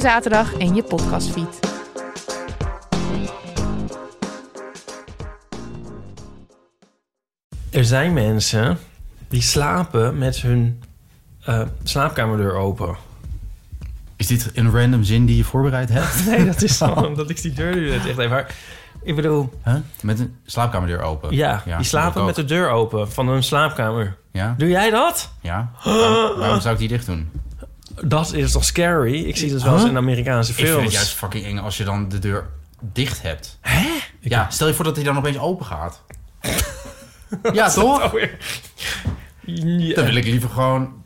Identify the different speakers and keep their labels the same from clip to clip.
Speaker 1: zaterdag in je podcastfeed.
Speaker 2: Er zijn mensen die slapen met hun eh, slaapkamerdeur open.
Speaker 3: Is dit een random zin die je voorbereid hebt?
Speaker 2: Nee, dat is zo, omdat ik die deur nu net echt even... maar Ik bedoel,
Speaker 3: Huh? Met een slaapkamerdeur open?
Speaker 2: ja, die
Speaker 3: dat
Speaker 2: slapen
Speaker 3: ook.
Speaker 2: met de deur open van hun slaapkamer.
Speaker 3: Ja?
Speaker 2: Doe jij dat?
Speaker 3: Ja? Waarom, waarom zou ik die dicht doen?
Speaker 2: Dat is toch scary? Ik zie dat wel eens
Speaker 3: Huh?
Speaker 2: in Amerikaanse
Speaker 3: Ik vind het
Speaker 2: films.
Speaker 3: juist fucking eng als je dan de deur dicht hebt. Hè? Ja, stel je voor dat hij dan opeens open gaat. ja, toch?
Speaker 2: Ja.
Speaker 3: Dan wil ik liever gewoon...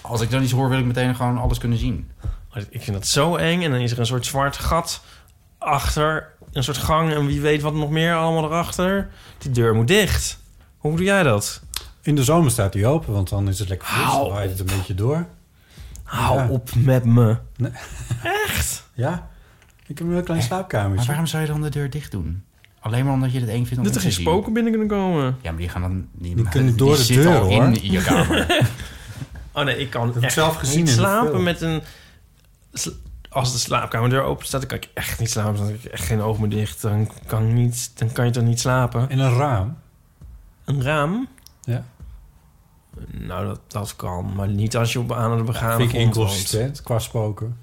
Speaker 3: Als ik dan iets hoor, wil ik meteen gewoon alles kunnen zien.
Speaker 2: Maar Ik vind dat zo eng. En dan is er een soort zwart gat achter. Een soort gang en wie weet wat nog meer allemaal erachter. Die deur moet dicht. Hoe doe jij dat?
Speaker 4: In de zomer staat die open, want dan is het lekker fris. Dan
Speaker 2: Au.
Speaker 4: waait het een beetje door.
Speaker 2: Hou
Speaker 4: Ja.
Speaker 2: op met me.
Speaker 4: Nee.
Speaker 2: Echt?
Speaker 4: Ja, ik heb een heel klein
Speaker 3: Maar
Speaker 4: slaapkamertje.
Speaker 3: waarom zou je dan de deur dicht doen? Alleen maar omdat je het eng vindt om
Speaker 2: Dat er
Speaker 3: in
Speaker 2: geen
Speaker 3: te zien.
Speaker 2: spoken binnen kunnen komen.
Speaker 3: Ja, maar die gaan dan... Die,
Speaker 4: kunnen door de
Speaker 3: zitten
Speaker 4: deur,
Speaker 3: al
Speaker 4: hoor.
Speaker 3: in je kamer.
Speaker 2: Oh nee, ik kan
Speaker 4: heb ik
Speaker 2: echt
Speaker 4: zelf gezien
Speaker 2: niet
Speaker 4: in de
Speaker 2: slapen
Speaker 4: film.
Speaker 2: met een... sla- Als de slaapkamerdeur open staat, dan kan ik echt niet slapen. Dan heb ik echt geen oog meer dicht. Dan kan, ik niet, dan kan je toch niet slapen.
Speaker 4: In een raam.
Speaker 2: Een raam?
Speaker 4: Ja.
Speaker 2: Nou, dat, dat kan. Maar niet als je op aan het begaan
Speaker 4: Vind ik inconsistent qua spoken.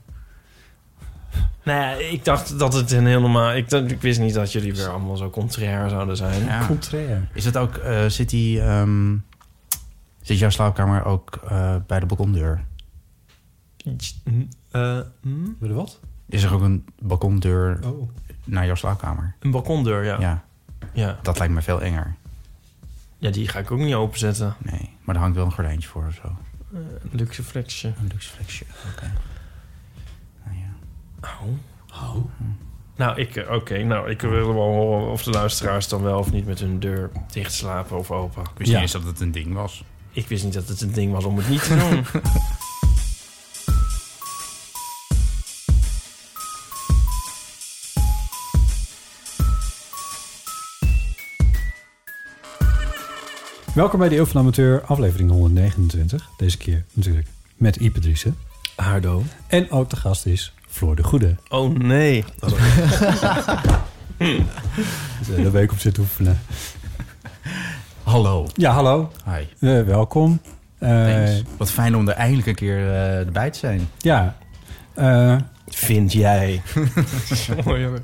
Speaker 2: Nou ja, ik dacht dat het een heel normaal... Ik, dacht- ik wist niet dat jullie weer allemaal zo contrair zouden zijn.
Speaker 3: Ja.
Speaker 4: Contrair.
Speaker 3: Is dat ook, eh, zit die, ehm, zit jouw slaapkamer ook eh, bij de balkondeur?
Speaker 2: Eh, hm?
Speaker 4: Weet je wat?
Speaker 3: Is er ook een balkondeur
Speaker 4: Oh.
Speaker 3: naar jouw slaapkamer?
Speaker 2: Een balkondeur, ja.
Speaker 3: Ja.
Speaker 2: ja. ja.
Speaker 3: ja, dat lijkt me veel enger.
Speaker 2: die ga ik ook niet openzetten.
Speaker 3: Nee, maar daar hangt wel een gordijntje voor of zo.
Speaker 2: Luxe flexje.
Speaker 3: Een luxe flexje. Oké. Nou ja.
Speaker 2: Nou, ik, eh, oké. nou, ik wil wel horen of de luisteraars dan wel of niet met hun deur dicht slapen of open.
Speaker 3: Ik wist
Speaker 4: Ja.
Speaker 3: niet eens dat het een ding was.
Speaker 2: Ik wist niet dat het een ding was om het niet te doen.
Speaker 4: Welkom bij de Eeuw van de Amateur, aflevering 129. Deze keer natuurlijk met Ipe Driessen.
Speaker 2: Hardo.
Speaker 4: En ook de gast is Floor de Goede.
Speaker 2: Oh nee.
Speaker 4: Dus eh, de week op zit oefenen.
Speaker 3: Hallo.
Speaker 4: Ja, hallo.
Speaker 3: Hi.
Speaker 4: Eh, welkom. Eh,
Speaker 3: Thanks. Wat fijn om er eindelijk een keer eh, erbij te zijn.
Speaker 4: ja. Eh,
Speaker 2: Vind jij.
Speaker 4: Oh,
Speaker 2: Mooi hoor.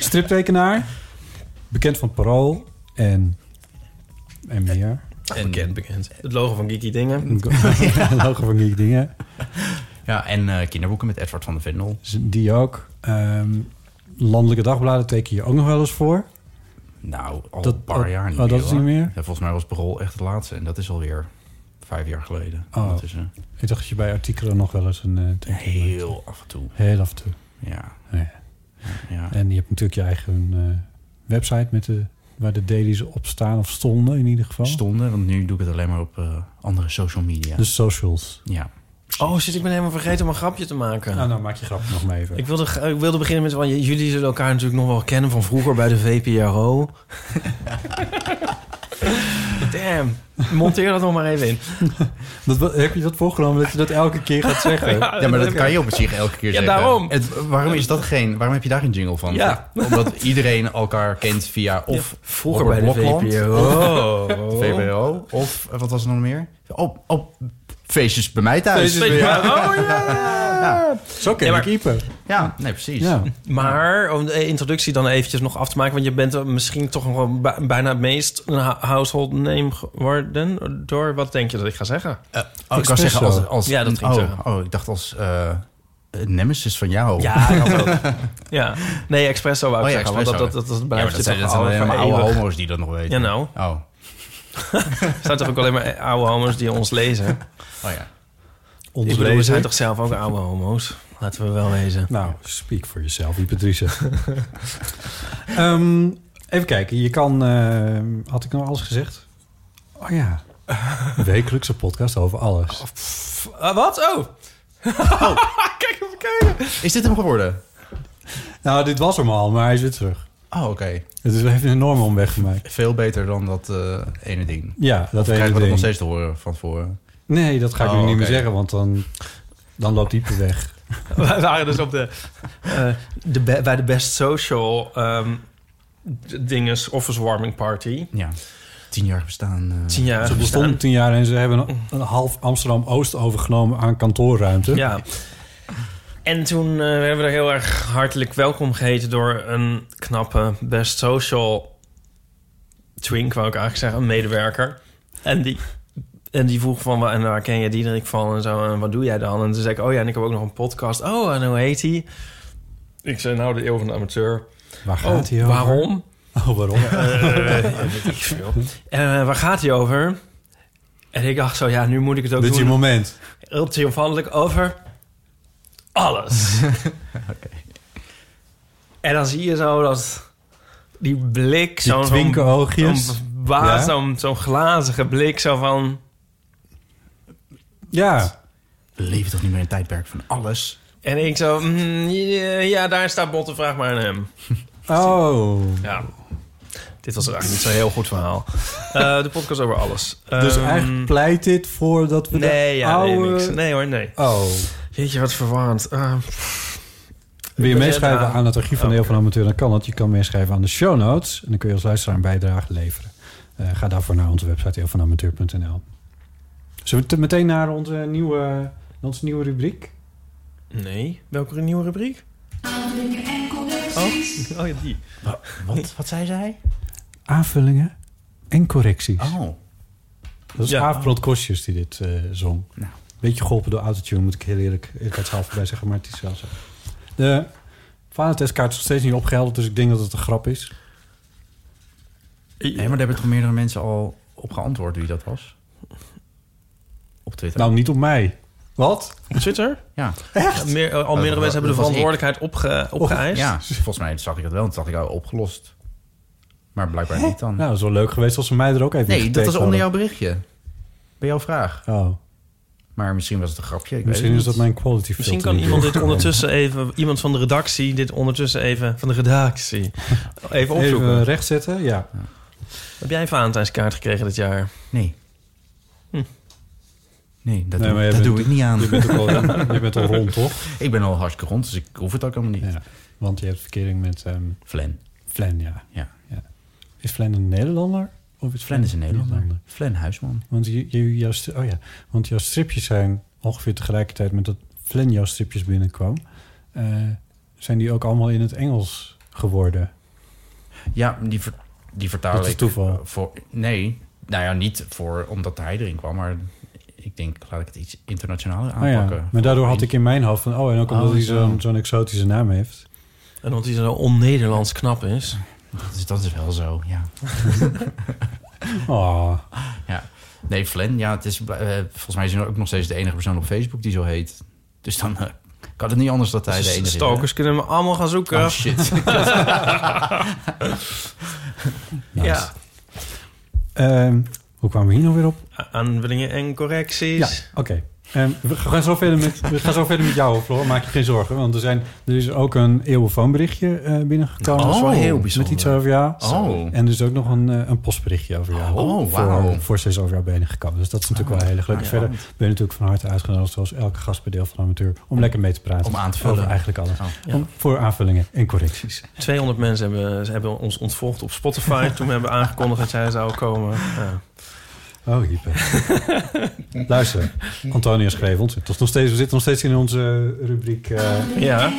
Speaker 4: striptekenaar. Bekend van Parool. En, en meer.
Speaker 2: Bekend, bekend. Het logo van Geeky Dingen.
Speaker 4: Logo van Geek Dingen.
Speaker 3: Ja, en eh, kinderboeken met Edward van de Vendel.
Speaker 4: Dus Die ook. Ehm, landelijke dagbladen teken je ook nog wel eens voor.
Speaker 3: Nou, al
Speaker 4: Dat-
Speaker 3: een paar
Speaker 4: dat-
Speaker 3: jaar niet
Speaker 4: oh, dat
Speaker 3: meer,
Speaker 4: is
Speaker 3: hoor.
Speaker 4: niet meer?
Speaker 3: Ja, volgens mij was Brol echt de laatste. En dat is alweer vijf jaar geleden. eh,
Speaker 4: Oh.
Speaker 3: Ondertussen.
Speaker 4: Ik dacht dat je bij artikelen nog wel eens een eh, teken
Speaker 3: Heel af en toe.
Speaker 4: maakt. Heel af en toe. Oh,
Speaker 3: Ja.
Speaker 4: Ja.
Speaker 3: ja.
Speaker 4: En je hebt natuurlijk je eigen eh, website met de, waar de dailies op staan. Of stonden in ieder geval.
Speaker 3: Stonden, want nu doe ik het alleen maar op eh, andere social media.
Speaker 4: De socials.
Speaker 3: ja.
Speaker 2: Oh shit, ik ben helemaal vergeten om een grapje te maken.
Speaker 4: nou maak je grap nog maar even.
Speaker 2: Ik wilde, ik wilde beginnen met, want jullie zullen elkaar natuurlijk nog wel kennen van vroeger bij de VPRO. Damn, monteer dat nog maar even in.
Speaker 4: Dat, wa- heb je dat voorgenomen dat je dat elke keer gaat zeggen?
Speaker 3: Ja, maar dat kan je op zich elke keer
Speaker 2: Ja,
Speaker 3: zeggen.
Speaker 2: daarom.
Speaker 3: Het, waarom, is dat geen, waarom heb je daar geen jingle van?
Speaker 2: Ja.
Speaker 3: Omdat iedereen elkaar kent via of
Speaker 2: Vroeger
Speaker 3: Robert
Speaker 2: bij de
Speaker 3: Blokland, Oh.
Speaker 2: VPRO.
Speaker 3: VBO, of eh, wat was er nog meer? Op, op feestjes bij mij thuis.
Speaker 2: VPRO, Oh, ja.
Speaker 3: ja.
Speaker 4: Zo
Speaker 2: Ja,
Speaker 4: ken je
Speaker 2: maar-
Speaker 4: keeper.
Speaker 3: ja, nee, precies.
Speaker 4: Ja.
Speaker 2: Maar om de introductie dan eventjes nog af te maken... want je bent misschien toch nog wel ba- bijna het meest een ha- household name geworden... door wat denk je dat ik ga zeggen?
Speaker 3: Oh, ik kan
Speaker 4: Espresso.
Speaker 3: zeggen als, als...
Speaker 2: Ja, dat ging ik
Speaker 3: oh,
Speaker 2: zeggen.
Speaker 3: oh, ik dacht als eh, nemesis van jou.
Speaker 2: Ja, dat ook. ja. Nee, Expresso wou ik
Speaker 3: Oh ja,
Speaker 2: zeggen, want dat,
Speaker 3: Espresso.
Speaker 2: dat, dat, dat
Speaker 3: Oh,
Speaker 2: blijft
Speaker 3: Ja, maar dat
Speaker 2: je
Speaker 3: zijn,
Speaker 2: toch
Speaker 3: dat zijn alleen maar
Speaker 2: al
Speaker 3: oude
Speaker 2: eeuwig.
Speaker 3: homo's die dat nog weten.
Speaker 2: Ja, nou.
Speaker 3: Oh, oh
Speaker 2: Er zijn toch ook alleen maar oude homo's die ons lezen?
Speaker 3: Oh, ja.
Speaker 2: Ik bedoel, we zijn toch zelf ook oude homo's? Laten we wel wezen.
Speaker 4: Nou, speak for yourself, die Patrice. Ehm, even kijken, je kan... eh, had ik nou alles gezegd? Oh ja. Een Wekelijkse podcast over alles.
Speaker 3: Oh.
Speaker 2: Ah, wat? Oh! Kijk even kijken.
Speaker 3: Is dit hem geworden?
Speaker 4: Nou, dit was hem al, maar hij is weer terug.
Speaker 3: Oh, oké.
Speaker 4: Het is- heeft een enorme omweg gemaakt.
Speaker 3: Veel beter dan dat eh, ene ding.
Speaker 4: Ja, dat weet
Speaker 3: Krijgen
Speaker 4: ik
Speaker 3: we dat nog steeds te horen van tevoren?
Speaker 4: Nee, dat ga ik
Speaker 3: Oh,
Speaker 4: nu niet meer
Speaker 3: oké.
Speaker 4: zeggen, want dan, dan loopt diepe weg.
Speaker 2: Wij waren dus op de, eh, de be- bij de Best Social ehm dinges office warming party.
Speaker 3: Ja. Tien jaar bestaan. eh,
Speaker 2: Tien jaar
Speaker 4: Ze bestond tien jaar en ze hebben een, een half Amsterdam-Oost overgenomen aan kantoorruimte.
Speaker 2: Ja. En toen eh, werden we er heel erg hartelijk welkom geheten door een knappe Best Social twink, wou ik eigenlijk zeggen, een medewerker. En die, en die vroeg van, wa- en waar ken je Diederik van en zo, en wat doe jij dan? En toen zei ik, oh ja, en ik heb ook nog een podcast. Oh, en hoe heet die? Ik zei, nou, de eeuw van de amateur.
Speaker 4: Waar gaat
Speaker 2: Oh,
Speaker 4: hij over?
Speaker 2: waarom?
Speaker 4: Oh, waarom?
Speaker 2: Eh, weet ik veel. Eh, waar gaat hij over? En ik dacht zo, ja, nu moet ik het ook
Speaker 4: Dit is je
Speaker 2: doen.
Speaker 4: moment.
Speaker 2: Heel triomfantelijk over alles. En dan zie je zo dat die blik,
Speaker 4: Die
Speaker 2: zo'n
Speaker 4: twinken oogjes.
Speaker 2: zo'n baas,
Speaker 4: Ja.
Speaker 2: zo'n zo'n glazige blik, zo van...
Speaker 4: Ja,
Speaker 3: We leven toch niet meer in een tijdperk van alles?
Speaker 2: En ik zo, mm, ja, ja, daar staat Botte, vraag maar aan hem.
Speaker 4: oh.
Speaker 2: Ja. Dit was eigenlijk niet zo'n heel goed verhaal. Eh, de podcast over alles.
Speaker 4: Dus
Speaker 2: Ehm,
Speaker 4: eigenlijk pleit dit voor dat we
Speaker 2: Nee,
Speaker 4: de
Speaker 2: ja,
Speaker 4: oude...
Speaker 2: nee, niks. nee hoor, nee.
Speaker 4: Oh.
Speaker 2: Weet je wat verwarrend.
Speaker 4: Ehm,
Speaker 2: Ah,
Speaker 4: Wil je
Speaker 2: Ja,
Speaker 4: meeschrijven
Speaker 2: ja.
Speaker 4: aan het archief van de
Speaker 2: Oh,
Speaker 4: Heel van de Amateur? Dan kan dat. Je kan meeschrijven aan de show notes. En dan kun je als luisteraar een bijdrage leveren. Eh, ga daarvoor naar onze website heelvanamateur.nl. Zullen we te- meteen naar onze nieuwe, onze nieuwe rubriek?
Speaker 2: nee. Welke nieuwe rubriek? Oh, oh ja, die.
Speaker 3: Wat? Wat zei zij?
Speaker 4: Aanvullingen en correcties.
Speaker 3: Oh.
Speaker 4: Dat is
Speaker 2: Ja.
Speaker 4: Aafbrand Kostjes die dit eh, zong.
Speaker 3: Nou.
Speaker 4: Beetje geholpen door autotune, moet ik heel eerlijk eerlijkheidshalve bij zeggen. Maar het is wel zo. De vadertestkaart is nog steeds niet opgehelderd. Dus ik denk dat het een grap is.
Speaker 3: Nee, maar daar hebben toch meerdere mensen al op geantwoord wie dat was? Op Twitter.
Speaker 4: Nou, niet op mij. Wat?
Speaker 2: Twitter?
Speaker 3: ja.
Speaker 2: Echt? Meer, al meerdere
Speaker 3: dat
Speaker 2: mensen hebben de
Speaker 3: was
Speaker 2: verantwoordelijkheid opge, opgeëist.
Speaker 3: ja, Dus volgens mij zag ik dat wel. En toen dacht ik, oh, opgelost. Maar blijkbaar niet dan.
Speaker 4: Nou, dat is wel leuk geweest als ze mij er ook even in
Speaker 3: nee, dat
Speaker 4: getagd
Speaker 3: was onder jouw
Speaker 4: hadden.
Speaker 3: berichtje. Bij jouw vraag.
Speaker 4: Oh,
Speaker 3: Maar misschien was het een grapje. Ik
Speaker 4: misschien
Speaker 3: weet
Speaker 4: is
Speaker 3: het
Speaker 4: dat
Speaker 3: niet.
Speaker 4: mijn quality filter.
Speaker 2: Misschien kan
Speaker 4: niet
Speaker 2: iemand dit
Speaker 4: doorgekomen.
Speaker 2: ondertussen even, iemand van de redactie, dit ondertussen even, van de redactie, even opzoeken.
Speaker 4: Even rechtzetten, ja.
Speaker 2: Heb jij een Valentijnskaart gekregen dit jaar?
Speaker 3: Nee. Nee, dat
Speaker 4: Nee,
Speaker 3: doe,
Speaker 4: maar jij
Speaker 3: dat
Speaker 4: bent-
Speaker 3: doe ik niet aan.
Speaker 4: Je bent, ook al, je bent al rond, toch?
Speaker 3: Ik ben al hartstikke rond, dus ik hoef het ook helemaal niet.
Speaker 4: Ja. Want je hebt verkering met ehm
Speaker 3: Flan.
Speaker 4: Flan, ja.
Speaker 3: Ja.
Speaker 4: Is Flan een Nederlander? Of is
Speaker 3: Flan is een Nederlander. Flan Huisman.
Speaker 4: Want, je, je- jouw, stri- oh ja, want jouw stripjes zijn ongeveer tegelijkertijd met dat Flan jouw stripjes binnenkwam... eh, zijn die ook allemaal in het Engels geworden.
Speaker 3: Ja, die, ver, die vertaal
Speaker 4: Dat is
Speaker 3: ik
Speaker 4: toeval.
Speaker 3: Voor, nee, nou ja, niet voor, omdat hij erin kwam, maar ik denk, laat ik het iets internationaler
Speaker 4: Ah
Speaker 3: aanpakken.
Speaker 4: ja, maar daardoor had ik in mijn hoofd van... oh, en ook omdat
Speaker 3: Oh,
Speaker 4: hij
Speaker 3: zo.
Speaker 4: zo'n zo'n exotische naam heeft...
Speaker 2: En omdat hij zo on-Nederlands knap is.
Speaker 3: Dat is, dat is wel zo, ja.
Speaker 4: Oh,
Speaker 3: ja. Nee, Flan, ja, het is, eh, volgens mij is hij ook nog steeds de enige persoon op Facebook die zo heet. Dus dan eh, kan het niet anders dat hij de enige is, hè?
Speaker 2: Stalkers Dus kunnen we allemaal gaan zoeken.
Speaker 3: Oh shit.
Speaker 2: ja.
Speaker 4: Ehm, hoe kwamen we hier nou weer op?
Speaker 2: A- Aanvullingen en
Speaker 4: Ja,
Speaker 2: correcties.
Speaker 4: oké. Ehm, we, gaan zo verder met, we gaan zo verder met jou, Floor. Maak je geen zorgen. Want er, zijn, er is ook een eeuwenfoonberichtje eh binnengekomen.
Speaker 3: Oh, heel bijzonder.
Speaker 4: Met iets over jou.
Speaker 3: Oh.
Speaker 4: En er is ook nog een, eh, een postberichtje over jou.
Speaker 3: Oh, wauw. Ah,
Speaker 4: voor, voor ze is over jou binnengekomen. Dus dat is natuurlijk wel heel erg leuk. Verder ben je natuurlijk van harte uitgenodigd, zoals elke gast bij Deel van de Amateur, om lekker mee te praten.
Speaker 3: Om aan te vullen.
Speaker 4: Over eigenlijk alles.
Speaker 3: Oh,
Speaker 2: ja.
Speaker 4: om, voor aanvullingen en correcties.
Speaker 2: 200 mensen hebben, ze hebben ons ontvolgd op Spotify toen we hebben aangekondigd dat jij zou komen. Ja.
Speaker 4: Oh, hyper. Luister, Antonia schreef ons. Het was nog steeds, we zitten nog steeds in onze rubriek. eh,
Speaker 2: Ja.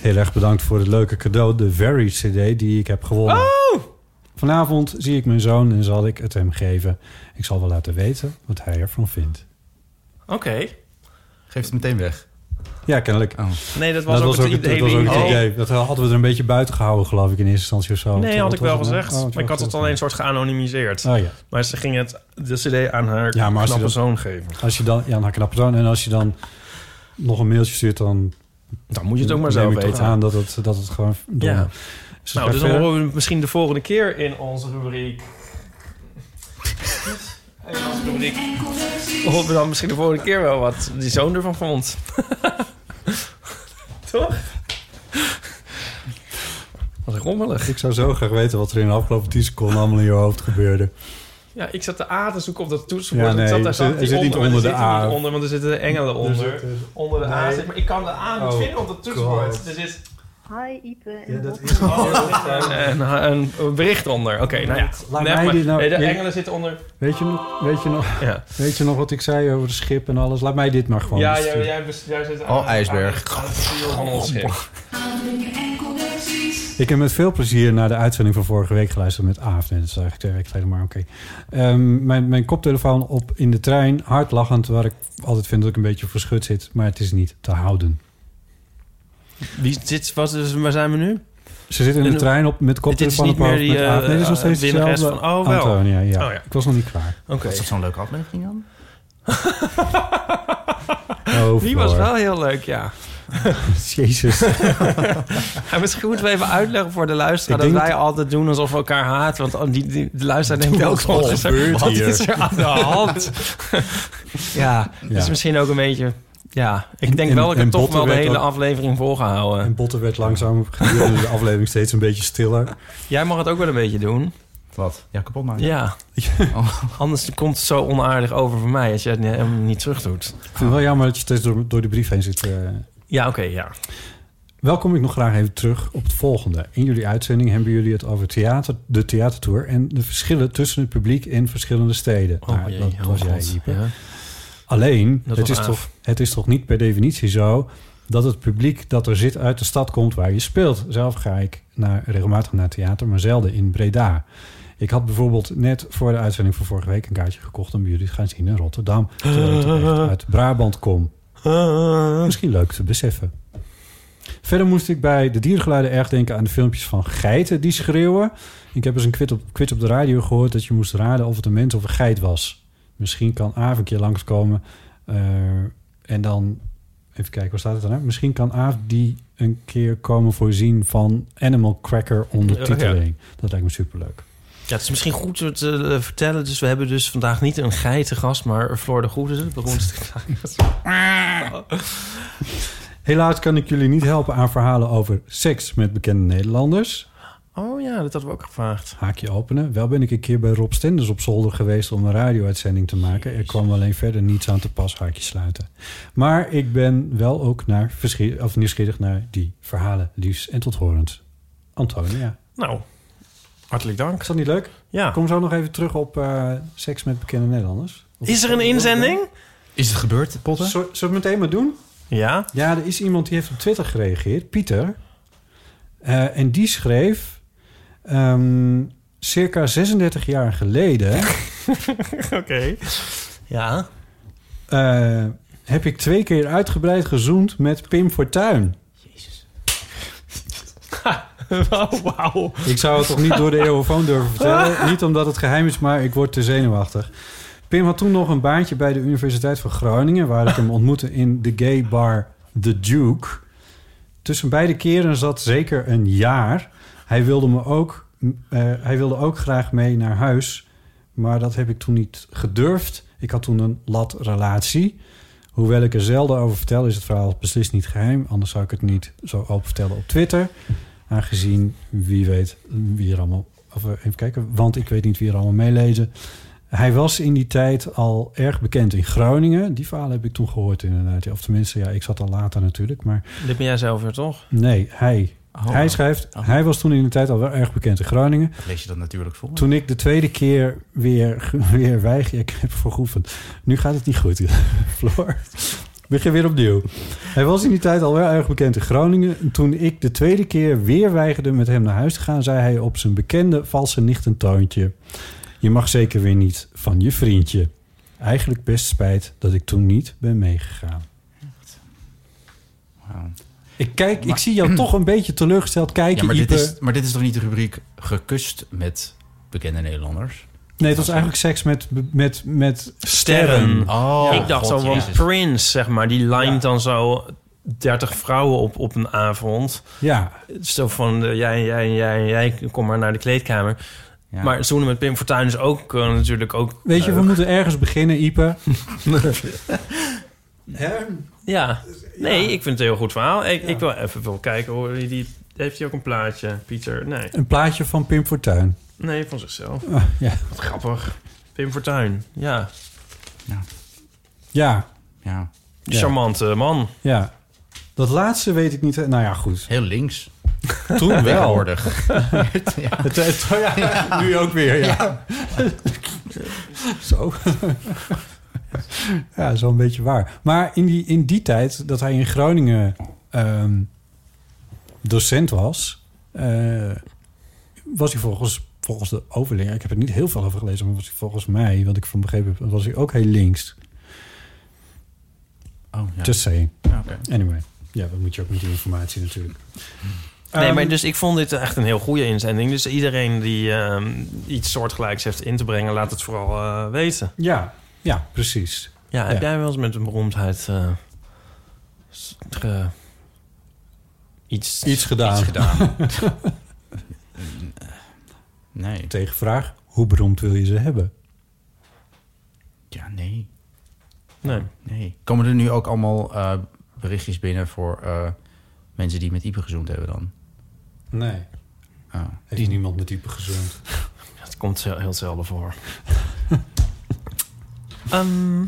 Speaker 4: Heel erg bedankt voor het leuke cadeau, de Very CD die ik heb gewonnen.
Speaker 2: Oh!
Speaker 4: Vanavond zie ik mijn zoon en zal ik het hem geven. Ik zal wel laten weten wat hij ervan vindt.
Speaker 2: Oké.
Speaker 3: Geef het meteen weg.
Speaker 4: Ja, kennelijk.
Speaker 2: Nee, dat was ook het idee.
Speaker 4: dat was ook het
Speaker 2: Oh.
Speaker 4: idee. Dat hadden we er een beetje buiten gehouden, geloof ik, in eerste instantie of zo.
Speaker 2: Nee,
Speaker 4: Wat
Speaker 2: had ik
Speaker 4: was
Speaker 2: wel
Speaker 4: het nou?
Speaker 2: gezegd.
Speaker 4: Oh,
Speaker 2: maar ik had het alleen een soort geanonimiseerd.
Speaker 4: Oh ja.
Speaker 2: Maar ze ging het, de cd aan haar
Speaker 4: Ja, maar als
Speaker 2: knappe
Speaker 4: je dat- Dus
Speaker 2: zoon geven.
Speaker 4: Als je dan, ja, een knappe zoon. En als je dan nog een mailtje stuurt, dan
Speaker 2: Dan moet je het ook maar
Speaker 4: neem
Speaker 2: zelf
Speaker 4: ik toch
Speaker 2: weten.
Speaker 4: aan dat het, dat het gewoon... dom
Speaker 2: Ja.
Speaker 4: is. Dus
Speaker 2: Nou,
Speaker 4: het
Speaker 2: dus
Speaker 4: gaat
Speaker 2: dan
Speaker 4: verder.
Speaker 2: horen we het misschien de volgende keer in onze rubriek. In onze rubriek. Horen we dan misschien de volgende keer wel wat die zoon ervan vond. Toch? Wat rommelig.
Speaker 4: Ik zou zo graag weten wat er in de afgelopen 10 seconden allemaal in je hoofd gebeurde.
Speaker 2: Ja, ik zat de A te zoeken op dat toetsenbord.
Speaker 4: Ja, nee,
Speaker 2: ik zat daar
Speaker 4: er zit-
Speaker 2: zat die
Speaker 4: er zit niet
Speaker 2: maar er
Speaker 4: onder de
Speaker 2: zit er
Speaker 4: A.
Speaker 2: niet onder, want er zitten de engelen onder.
Speaker 4: Dus
Speaker 2: onder de A
Speaker 4: nee.
Speaker 2: zit, maar ik kan de A niet
Speaker 4: Oh,
Speaker 2: vinden op dat toetsenbord.
Speaker 4: God. Oh.
Speaker 2: Er zit Oh,
Speaker 5: Hi, Ipe.
Speaker 4: Ja, dat is...
Speaker 2: een, een, een bericht onder. Oké, nou ja.
Speaker 4: Laat
Speaker 2: Nee,
Speaker 4: mij
Speaker 2: maar-
Speaker 4: die nou-
Speaker 2: nee, de
Speaker 4: Ja.
Speaker 2: engelen zitten onder.
Speaker 4: Weet je, nog, weet, je nog,
Speaker 2: Ja.
Speaker 4: weet je nog wat ik zei over de schip en alles? Laat mij dit maar gewoon. Dus, eh,
Speaker 2: Ja,
Speaker 4: besturen.
Speaker 2: jij, jij, bes- jij zit
Speaker 3: Oh, ijsberg.
Speaker 2: aan het stuur van ons schip.
Speaker 4: Ik heb met veel plezier naar de uitzending van vorige week geluisterd met Aaf. Nee, dat is eigenlijk twee weken geleden, maar oké. Ehm, mijn, mijn koptelefoon op in de trein, hard lachend, waar ik altijd vind dat ik een beetje verschut zit. Maar het is niet te houden.
Speaker 2: Wie zit, wat, is- waar zijn we nu?
Speaker 4: Ze zitten in de
Speaker 2: En-
Speaker 4: trein op met koptelefoon
Speaker 2: niet
Speaker 4: op hoofd
Speaker 2: meer die,
Speaker 4: met Aaf. Nee, dit is nog
Speaker 2: eh,
Speaker 4: steeds
Speaker 2: winnares
Speaker 4: hetzelfde.
Speaker 2: van- oh, wel.
Speaker 4: Antonia, ja.
Speaker 2: Oh, ja.
Speaker 4: Ik was nog niet klaar.
Speaker 2: Oké.
Speaker 3: Was dat zo'n leuke aflevering dan?
Speaker 4: Oh,
Speaker 2: Die was
Speaker 4: Floor.
Speaker 2: wel heel leuk, ja.
Speaker 4: Jezus.
Speaker 2: En misschien moeten we even uitleggen voor de luisteraar...
Speaker 4: Ik
Speaker 2: dat
Speaker 4: denk
Speaker 2: wij altijd doen alsof we elkaar haten. Want die, die, de luisteraar denkt ook...
Speaker 4: Wat
Speaker 2: Wat is er,
Speaker 4: gebeurt
Speaker 2: wat
Speaker 4: hier?"
Speaker 2: is er aan de hand? ja,
Speaker 4: Ja.
Speaker 2: dus misschien ook een beetje... Ja, ik
Speaker 4: En-
Speaker 2: denk
Speaker 4: en-
Speaker 2: wel dat ik
Speaker 4: en
Speaker 2: het toch
Speaker 4: Botten
Speaker 2: wel de
Speaker 4: werd
Speaker 2: hele
Speaker 4: ook-
Speaker 2: aflevering volgehouden.
Speaker 4: En Botten werd langzaam gedurende de aflevering steeds een beetje stiller.
Speaker 2: Jij mag het ook wel een beetje doen.
Speaker 3: Wat? Ja, kapot maken.
Speaker 2: Ja.
Speaker 4: Oh.
Speaker 2: Anders komt het zo onaardig over voor mij... als je het niet- helemaal niet terug doet.
Speaker 4: Ik vind het wel jammer dat je steeds door, door de brief heen zit. eh,
Speaker 2: Ja, oké, ja.
Speaker 4: Wel kom ik nog graag even terug op het volgende. In jullie uitzending hebben jullie het over theater, de theatertour... en de verschillen tussen het publiek in verschillende steden. Nou,
Speaker 2: jee,
Speaker 4: dat
Speaker 2: oh
Speaker 4: was jij,
Speaker 2: God.
Speaker 4: Ipe.
Speaker 2: Ja.
Speaker 4: Alleen,
Speaker 2: Dat
Speaker 4: het
Speaker 2: was
Speaker 4: is,
Speaker 2: Aaf.
Speaker 4: toch, het is toch niet per definitie zo... dat het publiek dat er zit uit de stad komt waar je speelt. Zelf ga ik naar, regelmatig naar theater, maar zelden in Breda. Ik had bijvoorbeeld net voor de uitzending van vorige week... een kaartje gekocht om jullie te gaan zien in Rotterdam. Terwijl ik toch echt uit Brabant kom. Misschien leuk te beseffen. Verder moest ik bij de diergeluiden erg denken aan de filmpjes van geiten die schreeuwen. Ik heb eens een quiz op, quiz op de radio gehoord dat je moest raden of het een mens of een geit was. Misschien kan Aaf een keer langskomen eh, en dan... Even kijken, waar staat het dan? hè? Misschien kan Aaf die een keer komen voorzien van Animal Cracker ondertiteling. Dat lijkt me superleuk.
Speaker 2: Ja, het is misschien goed om te eh, vertellen. Dus we hebben dus vandaag niet een geitengast, maar Floor de Goede, de beroemdste geit.
Speaker 4: Helaas kan ik jullie niet helpen aan verhalen over seks met bekende Nederlanders.
Speaker 2: Oh ja, dat hadden we ook gevraagd.
Speaker 4: haakje openen. Wel ben ik een keer bij Rob Stenders op zolder geweest om een radio-uitzending te maken. Er kwam alleen verder niets aan te pas, haakje sluiten. Maar ik ben wel ook naar verschie- of nieuwsgierig naar die verhalen, liefst en tot horend. Antonia.
Speaker 2: Nou, hartelijk dank.
Speaker 4: Is dat niet leuk?
Speaker 2: Ja.
Speaker 4: Kom zo nog even terug op eh, seks met bekende Nederlanders. Of-
Speaker 2: Is er een inzending?
Speaker 3: Is het gebeurd, Potten?
Speaker 4: Zullen we het meteen maar doen?
Speaker 2: Ja.
Speaker 4: Ja, er is iemand die heeft op Twitter gereageerd, Pieter. Eh, en die schreef... ehm, circa 36 jaar geleden...
Speaker 2: Oké. Ja.
Speaker 4: Eh, heb ik twee keer uitgebreid gezoend met Pim Fortuyn.
Speaker 2: Oh, wauw.
Speaker 4: Ik zou het toch niet door de eeuwofoon durven vertellen. Niet omdat het geheim is, maar ik word te zenuwachtig. Pim had toen nog een baantje bij de Universiteit van Groningen... waar ik hem ontmoette in de gay bar The Duke. Tussen beide keren zat zeker een jaar. Hij wilde, me ook, eh, hij wilde ook graag mee naar huis... maar dat heb ik toen niet gedurfd. Ik had toen een lat relatie... Hoewel ik er zelden over vertel, is het verhaal beslist niet geheim. Anders zou ik het niet zo open vertellen op Twitter. Aangezien wie weet wie er allemaal. Of eh, even kijken, want ik weet niet wie er allemaal meelezen. Hij was in die tijd al erg bekend in Groningen. Die verhalen heb ik toen gehoord, inderdaad. Ja, Of tenminste, ja, ik zat al later natuurlijk. Maar
Speaker 2: Dit ben jij zelf weer, toch?
Speaker 4: nee, hij. hij schrijft,
Speaker 3: Oh.
Speaker 4: hij was toen in de tijd al wel erg bekend in Groningen.
Speaker 3: Lees je dat natuurlijk voor.
Speaker 4: Toen ik de tweede keer weer, weer weig, ik heb vergoeven. Nu gaat het niet goed, Floor. Begin weer opnieuw. Hij was in die tijd al wel erg bekend in Groningen. Toen ik de tweede keer weer weigerde met hem naar huis te gaan, zei hij op zijn bekende valse nichtentoontje: Je mag zeker weer niet van je vriendje. Eigenlijk best spijt dat ik toen niet ben meegegaan.
Speaker 3: Oh.
Speaker 4: Ik kijk, ik zie jou toch een beetje teleurgesteld kijken.
Speaker 3: Ja, maar, dit
Speaker 4: Ipe.
Speaker 3: is, maar dit is toch niet de rubriek gekust met bekende Nederlanders?
Speaker 4: Nee, het was eigenlijk seks met, met, met
Speaker 2: Sterren.
Speaker 3: Oh,
Speaker 2: ik dacht
Speaker 3: God,
Speaker 2: al van
Speaker 3: Jezus.
Speaker 2: Prince, zeg maar. Die lijnt dan zo 30 vrouwen op op een avond.
Speaker 4: Ja,
Speaker 2: Zo van, eh, jij, jij, jij, jij, kom maar naar de kleedkamer.
Speaker 3: Ja.
Speaker 2: Maar zoenen met Pim Fortuyn is ook eh, natuurlijk ook...
Speaker 4: weet je, we moeten ergens beginnen, Ipe.
Speaker 2: Ja, nee, ik vind het een heel goed verhaal. Ik, ik wil even wel kijken, hoor, die- die, heeft hij ook een plaatje, Pieter? Nee,
Speaker 4: Een plaatje van Pim Fortuyn.
Speaker 2: nee van zichzelf.
Speaker 4: Ah, ja.
Speaker 2: Wat grappig. Pim Fortuyn, ja.
Speaker 4: ja,
Speaker 3: Ja,
Speaker 4: Ja.
Speaker 2: Charmante man.
Speaker 4: ja. Dat laatste weet ik niet. Nou ja, goed.
Speaker 3: heel links.
Speaker 4: Toen wel.
Speaker 3: Tegenwoordig. ja.
Speaker 4: Het, het- oh ja, Nu ook weer, ja. Zo. ja, zo'n beetje waar. Maar in die, in die tijd dat hij in Groningen ehm, docent was, eh, was hij volgens, volgens de overleraar, ik heb er niet heel veel over gelezen, maar was hij volgens mij, wat ik van begrepen heb, was hij ook heel links.
Speaker 3: Oh, ja.
Speaker 4: Just saying.
Speaker 3: Ja, oké.
Speaker 4: Anyway. Ja, dat moet je ook met die informatie natuurlijk.
Speaker 2: Nee,
Speaker 4: Ehm,
Speaker 2: maar dus ik vond dit echt een heel goede inzending. Dus iedereen die ehm, iets soortgelijks heeft in te brengen, laat het vooral eh, weten.
Speaker 4: Ja, ja, precies.
Speaker 2: Ja, heb
Speaker 4: Ja.
Speaker 2: jij wel eens met een beroemdheid eh, s- ge- iets...
Speaker 4: Iets gedaan.
Speaker 3: Iets gedaan. nee.
Speaker 4: Tegenvraag, hoe beroemd wil je ze hebben?
Speaker 3: Ja, nee.
Speaker 2: Nee.
Speaker 3: Nee. Komen er nu ook allemaal eh, berichtjes binnen voor eh, mensen die met Ipe gezoend hebben dan?
Speaker 4: Nee.
Speaker 3: Ah.
Speaker 4: Heeft niemand met diepe gezond.
Speaker 2: Het komt heel, heel zelden voor. Ehm,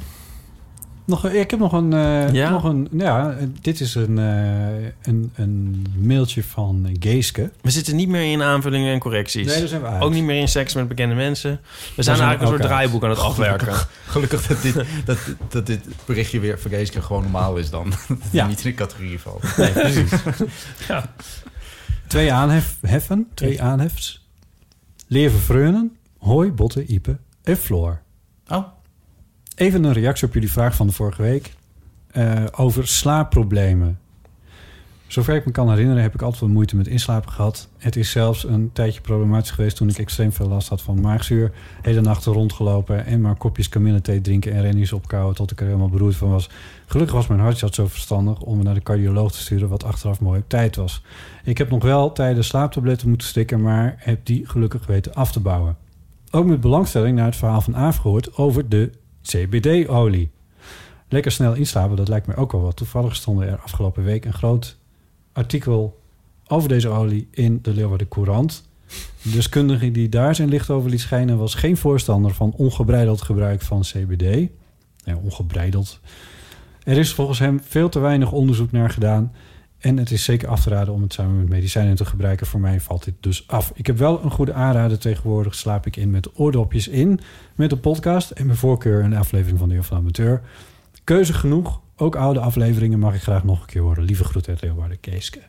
Speaker 4: Nog, een- ik heb nog een... eh,
Speaker 2: Ja?
Speaker 4: Nog een ja, eh, dit is een, eh, een, een mailtje van Geeske.
Speaker 2: we zitten niet meer in aanvullingen en correcties.
Speaker 4: Nee, daar zijn we uit.
Speaker 2: ook niet meer in seks met bekende mensen. We zijn
Speaker 4: zijn we
Speaker 2: eigenlijk een
Speaker 4: ook
Speaker 2: soort
Speaker 4: uit.
Speaker 2: draaiboek aan het afwerken.
Speaker 3: Gelukkig dat dit, dat, dat dit berichtje weer voor deze keer gewoon normaal is dan. Dat het
Speaker 4: Ja.
Speaker 3: niet in de categorie valt.
Speaker 4: Nee, precies.
Speaker 2: Ja.
Speaker 4: Twee aanheffen. Twee aanhefs. Leer vervreunen. Hoi, Botte, Ipe en Floor.
Speaker 3: Oh,
Speaker 4: Even een reactie op jullie vraag van de vorige week eh, over slaapproblemen. Zover ik me kan herinneren heb ik altijd wel moeite met inslapen gehad. Het is zelfs een tijdje problematisch geweest toen ik extreem veel last had van maagzuur. Hele nachten rondgelopen en maar kopjes kamillethee drinken en rennies opkouwen tot ik er helemaal beroerd van was. Gelukkig was mijn hartsarts zo verstandig om me naar de cardioloog te sturen, wat achteraf mooi op tijd was. Ik heb nog wel tijdens slaaptabletten moeten stikken, maar heb die gelukkig weten af te bouwen. Ook met belangstelling naar het verhaal van Aaf gehoord over de CBD-olie. Lekker snel inslapen, dat lijkt mij ook wel wat. Toevallig stonden er afgelopen week een groot artikel over deze olie in de Leeuwarden Courant. De deskundige die daar zijn licht over liet schijnen... was geen voorstander van ongebreideld gebruik van CBD. Ja, ongebreideld. Er is volgens hem veel te weinig onderzoek naar gedaan... En het is zeker af te raden om het samen met medicijnen te gebruiken. Voor mij valt dit dus af. Ik heb wel een goede aanrader. Tegenwoordig slaap ik in met oordopjes in. Met een podcast en mijn voorkeur een aflevering van de Heer van de Amateur. Keuze genoeg. Ook oude afleveringen mag ik graag nog een keer horen. Lieve groet uit Leeuwarden, Keeske.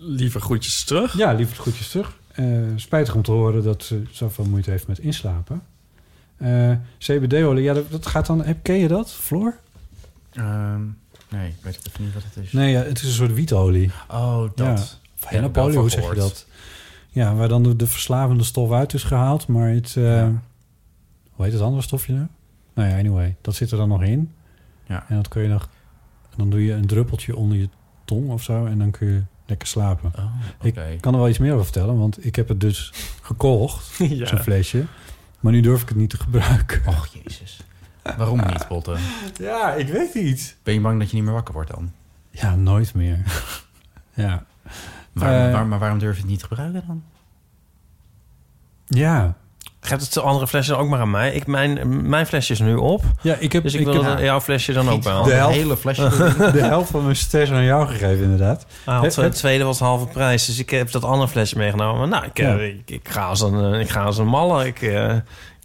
Speaker 2: Liever groetjes terug.
Speaker 4: Ja, lieve groetjes terug. Eh, spijtig om te horen dat ze zoveel moeite heeft met inslapen. Eh, CBD-olie, ja, dat, dat gaat dan... heb- Ken je dat, Floor?
Speaker 3: ehm, nee, ik weet even niet wat het is.
Speaker 4: Nee, ja, het is een soort wietolie.
Speaker 3: Oh, dat.
Speaker 4: Of
Speaker 3: Ja,
Speaker 4: hennepolie,
Speaker 3: wel van
Speaker 4: hoe zeg je
Speaker 3: gehoord.
Speaker 4: dat? Ja, waar dan de, de verslavende stof uit is gehaald. Maar het... eh,
Speaker 3: Ja.
Speaker 4: Hoe heet het andere stofje nou? Nou ja, anyway. Dat zit er dan nog in.
Speaker 3: Ja.
Speaker 4: En dat kun je nog... Dan doe je een druppeltje onder je tong of zo. En dan kun je lekker slapen.
Speaker 3: Oh, oké.
Speaker 4: Ik kan er wel iets meer over vertellen. Want ik heb het dus gekocht. Zo'n
Speaker 2: ja.
Speaker 4: flesje. Maar nu durf ik het niet te gebruiken.
Speaker 3: Och, jezus. Waarom niet, Botte?
Speaker 4: Ja, ik weet niet.
Speaker 3: Ben je bang dat je niet meer wakker wordt dan?
Speaker 4: Ja, nooit meer. ja.
Speaker 3: Waarom-
Speaker 4: Eh.
Speaker 3: waar- maar waarom durf je het niet te gebruiken dan?
Speaker 4: Ja.
Speaker 2: Geef het andere flesje dan ook maar aan mij. Ik, mijn, mijn flesje is nu op.
Speaker 4: Ja, ik heb-
Speaker 2: dus ik,
Speaker 4: ik
Speaker 2: wil
Speaker 4: heb-
Speaker 2: dat jouw flesje dan ook wel.
Speaker 4: de helft,
Speaker 3: hele flesje.
Speaker 4: de helft van mijn sters aan jou gegeven, inderdaad.
Speaker 2: Ah,
Speaker 4: Het-
Speaker 2: het, het
Speaker 4: het-
Speaker 2: tweede was de halve prijs, dus ik heb dat andere flesje meegenomen. Nou, ik, eh,
Speaker 4: Ja.
Speaker 2: ik, ik ga als een, eh, ik ga als een malle. Ik, eh, je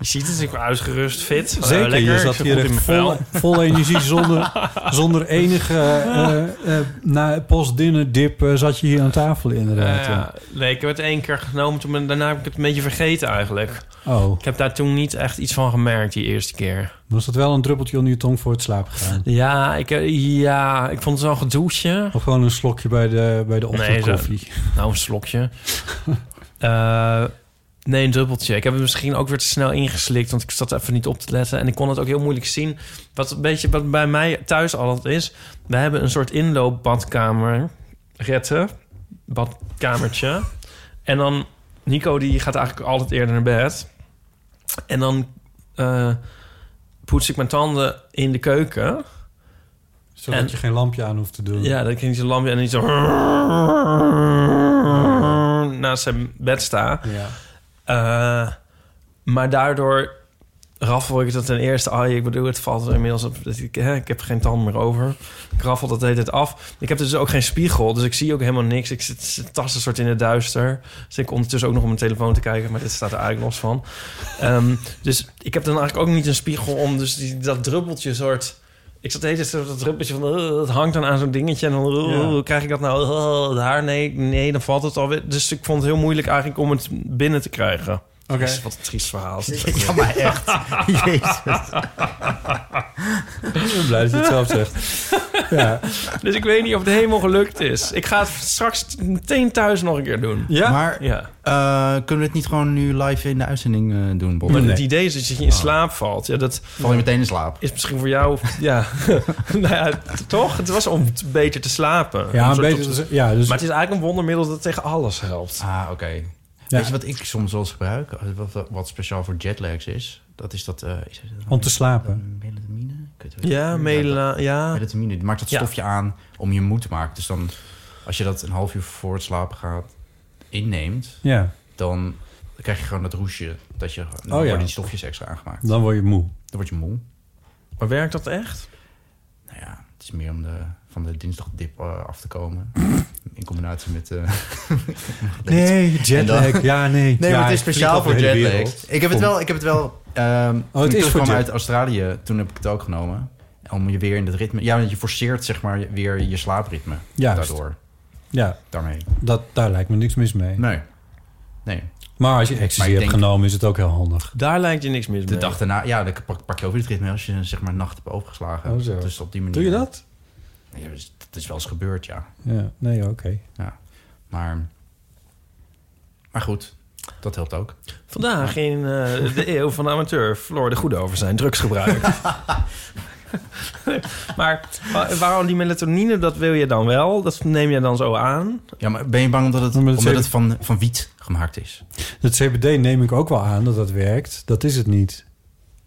Speaker 2: ziet het, ik ben uitgerust, fit. Eh,
Speaker 4: Zeker,
Speaker 2: lekker.
Speaker 4: je
Speaker 2: Ik
Speaker 4: zat
Speaker 2: zit
Speaker 4: hier
Speaker 2: goed in
Speaker 4: echt
Speaker 2: mijn
Speaker 4: vol,
Speaker 2: vel.
Speaker 4: vol energie, zonder, zonder enige eh, eh, na post-dinner dip eh, zat je hier aan tafel inderdaad.
Speaker 2: Eh,
Speaker 4: ja.
Speaker 2: ja. Nee, ik heb het één keer genomen, toen ben- daarna heb ik het een beetje vergeten eigenlijk.
Speaker 4: Oh,
Speaker 2: Ik heb daar toen niet echt iets van gemerkt die eerste keer.
Speaker 4: was dat wel een druppeltje onder je tong voor het slapen gaan?
Speaker 2: Ja, ik, eh, ja, ik vond het wel een gedoetje.
Speaker 4: Of gewoon een slokje bij de, bij de
Speaker 2: Nee,
Speaker 4: ochtendkoffie?
Speaker 2: Nou, een slokje. Eh, nee, een dubbeltje. Ik heb het misschien ook weer te snel ingeslikt, want ik zat even niet op te letten. En ik kon het ook heel moeilijk zien. Wat, een beetje, wat bij mij thuis altijd is, we hebben een soort inloopbadkamer. Retten, badkamertje. En dan, Nico die gaat eigenlijk altijd eerder naar bed. En dan eh, poets ik mijn tanden in de keuken.
Speaker 4: Zodat
Speaker 2: en-
Speaker 4: je geen lampje aan hoeft te doen.
Speaker 2: Ja, dat ik niet zo'n lampje en niet zo... naast zijn bed sta.
Speaker 4: Ja.
Speaker 2: Eh, maar daardoor raffel ik dat ten eerste... Ah, ik bedoel, het valt er inmiddels op... dat Ik, hè, ik heb geen tanden meer over. Ik raffel dat de hele tijd af. Ik heb dus ook geen spiegel, dus ik zie ook helemaal niks. Ik zit, zit tasten soort in het duister. Dus ik ondertussen ook nog op mijn telefoon te kijken... maar dit staat er eigenlijk los van. Ehm, dus ik heb dan eigenlijk ook niet een spiegel om... dus die, dat druppeltje soort... Ik zat de hele tijd zo dat druppeltje van... eh, het hangt dan aan zo'n dingetje en dan... eh,
Speaker 4: Ja.
Speaker 2: hoe krijg ik dat nou? eh, daar? Nee, nee, dan valt het alweer. Dus ik vond het heel moeilijk eigenlijk om het binnen te krijgen.
Speaker 4: Oké.
Speaker 2: Dus Wat een triest verhaal. is dit ook
Speaker 3: Ja,
Speaker 2: weer.
Speaker 3: maar echt. Jezus.
Speaker 4: Ik ben blij dat je het zelf zegt. Ja.
Speaker 2: Dus ik weet niet of het helemaal gelukt is. Ik ga het straks meteen thuis nog een keer doen.
Speaker 4: Ja?
Speaker 3: Maar
Speaker 2: Ja.
Speaker 3: eh, kunnen we het niet gewoon nu live in de uitzending eh, doen, Bob?
Speaker 2: Maar
Speaker 4: Nee.
Speaker 2: het idee is dat je in slaap valt. Ja, dat
Speaker 3: Val je meteen in slaap?
Speaker 2: is misschien voor jou... Ja, nou ja t- toch? Het was om t- beter te slapen.
Speaker 4: Ja,
Speaker 2: Om
Speaker 4: een
Speaker 2: zo
Speaker 4: beetje.
Speaker 2: tot-
Speaker 4: ja, dus,
Speaker 2: Maar het is eigenlijk een wondermiddel dat tegen alles helpt.
Speaker 3: Ah, oké.
Speaker 4: Ja.
Speaker 3: Weet je wat ik soms wel eens gebruik? Eh, Wat, wat speciaal voor jetlags is? Dat is dat... eh, is het-
Speaker 4: om te slapen.
Speaker 3: Melatonine? Ik weet het
Speaker 2: Ja,
Speaker 3: niet.
Speaker 2: mela... Ja.
Speaker 3: Melatonine. Die maakt dat
Speaker 2: Ja.
Speaker 3: stofje aan om je moed te maken. Dus dan, als je dat een half uur voor het slapen gaat inneemt,
Speaker 4: Ja,
Speaker 3: dan krijg je gewoon dat roesje. Dat je, dan
Speaker 4: Oh, ja.
Speaker 3: worden die stofjes extra aangemaakt.
Speaker 4: dan word je moe.
Speaker 3: Dan word je moe.
Speaker 2: Maar werkt dat echt?
Speaker 3: Nou ja, het is meer om de, van de dinsdagdip eh, af te komen. In combinatie met... eh,
Speaker 4: Nee, jetlag. Ja, nee.
Speaker 3: Nee,
Speaker 4: ja,
Speaker 3: maar het is
Speaker 4: ik vlieg
Speaker 3: speciaal
Speaker 4: over
Speaker 3: voor
Speaker 4: de hele
Speaker 3: jetlags.
Speaker 4: wereld.
Speaker 3: Ik heb het
Speaker 4: Kom.
Speaker 3: wel, ik heb het wel.
Speaker 4: Oh,
Speaker 3: ehm
Speaker 4: het
Speaker 3: oh, het
Speaker 4: is
Speaker 3: is
Speaker 4: voor
Speaker 3: kwam
Speaker 4: jet-
Speaker 3: uit Australië, toen heb ik het ook genomen. Om je weer in dat ritme. Ja, want je forceert zeg maar weer je slaapritme.
Speaker 4: Juist.
Speaker 3: Daardoor.
Speaker 4: Ja,
Speaker 3: Daarmee.
Speaker 4: dat, daar lijkt me niks mis mee.
Speaker 3: Nee. Nee.
Speaker 4: Maar als je ecstasy
Speaker 3: Maar ik
Speaker 4: hebt
Speaker 3: denk-
Speaker 4: genomen, is het ook heel handig.
Speaker 2: Daar lijkt je niks mis mee.
Speaker 3: De dag daarna, ja, dan pak, pak je over dit ritme als je zeg maar een nacht hebt overgeslagen.
Speaker 4: Oh, zo.
Speaker 3: Dus op die manier.
Speaker 4: Doe je dat?
Speaker 3: Ja, dus dat is wel eens gebeurd, ja.
Speaker 4: Ja, nee, oké.
Speaker 3: ja. Maar, maar goed, dat helpt ook.
Speaker 2: Vandaag in eh, de eeuw van de amateur verloor de goede over zijn drugsgebruik. maar wa- waarom die melatonine, dat wil je dan wel? Dat neem je dan zo aan?
Speaker 3: Ja, maar ben je bang omdat het,
Speaker 4: Maar dat
Speaker 3: omdat
Speaker 4: zeker-
Speaker 3: het van, van wiet gemaakt is?
Speaker 4: Het CBD neem ik ook wel aan dat dat werkt. Dat is het niet.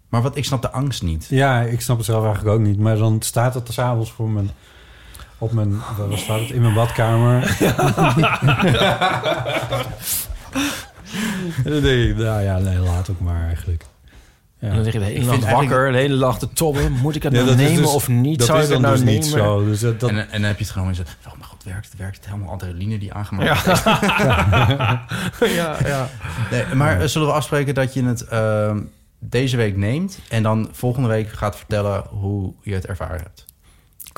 Speaker 3: Maar wat, ik snap de angst niet.
Speaker 4: Ja, ik snap het zelf eigenlijk ook niet. Maar dan staat het s'avonds voor mijn... Op mijn... Wat staat het? In mijn badkamer. En dan denk ik, nou ja, nee, laat ook maar eigenlijk.
Speaker 2: En dan lig je de hele
Speaker 3: Ik
Speaker 2: nacht
Speaker 3: vind
Speaker 2: wakker,
Speaker 3: eigenlijk-
Speaker 2: de hele dag te tobben. Moet ik het
Speaker 4: Ja,
Speaker 2: nou
Speaker 4: dat is
Speaker 2: nemen
Speaker 4: dus-
Speaker 2: of niet?
Speaker 4: Dat
Speaker 2: Zou
Speaker 4: is
Speaker 2: ik het
Speaker 4: dan
Speaker 2: nou
Speaker 4: dus niet
Speaker 2: nemen?
Speaker 4: zo. Dus dat, dat,
Speaker 3: En, en dan heb je het gewoon en zo... Oh mijn god, werkt het, werkt het. Helemaal adrenaline die aangemaakt is.
Speaker 2: ja, ja.
Speaker 3: Nee, maar eh, zullen we afspreken dat je het ehm, deze week neemt... en dan volgende week gaat vertellen hoe je het ervaren hebt?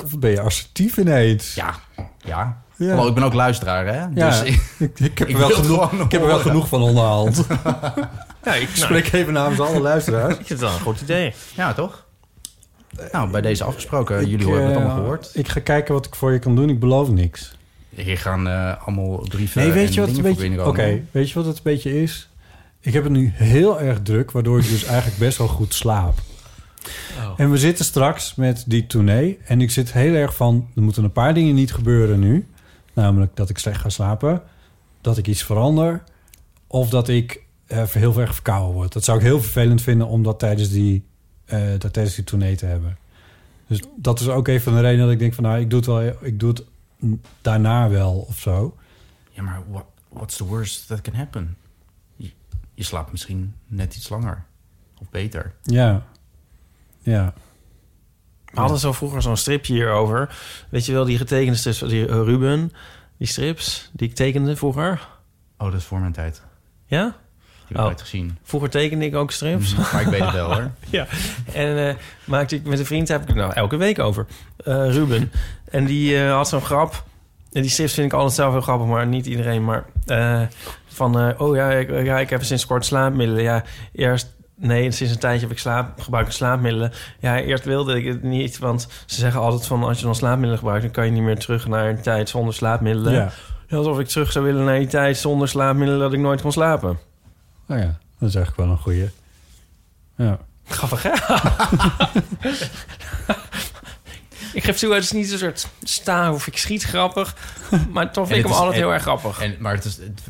Speaker 4: of ben je assertief ineens?
Speaker 3: Ja, ja.
Speaker 4: Ja.
Speaker 3: Hallo, ik ben ook luisteraar, hè?
Speaker 4: Ja,
Speaker 3: Dus ik,
Speaker 4: ik, ik heb er
Speaker 3: ik
Speaker 4: wel
Speaker 3: wil
Speaker 4: genoeg,
Speaker 3: gewoon
Speaker 4: ik heb er wel
Speaker 3: horen.
Speaker 4: genoeg van onderhand.
Speaker 2: Ja, ik nou,
Speaker 4: Spreek even namens alle luisteraars.
Speaker 2: ik vind het wel een goed idee.
Speaker 3: Ja, toch? Nou, bij deze afgesproken.
Speaker 4: Ik,
Speaker 3: Jullie hebben het
Speaker 4: eh,
Speaker 3: allemaal gehoord.
Speaker 4: Ik ga kijken wat ik voor je kan doen. Ik beloof niks.
Speaker 3: Hier gaan eh, allemaal brieven
Speaker 4: Nee, weet
Speaker 3: en
Speaker 4: je wat het
Speaker 3: dingen
Speaker 4: een
Speaker 3: voor
Speaker 4: beetje... Oké,
Speaker 3: binnenkomen.
Speaker 4: weet je wat het een beetje is? Ik heb het nu heel erg druk, waardoor ik dus eigenlijk best wel goed slaap.
Speaker 3: Oh.
Speaker 4: En we zitten straks met die tournee. En ik zit heel erg van, er moeten een paar dingen niet gebeuren nu. Namelijk dat ik slecht ga slapen, dat ik iets verander... of dat ik eh, heel erg verkouden word. Dat zou ik heel vervelend vinden om dat tijdens die, eh, dat tijdens die tournee te hebben. Dus dat is ook een van de redenen dat ik denk van... nou, ik doe het, wel, ik doe het daarna wel of zo...
Speaker 3: Ja, maar what, what's the worst that can happen? Je, je je slaapt misschien net iets langer. Of beter.
Speaker 4: Ja. Ja.
Speaker 2: We hadden zo vroeger zo'n stripje hierover. Weet je wel, die getekende strips van die eh, Ruben, die strips die ik tekende vroeger.
Speaker 3: Oh, dat is voor mijn tijd.
Speaker 2: Ja?
Speaker 3: Die heb ik
Speaker 2: Oh.
Speaker 3: nooit gezien.
Speaker 2: Vroeger tekende ik ook strips.
Speaker 3: Mhm, maar ik weet het wel, hoor.
Speaker 2: ja. En eh, maakte ik met een vriend, daar heb ik het nou elke week over. Eh, Ruben. En die eh, had zo'n grap. En die strips vind ik altijd zelf heel grappig, maar niet iedereen. Maar eh, van, eh, oh ja ik, ja, ik heb sinds kort slaapmiddelen. Ja, eerst... Nee, sinds een tijdje heb ik slaap, gebruik ik slaapmiddelen. Ja, eerst wilde ik het niet, want ze zeggen altijd van... als je dan slaapmiddelen gebruikt, dan kan je niet meer terug naar een tijd zonder slaapmiddelen.
Speaker 4: Ja.
Speaker 2: Alsof ik terug zou willen naar die tijd zonder slaapmiddelen dat ik nooit kon slapen.
Speaker 3: Oh
Speaker 4: Nou ja, dat is eigenlijk wel een goeie. Ja.
Speaker 2: Grappig, hè? ik geef toe, het is niet een soort sta of ik schiet grappig. Maar toch vind ik
Speaker 3: En het
Speaker 2: hem
Speaker 3: is-
Speaker 2: altijd
Speaker 3: en-
Speaker 2: heel erg grappig.
Speaker 3: En, maar het is... het-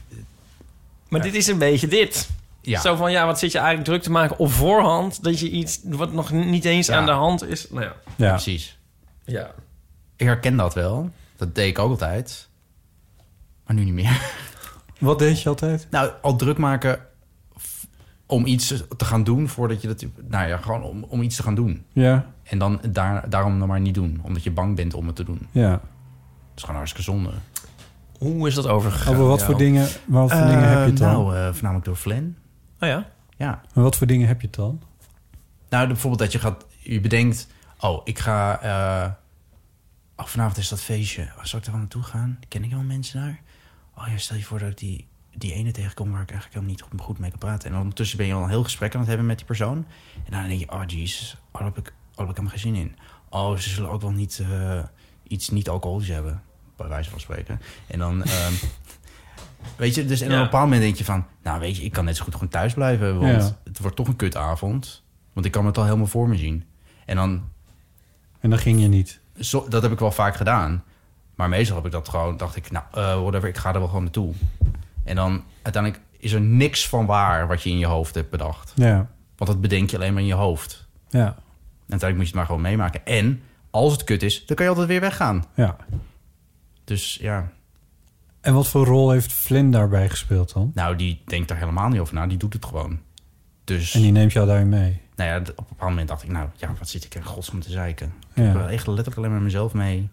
Speaker 2: Maar dit is een beetje dit.
Speaker 3: ja.
Speaker 2: Zo van, ja, wat zit je eigenlijk druk te maken op voorhand... dat je iets wat nog niet eens
Speaker 3: Ja.
Speaker 2: aan de hand is... Nou ja,
Speaker 4: Ja.
Speaker 3: precies.
Speaker 2: ja.
Speaker 3: Ik herken dat wel. Dat deed ik ook altijd. Maar nu niet meer.
Speaker 4: Wat deed je altijd?
Speaker 3: Nou, al druk maken f- om iets te gaan doen voordat je dat... Nou ja, gewoon om, om iets te gaan doen.
Speaker 4: Ja.
Speaker 3: En dan daar, daarom dan maar niet doen. Omdat je bang bent om het te doen.
Speaker 4: Ja.
Speaker 3: Dat is gewoon hartstikke zonde.
Speaker 2: Hoe is dat overgegaan?
Speaker 4: Over wat voor dingen, wat voor dingen heb je het dan?
Speaker 3: Nou, eh, voornamelijk door Flan.
Speaker 2: Oh ja?
Speaker 3: Ja.
Speaker 4: En wat voor dingen heb je het dan?
Speaker 3: Nou, bijvoorbeeld dat je gaat... Je bedenkt... Oh, ik ga... eh, oh, vanavond is dat feestje. Oh, zal ik daar wel naartoe gaan? Ken ik al mensen daar? Oh ja, stel je voor dat ik die, die ene tegenkom... waar ik eigenlijk helemaal niet goed- goed mee kan praten. En ondertussen ben je al een heel gesprek aan het hebben met die persoon. En dan denk je... Oh, jezus. Oh, daar heb ik, oh, daar heb ik helemaal geen zin in. Oh, ze zullen ook wel niet... eh, iets niet-alcoholisch hebben. Bij wijze van spreken. En dan... ehm, Weet je, dus en op
Speaker 2: Ja.
Speaker 3: een bepaald moment denk je van... Nou, weet je, ik kan net zo goed gewoon thuis blijven. Want
Speaker 4: Ja.
Speaker 3: het wordt toch een kutavond. Want ik kan het al helemaal voor me zien. En dan
Speaker 4: En dan ging je niet.
Speaker 3: zo, dat heb ik wel vaak gedaan. Maar meestal heb ik dat gewoon, dacht ik, nou, eh, whatever, ik ga er wel gewoon naartoe. En dan uiteindelijk is er niks van waar wat je in je hoofd hebt bedacht.
Speaker 4: Ja.
Speaker 3: Want dat bedenk je alleen maar in je hoofd.
Speaker 4: Ja.
Speaker 3: En uiteindelijk moet je het maar gewoon meemaken. En als het kut is, dan kan je altijd weer weggaan.
Speaker 4: Ja.
Speaker 3: Dus ja,
Speaker 4: En wat voor rol heeft Flynn daarbij gespeeld dan?
Speaker 3: nou, die denkt daar helemaal niet over na. Die doet het gewoon. Dus,
Speaker 4: En die neemt jou daarin mee.
Speaker 3: nou ja, d- op een bepaald moment dacht ik, nou, ja, wat zit ik in godsnaam te zeiken?
Speaker 4: Ja.
Speaker 3: Ik ben echt letterlijk alleen maar mezelf mee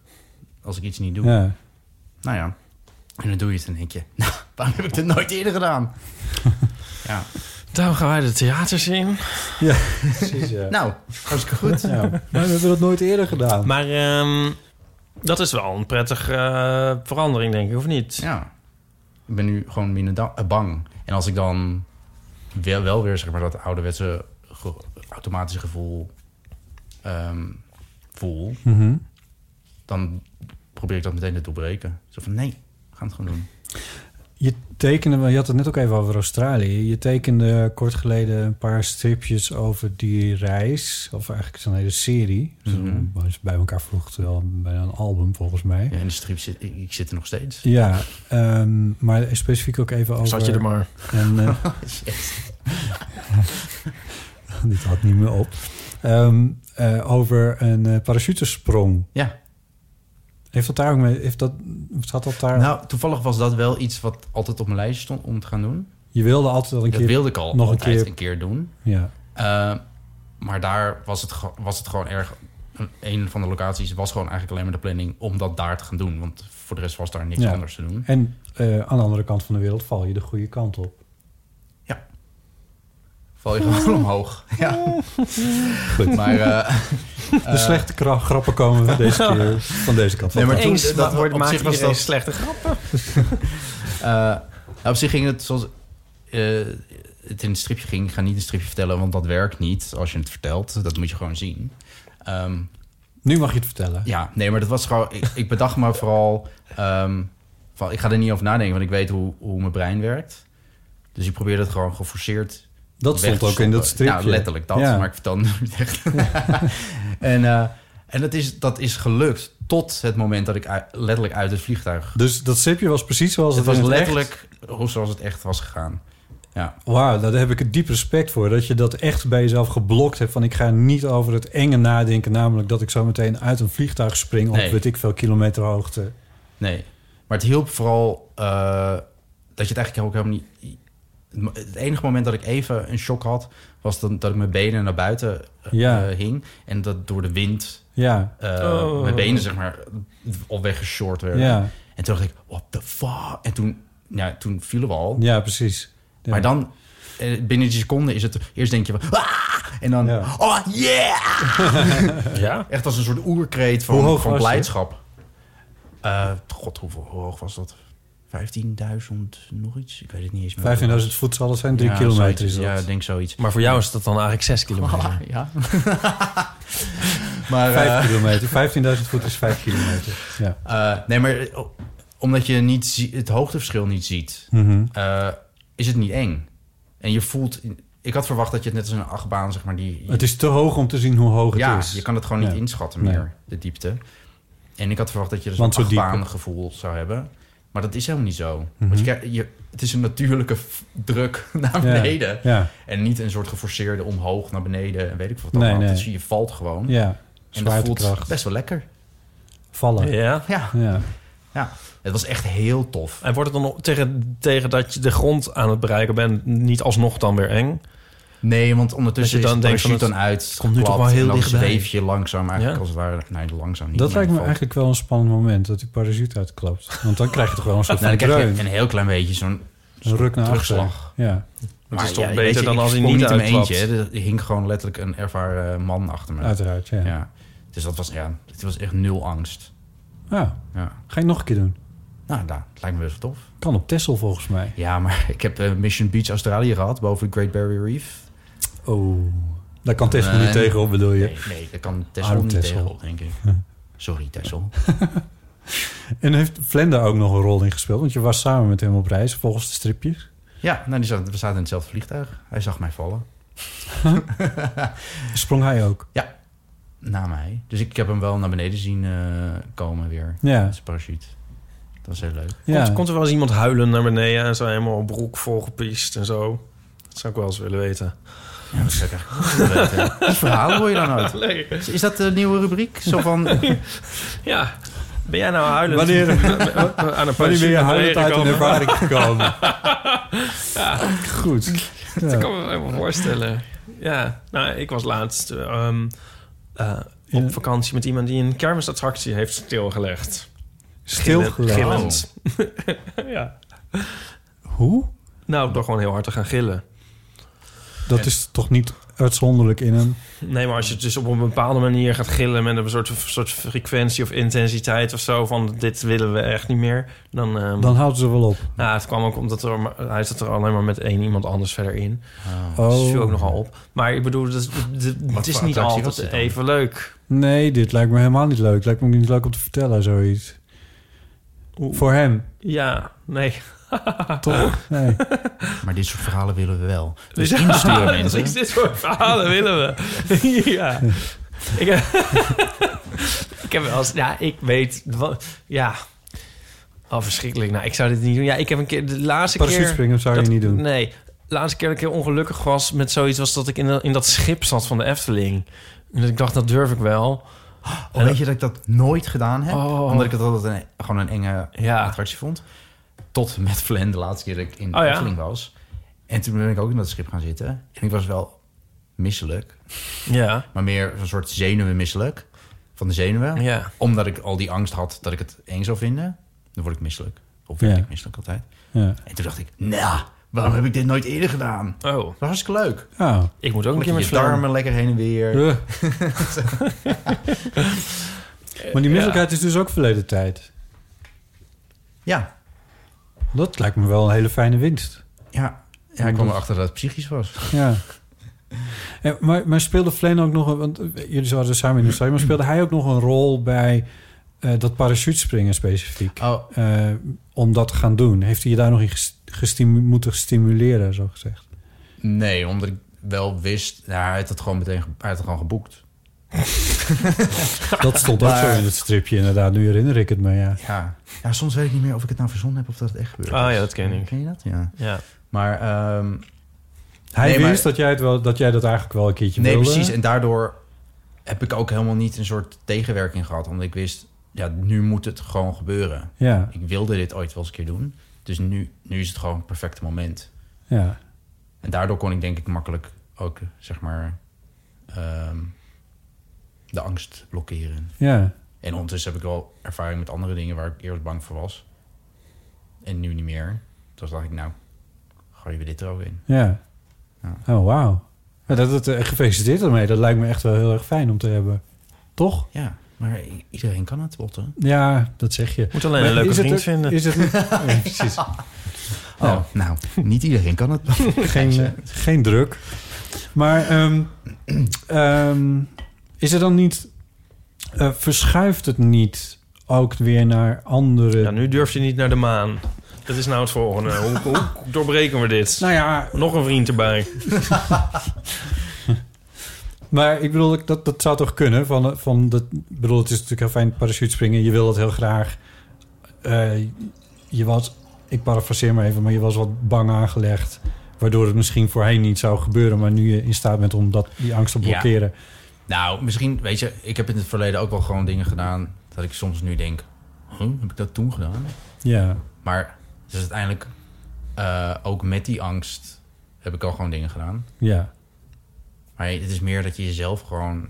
Speaker 3: als ik iets niet doe.
Speaker 4: Ja.
Speaker 3: Nou ja. En dan doe je het en denk je, nou, waarom heb ik dit nooit eerder gedaan? ja.
Speaker 2: Daarom gaan wij de theaters in.
Speaker 4: Ja, precies. Ja.
Speaker 3: Nou, hartstikke goed.
Speaker 4: Ja. Maar we hebben dat nooit eerder gedaan.
Speaker 2: Maar ehm, dat is wel een prettige eh, verandering, denk ik, of niet?
Speaker 3: Ja. Ik ben nu gewoon minder da- eh, bang. En als ik dan wel, wel weer, zeg maar, dat ouderwetse ge- automatische gevoel ehm, voel,
Speaker 4: Mhm.
Speaker 3: dan probeer ik dat meteen te doorbreken. Zo van, nee, we gaan het gewoon doen.
Speaker 4: Je tekende, wel- je had het net ook even over Australië. Je tekende kort geleden een paar stripjes over die reis. Of eigenlijk zo'n hele serie. Dus
Speaker 3: Mhm.
Speaker 4: dat is bij elkaar vroeg wel bijna een album volgens mij.
Speaker 3: Ja, in de strip zit ik, ik zit er nog steeds.
Speaker 4: Ja, ehm, maar specifiek ook even over...
Speaker 2: Zat je er maar.
Speaker 4: En, eh, dit had niet meer op. Ehm, eh, over een eh, parachutesprong.
Speaker 3: Ja.
Speaker 4: Heeft dat daar ook mee... Heeft dat, zat dat daar...
Speaker 3: Nou, toevallig was dat wel iets wat altijd op mijn lijstje stond om te gaan doen.
Speaker 4: je wilde altijd wel een
Speaker 3: Dat
Speaker 4: keer...
Speaker 3: wilde ik al
Speaker 4: nog een
Speaker 3: altijd
Speaker 4: keer-
Speaker 3: een keer doen.
Speaker 4: Ja,
Speaker 3: Eh, maar daar was het, ge- was het gewoon erg... Een van de locaties was gewoon eigenlijk alleen maar de planning... om dat daar te gaan doen. Want voor de rest was daar niks
Speaker 4: Ja.
Speaker 3: anders te doen.
Speaker 4: en eh, aan de andere kant van de wereld val je de goede kant op.
Speaker 3: Val je gewoon omhoog. Ja. Goed. Maar, eh,
Speaker 4: De slechte kra- grappen komen van deze, keer, van deze kant.
Speaker 3: Nee, maar toen-
Speaker 2: Eens,
Speaker 3: dat-
Speaker 2: dat
Speaker 3: op
Speaker 2: wordt
Speaker 3: zich
Speaker 2: maakt
Speaker 3: was
Speaker 2: iedereen
Speaker 3: dat-
Speaker 2: slechte grappen.
Speaker 3: eh, nou, op zich ging het zoals... eh, het in een stripje ging. Ik ga niet een stripje vertellen, want dat werkt niet als je het vertelt. Dat moet je gewoon zien. Ehm,
Speaker 4: Nu mag je het vertellen.
Speaker 3: Ja, nee, maar dat was gewoon. Ik, ik bedacht me vooral. ehm, van, ik ga er niet over nadenken, want ik weet hoe, hoe mijn brein werkt. Dus ik probeer dat gewoon geforceerd.
Speaker 4: Dat
Speaker 3: weg
Speaker 4: stond
Speaker 3: te
Speaker 4: ook in
Speaker 3: stoppen.
Speaker 4: dat stripje.
Speaker 3: Nou, letterlijk dat,
Speaker 4: Ja.
Speaker 3: maar ik vertel het niet echt. en eh, en dat, is, dat is gelukt tot het moment dat ik uit- letterlijk uit het vliegtuig.
Speaker 4: Dus dat stripje was precies zoals
Speaker 3: Het
Speaker 4: het,
Speaker 3: was
Speaker 4: in echt-
Speaker 3: letterlijk hoe zoals het echt was gegaan. Ja,
Speaker 4: Wauw, nou, daar heb ik een diep respect voor. Dat je dat echt bij jezelf geblokt hebt. Van ik ga niet over het enge nadenken. Namelijk dat ik zo meteen uit een vliegtuig spring. Op
Speaker 3: Nee.
Speaker 4: weet ik veel kilometer hoogte.
Speaker 3: nee. Maar het hielp vooral eh, dat je het eigenlijk ook helemaal niet. Het enige moment dat ik even een shock had, was dan, dat ik mijn benen naar buiten eh,
Speaker 4: Ja.
Speaker 3: hing. En dat door de wind
Speaker 4: Ja,
Speaker 3: eh,
Speaker 2: Oh.
Speaker 3: mijn benen zeg maar al weggeshort werden.
Speaker 4: ja,
Speaker 3: En toen dacht ik, what the fuck? En toen, ja, toen vielen we al.
Speaker 4: ja precies. Ja.
Speaker 3: Maar dan, eh, binnen die seconde is het... Eerst denk je van... "Ah!" En dan...
Speaker 4: Ja.
Speaker 3: Oh, yeah!
Speaker 2: Ja?
Speaker 3: Echt als een soort oerkreet
Speaker 4: Hoe
Speaker 3: van,
Speaker 4: hoog
Speaker 3: van
Speaker 4: was die?
Speaker 3: blijdschap. Eh, God, hoeveel, hoe hoog was dat? 15.000 nog iets? Ik weet het niet eens meer.
Speaker 4: 15.000 voet zal het zijn, 3
Speaker 3: Ja,
Speaker 4: kilometer
Speaker 3: zoiets.
Speaker 4: is dat.
Speaker 3: Ja, ik denk zoiets.
Speaker 2: Maar voor jou is dat dan eigenlijk 6 kilometer.
Speaker 3: Ah, ja. maar... eh,
Speaker 4: 5 kilometer. 15.000 voet is 5 kilometer. Ja.
Speaker 3: eh, nee, maar eh, omdat je niet zie- het hoogteverschil niet ziet...
Speaker 4: Mhm.
Speaker 3: eh, is het niet eng. En je voelt... Ik had verwacht dat je het net als een achtbaan, zeg maar... Die,
Speaker 4: Het is te hoog om te zien hoe hoog het
Speaker 3: ja,
Speaker 4: is.
Speaker 3: je kan het gewoon niet
Speaker 4: Ja.
Speaker 3: inschatten
Speaker 4: Nee.
Speaker 3: meer, de diepte. En ik had verwacht dat je dus
Speaker 4: Want zo
Speaker 3: een
Speaker 4: diep- Mhm.
Speaker 3: achtbaan gevoel zou hebben. Maar dat is helemaal niet zo. Want je, krijgt- je, het is een natuurlijke f- druk naar
Speaker 4: Ja.
Speaker 3: beneden.
Speaker 4: Ja,
Speaker 3: En niet een soort geforceerde omhoog naar beneden en weet ik wat
Speaker 4: Nee,
Speaker 3: allemaal.
Speaker 4: nee.
Speaker 3: Dus je valt gewoon.
Speaker 4: ja.
Speaker 3: en dat voelt
Speaker 4: Zwaartekracht.
Speaker 3: best wel lekker.
Speaker 4: Vallen. Ja.
Speaker 2: Ja?
Speaker 3: Ja, het was echt heel tof.
Speaker 2: En wordt het dan tegen, tegen dat je de grond aan het bereiken bent... niet alsnog dan weer eng?
Speaker 3: Nee, want ondertussen
Speaker 2: Dat je
Speaker 3: is
Speaker 2: dan
Speaker 3: de
Speaker 2: denkt van
Speaker 3: parachute dan
Speaker 2: het
Speaker 3: uit.
Speaker 2: komt nu toch
Speaker 3: geklapt,
Speaker 2: wel heel
Speaker 3: en dan
Speaker 2: dichtbij.
Speaker 3: zweef je langzaam eigenlijk
Speaker 2: Ja.
Speaker 3: als het ware. Nee, langzaam niet.
Speaker 4: Dat lijkt me
Speaker 3: maar je valt. Nou,
Speaker 4: eigenlijk wel een spannend moment, dat die parachute uitklapt. Want dan krijg je toch wel een soort van
Speaker 3: Nou, dan krijg je
Speaker 4: dreun.
Speaker 3: een heel klein beetje zo'n
Speaker 4: Een ruk naar achteren.
Speaker 3: terugslag.
Speaker 4: Ja,
Speaker 2: Dat is toch
Speaker 3: ja,
Speaker 2: beter
Speaker 3: weet je,
Speaker 2: dan
Speaker 3: ik
Speaker 2: als hij
Speaker 3: sprong
Speaker 2: niet
Speaker 3: in mijn
Speaker 2: uitklapt.
Speaker 3: eentje. hè. Er hing gewoon letterlijk een ervaren man achter me.
Speaker 4: uiteraard. Ja.
Speaker 3: ja. Dus dat was, ja, het was echt nul angst.
Speaker 4: Ah,
Speaker 3: Ja.
Speaker 4: ga je nog een keer doen?
Speaker 3: Nou, nou, het lijkt me best wel tof.
Speaker 4: Kan op Texel volgens mij.
Speaker 3: Ja, maar ik heb eh, Mission Beach Australië gehad, boven de Great Barrier Reef.
Speaker 4: Oh, daar kan Texel
Speaker 3: Nee.
Speaker 4: niet tegenop, bedoel
Speaker 2: Oh,
Speaker 4: je?
Speaker 3: Nee, nee dat kan Texel
Speaker 4: Arm
Speaker 3: niet
Speaker 4: Texel.
Speaker 3: tegenop, denk ik. Sorry, Texel.
Speaker 4: En heeft Flem daar ook nog een rol in gespeeld? Want je was samen met hem op reis, volgens de stripjes.
Speaker 3: Ja, nou, die zaten, we zaten in hetzelfde vliegtuig. Hij zag mij vallen.
Speaker 4: Sprong hij ook?
Speaker 3: Na mij. Dus ik heb hem wel naar beneden zien eh, komen weer.
Speaker 4: Ja.
Speaker 3: Met zijn parachute. Dat was heel leuk.
Speaker 4: ja.
Speaker 2: Komt, komt er wel eens iemand huilen naar beneden... en zo helemaal broek volgepiest en zo? Dat zou ik wel eens willen weten.
Speaker 3: Ja, dat zou ik eigenlijk ook wel weten. Die verhalen hoor je dan uit.
Speaker 2: Leuk.
Speaker 3: Is dat de nieuwe rubriek? Zo van,
Speaker 2: Ja. Ben jij nou huilen?
Speaker 4: Wanneer-
Speaker 2: aan een
Speaker 4: Wanneer ben je
Speaker 2: parachute
Speaker 4: huilend uit een
Speaker 2: tegenkomen?
Speaker 4: ervaring gekomen? Goed.
Speaker 2: Dat
Speaker 4: Ja.
Speaker 2: kan me helemaal voorstellen. Ja, nou, ik was laatst eh, ehm, eh,
Speaker 4: Ja.
Speaker 2: op vakantie met iemand die een kermisattractie heeft stilgelegd.
Speaker 4: Stilgelegd.
Speaker 2: Gillend. ja.
Speaker 4: Hoe?
Speaker 2: Nou, door gewoon heel hard te gaan gillen.
Speaker 4: Dat is toch niet uitzonderlijk in een...
Speaker 2: Nee, maar als je het dus op een bepaalde manier gaat gillen met een soort, soort frequentie of intensiteit of zo van dit willen we echt niet meer, dan. ehm,
Speaker 4: Dan houden ze wel op.
Speaker 2: nou, het kwam ook omdat er, maar- hij zat er alleen maar met één iemand anders verder in.
Speaker 4: Oh.
Speaker 2: Dus het viel ook nogal op. Maar ik bedoel, dat, dat- het is
Speaker 3: voor
Speaker 2: niet
Speaker 3: attractie was dit
Speaker 2: altijd
Speaker 3: dan?
Speaker 2: even leuk.
Speaker 4: Nee, dit lijkt me helemaal niet leuk. Lijkt me ook niet leuk om te vertellen, zoiets. Voor hem,
Speaker 2: Ja, nee. Ah.
Speaker 4: toch? Nee.
Speaker 3: Maar dit soort verhalen willen we wel. Dus
Speaker 2: Ja,
Speaker 3: insturen
Speaker 2: precies,
Speaker 3: mensen.
Speaker 2: dit soort verhalen willen we. ja. Ik heb, ik heb wel eens... Ja, ik weet... wa- Ja. Al verschrikkelijk. Nou, ik zou dit niet doen. Ja, ik heb een keer... De laatste
Speaker 4: Parachute
Speaker 2: keer...
Speaker 4: springen zou je
Speaker 2: dat-
Speaker 4: niet doen.
Speaker 2: Nee. De laatste keer dat ik heel ongelukkig was met zoiets... was dat ik in, dat- in dat schip zat van de Efteling. En dat ik dacht, dat durf ik wel.
Speaker 3: Oh, weet je dat ik dat nooit gedaan heb?
Speaker 2: Oh.
Speaker 3: Omdat ik het altijd een, gewoon een enge
Speaker 2: Ja.
Speaker 3: attractie vond. Tot en met Flan de laatste keer dat ik in de
Speaker 2: Oh, ja?
Speaker 3: Efteling was. En toen ben ik ook in dat schip gaan zitten. En ik was wel misselijk.
Speaker 2: Ja.
Speaker 3: Maar meer een soort zenuwen misselijk. Van de zenuwen.
Speaker 2: Ja.
Speaker 3: Omdat ik al die angst had dat ik het eng zou vinden. Dan word ik misselijk. Of werd
Speaker 4: Ja.
Speaker 3: ik misselijk altijd.
Speaker 4: Ja.
Speaker 3: En toen dacht ik, nou, waarom heb ik dit nooit eerder gedaan? Het
Speaker 2: Oh,
Speaker 3: was hartstikke leuk.
Speaker 4: Oh.
Speaker 2: ik moet ook een
Speaker 3: Omdat
Speaker 2: keer met
Speaker 3: je je
Speaker 2: Fleur.
Speaker 3: darmen lekker heen en weer.
Speaker 4: Eh. maar die misselijkheid is dus ook verleden tijd.
Speaker 3: Ja,
Speaker 4: Dat lijkt me wel een hele fijne winst.
Speaker 3: Ja, ja ik kwam erachter dat het psychisch was.
Speaker 4: Ja. En, maar, maar speelde Flan ook nog... een- Want eh, jullie zaten samen in de stad... maar speelde hij ook nog een rol bij eh, dat parachutespringen specifiek?
Speaker 3: Oh,
Speaker 4: Eh, om dat te gaan doen. Heeft hij je daar nog in ges- gestimu- moeten stimuleren, zo gezegd?
Speaker 3: nee, omdat ik wel wist... Nou, hij had het gewoon meteen ge- hij had het gewoon geboekt.
Speaker 4: Dat stond ook zo in het stripje, inderdaad. Nu herinner ik het me, ja.
Speaker 3: Ja. ja, soms weet ik niet meer of ik het nou verzonnen heb of dat het echt gebeurt.
Speaker 2: Ah, ja, dat ken ik.
Speaker 3: Ken je dat? Ja.
Speaker 2: Ja.
Speaker 3: Maar ehm,
Speaker 4: Hij
Speaker 3: Nee, maar-
Speaker 4: wist dat, jij het wel, dat jij dat eigenlijk wel een keertje
Speaker 3: nee,
Speaker 4: wilde.
Speaker 3: precies. En daardoor heb ik ook helemaal niet een soort tegenwerking gehad. Omdat ik wist, ja, nu moet het gewoon gebeuren.
Speaker 4: Ja,
Speaker 3: Ik wilde dit ooit wel eens een keer doen. Dus nu, nu is het gewoon het perfecte moment.
Speaker 4: ja.
Speaker 3: En daardoor kon ik denk ik makkelijk ook, zeg maar, ehm, de angst blokkeren.
Speaker 4: Ja.
Speaker 3: En ondertussen heb ik wel ervaring met andere dingen waar ik eerst bang voor was. En nu niet meer. Toen dacht ik, nou, gooien we dit er ook in.
Speaker 4: Ja. Oh, wauw. Ja, Dat, dat, eh, gefeliciteerd ermee. Dat lijkt me echt wel heel erg fijn om te hebben. Toch?
Speaker 3: Ja, maar i- iedereen kan het, Botten.
Speaker 4: Ja, dat zeg je.
Speaker 2: Moet alleen
Speaker 4: Maar
Speaker 2: een leuke
Speaker 4: is het
Speaker 2: vriend vinden.
Speaker 4: ook- Is het, ja, precies.
Speaker 3: Oh, nou, niet iedereen kan het.
Speaker 4: Geen, eh, geen druk. Maar ehm, ehm, is er dan niet... eh, verschuift het niet ook weer naar andere...
Speaker 2: Ja, nu durf je niet naar de maan. Dat is nou het volgende. Hoe, hoe doorbreken we dit?
Speaker 4: Nou ja,
Speaker 2: Nog een vriend erbij.
Speaker 4: Maar ik bedoel, dat, dat zou toch kunnen? Van, eh, van dat, ik bedoel, het is natuurlijk heel fijn parachute springen. Je wil dat heel graag. Eh, je was, ik parafraseer maar even, maar je was wat bang aangelegd. Waardoor het misschien voorheen niet zou gebeuren. Maar nu je in staat bent om dat, die angst te
Speaker 3: Ja.
Speaker 4: blokkeren.
Speaker 3: Nou, misschien, weet je, ik heb in het verleden ook wel gewoon dingen gedaan... dat ik soms nu denk, huh, heb ik dat toen gedaan?
Speaker 4: Ja.
Speaker 3: Maar dus uiteindelijk, eh, ook met die angst heb ik al gewoon dingen gedaan.
Speaker 4: Ja.
Speaker 3: Maar het is meer dat je jezelf gewoon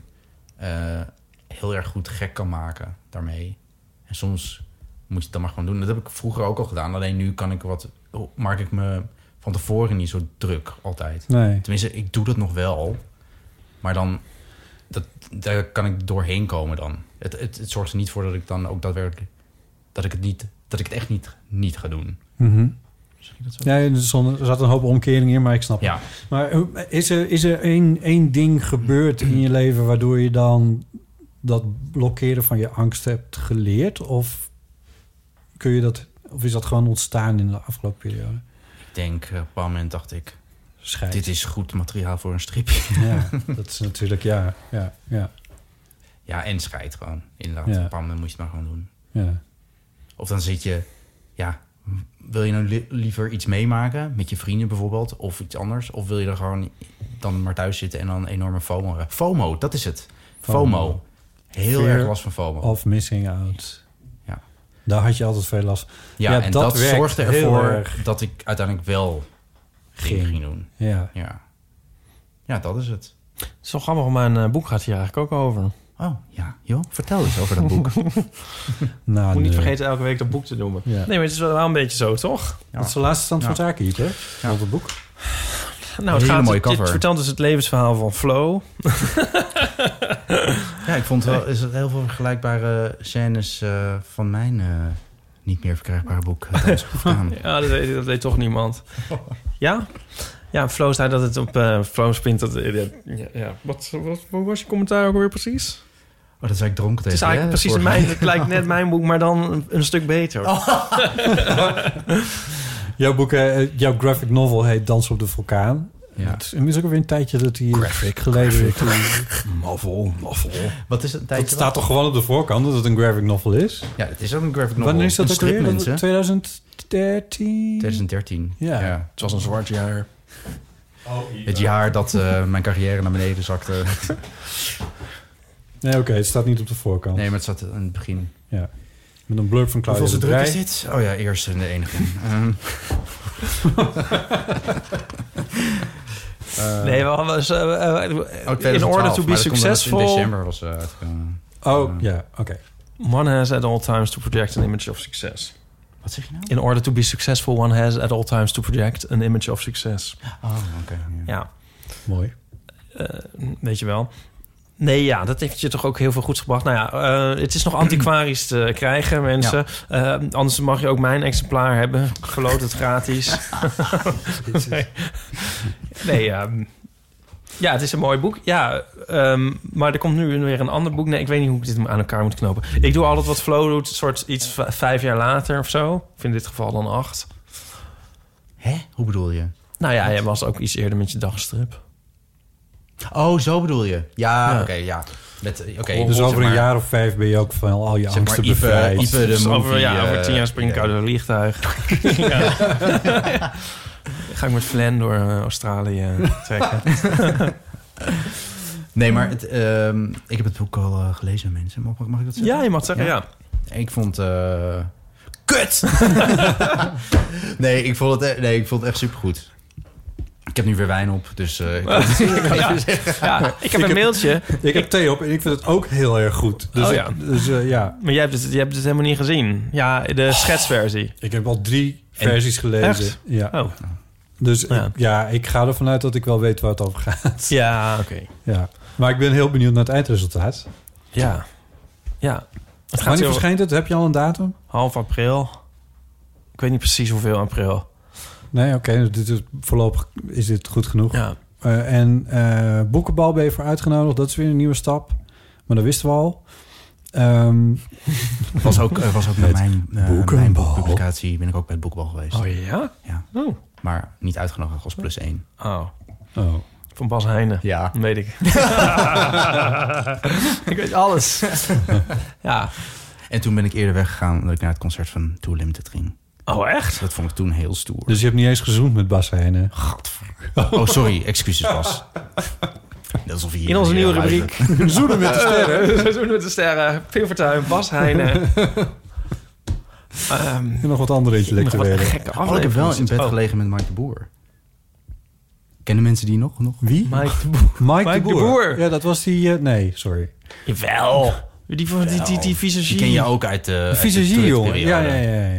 Speaker 3: eh, heel erg goed gek kan maken daarmee. En soms moet je het dan maar gewoon doen. Dat heb ik vroeger ook al gedaan. Alleen nu kan ik wat, oh, maak ik me van tevoren niet zo druk altijd.
Speaker 4: Nee.
Speaker 3: Tenminste, ik doe dat nog wel. Maar dan, dat, daar kan ik doorheen komen dan. Het, het, het zorgt er niet voor dat ik dan ook daadwerkelijk... dat ik het, niet, dat ik het echt niet, niet ga doen.
Speaker 4: Mhm.
Speaker 3: Zeg je dat zo?
Speaker 4: Ja, er zon- er zat een hoop omkering in, maar ik snap het.
Speaker 3: Ja.
Speaker 4: Maar hoe- is er, is er één, één ding gebeurd in je leven waardoor je dan dat blokkeren van je angst hebt geleerd? Of, kun je dat, of is dat gewoon ontstaan in de afgelopen periode?
Speaker 3: Ik denk, eh, op een bepaald moment dacht ik...
Speaker 4: Schijt.
Speaker 3: dit is goed materiaal voor een stripje.
Speaker 4: Ja, dat is natuurlijk, ja. Ja, ja,
Speaker 3: Ja, en scheid gewoon. Inderdaad.
Speaker 4: Ja.
Speaker 3: Op een bepaald moment moet je het maar gewoon doen.
Speaker 4: ja.
Speaker 3: Of dan zit je, ja, wil je nou li- liever iets meemaken met je vrienden bijvoorbeeld, of iets anders? Of wil je er gewoon dan maar thuis zitten en dan een enorme FOMO hebben? FOMO, dat is het. FOMO.
Speaker 4: FOMO.
Speaker 3: Heel
Speaker 4: Fear Oh.
Speaker 3: erg last van FOMO.
Speaker 4: Of missing out.
Speaker 3: Ja.
Speaker 4: Daar had je altijd veel last
Speaker 3: ja,
Speaker 4: ja,
Speaker 3: en
Speaker 4: dat
Speaker 3: dat,
Speaker 4: werkt
Speaker 3: zorgde
Speaker 4: heel
Speaker 3: ervoor
Speaker 4: erg.
Speaker 3: dat ik uiteindelijk wel ging,
Speaker 4: Ging.
Speaker 3: ging doen.
Speaker 4: Ja.
Speaker 3: Ja. ja, dat is het.
Speaker 2: Het is wel grappig, mijn eh, boek gaat hier eigenlijk ook over.
Speaker 3: Oh, ja. joh, vertel eens over dat boek.
Speaker 4: Nou,
Speaker 2: Moet niet
Speaker 4: nee.
Speaker 2: vergeten elke week dat boek te noemen.
Speaker 4: Ja.
Speaker 2: Nee, maar het is wel een beetje zo, toch?
Speaker 3: Ja.
Speaker 4: Dat is de laatste stand van
Speaker 3: Ja.
Speaker 4: zaken hier, hè?
Speaker 3: Ja.
Speaker 4: Op het boek.
Speaker 2: Nou, het
Speaker 3: Hele
Speaker 2: gaat,
Speaker 3: mooie
Speaker 2: dit
Speaker 3: cover.
Speaker 2: vertelt dus het levensverhaal van Flo.
Speaker 3: Ja, ik vond wel is het heel veel vergelijkbare scènes eh, van mijn eh, niet meer verkrijgbare boek. eh, thuis gedaan.
Speaker 2: Ja, dat weet, dat weet toch niemand. Ja? Ja, Flo zei dat het op eh Flo Spint... Dat, eh, ja, ja. Wat, wat, wat was je commentaar ook weer precies?
Speaker 3: Oh, dat zei ik dronken
Speaker 2: Het
Speaker 3: tegen
Speaker 2: is eigenlijk
Speaker 3: je, hè,
Speaker 2: precies
Speaker 3: vorige Oh.
Speaker 2: mijn... Het lijkt net mijn boek, maar dan een, een stuk beter.
Speaker 4: Jouw boek, eh, jouw graphic novel heet Dans op de Vulkaan.
Speaker 3: Ja.
Speaker 4: Het is inmiddels ook alweer een tijdje dat hij
Speaker 3: Graphic,
Speaker 4: geleden... Novel, novel.
Speaker 3: week. Wat is het
Speaker 4: Het
Speaker 3: tijdje?
Speaker 4: staat toch gewoon op de voorkant dat het een graphic novel is?
Speaker 3: wel? Ja, het is ook een graphic novel.
Speaker 4: Wanneer is dat
Speaker 3: een
Speaker 4: ook weer?
Speaker 3: strip,
Speaker 4: Dat-
Speaker 3: mensen.
Speaker 4: 2013?
Speaker 3: 2013.
Speaker 4: Ja.
Speaker 2: Het was een zwart jaar.
Speaker 3: Het jaar dat eh, mijn carrière naar beneden zakte.
Speaker 4: Nee, oké, het staat niet op de voorkant.
Speaker 3: Nee, maar het zat in het begin.
Speaker 4: Ja. Met een blurb van Claudia
Speaker 3: Hoeveel
Speaker 4: de
Speaker 3: druk is
Speaker 4: Brij.
Speaker 3: dit? Oh ja, eerst en de enige. Ehm. Eh,
Speaker 2: Nee, we hadden... ze, eh, eh,
Speaker 3: ook
Speaker 2: in
Speaker 3: 2012,
Speaker 2: order to be
Speaker 3: Oh, maar dat komt omdat het
Speaker 2: successful...
Speaker 3: In december was eh, uitgekomen.
Speaker 4: Oh, ja, oké.
Speaker 2: One has at all times to project an image of success.
Speaker 3: Wat zeg je nou?
Speaker 2: In order to be successful, one has at all times to project an image of success.
Speaker 3: Oh, oké. ja.
Speaker 2: Ja,
Speaker 4: Mooi.
Speaker 2: eh, weet je wel. Nee, ja, dat heeft je toch ook heel veel goed gebracht. Nou ja, eh, het is nog antiquarisch te krijgen, mensen. Eh, anders mag je ook mijn exemplaar hebben. Ik Verloot het gratis. nee, nee ehm, ja, het is een mooi boek. Ja, ehm, maar er komt nu weer een ander boek. Nee, ik weet niet hoe ik dit aan elkaar moet knopen. Ik doe altijd wat Flo doet, soort iets v- vijf jaar later of zo. Of in dit geval dan acht.
Speaker 3: Hè? Hoe bedoel je?
Speaker 2: Nou ja, jij was ook iets eerder met je dagstrip.
Speaker 3: Oh, zo bedoel je. Ja,
Speaker 2: Ja.
Speaker 3: oké, ja. Met, eh, oké,
Speaker 4: dus
Speaker 3: zeg
Speaker 4: over een
Speaker 3: maar-
Speaker 4: jaar of vijf ben je ook van al je
Speaker 3: Zeg maar
Speaker 4: angsten
Speaker 3: Ipe-
Speaker 4: bevrijd.
Speaker 3: Ipe- de
Speaker 2: Dus over,
Speaker 3: movie,
Speaker 2: ja, over
Speaker 3: eh,
Speaker 2: tien jaar spring ik
Speaker 3: ja.
Speaker 2: uit een vliegtuig. Ja. Ga ik met Flan door eh, Australië trekken.
Speaker 3: Nee, maar het, ehm, ik heb het boek al eh, gelezen, mensen. Mag, mag ik dat zeggen?
Speaker 2: ja, je mag zeggen, ja.
Speaker 3: Ik vond... eh, Kut! nee, ik vond het, e- nee, ik vond het echt supergoed. Ik heb nu weer wijn op, dus eh, ik kan het- ik kan het weer zeggen.
Speaker 2: Ja, ik heb een mailtje.
Speaker 4: Ik heb thee op en ik vind het ook heel erg goed. Dus,
Speaker 2: Oh ja.
Speaker 4: dus eh, ja,
Speaker 2: Maar jij hebt, het, jij hebt het dus helemaal niet gezien. Ja, de schetsversie.
Speaker 4: ik heb al drie versies gelezen.
Speaker 2: Echt?
Speaker 4: Ja.
Speaker 2: Oh,
Speaker 4: Dus
Speaker 2: Ja.
Speaker 4: Ik, ja, ik ga ervan uit dat ik wel weet waar het over gaat.
Speaker 2: ja, oké.
Speaker 4: Ja. Maar ik ben heel benieuwd naar het eindresultaat.
Speaker 2: Ja. Ja. Het gaat
Speaker 4: Wanneer
Speaker 2: zo
Speaker 4: verschijnt het? Heb je al een datum?
Speaker 2: half april. Ik weet niet precies hoeveel april.
Speaker 4: Nee, oké. dus dit is, voorlopig is dit goed genoeg.
Speaker 2: Ja.
Speaker 4: Eh, en eh, boekenbal ben je voor uitgenodigd. Dat is weer een nieuwe stap. Maar dat wisten we al. Ehm,
Speaker 3: was ook, eh, was ook met mijn, eh,
Speaker 4: boekenbal.
Speaker 3: mijn publicatie ben ik ook bij het boekbal geweest.
Speaker 2: Oh ja?
Speaker 3: Ja.
Speaker 2: Oh.
Speaker 3: Maar niet uitgenodigd als plus één.
Speaker 2: oh.
Speaker 4: oh.
Speaker 2: Van Bas Heijnen.
Speaker 3: Ja.
Speaker 2: Dat weet ik. ik weet alles. ja.
Speaker 3: En toen ben ik eerder weggegaan omdat ik naar het concert van Too Limited ging.
Speaker 2: Oh, echt?
Speaker 3: Dat vond ik toen heel stoer.
Speaker 4: Dus je hebt niet eens gezoend met Bas Heijnen.
Speaker 3: Oh, sorry. Excuses, Bas. Dat is of je hier
Speaker 2: In onze
Speaker 3: hier
Speaker 2: nieuwe
Speaker 3: al
Speaker 2: rubriek.
Speaker 3: luistert.
Speaker 4: Zoenen met de sterren.
Speaker 2: We doen met de sterren. Pim Fortuyn, Bas Heijnen. Ehm,
Speaker 4: En nog wat andere
Speaker 2: nog wat
Speaker 4: intellectuelen.
Speaker 2: gekke
Speaker 3: Oh, ik heb wel in
Speaker 2: afleveringen.
Speaker 3: bed
Speaker 2: Oh,
Speaker 3: gelegen met Mike de Boer. Kennen mensen die nog? nog? Wie?
Speaker 2: Mike de Boer.
Speaker 4: Mike,
Speaker 2: Mike
Speaker 4: de, Boer.
Speaker 2: de Boer.
Speaker 4: Ja, dat was die... eh, nee, sorry.
Speaker 2: Jawel. Die, van, die, die, die visagie.
Speaker 3: Die ken je ook uit de uit de
Speaker 4: Visagie, jongen. Ja,
Speaker 3: Tourette-periode.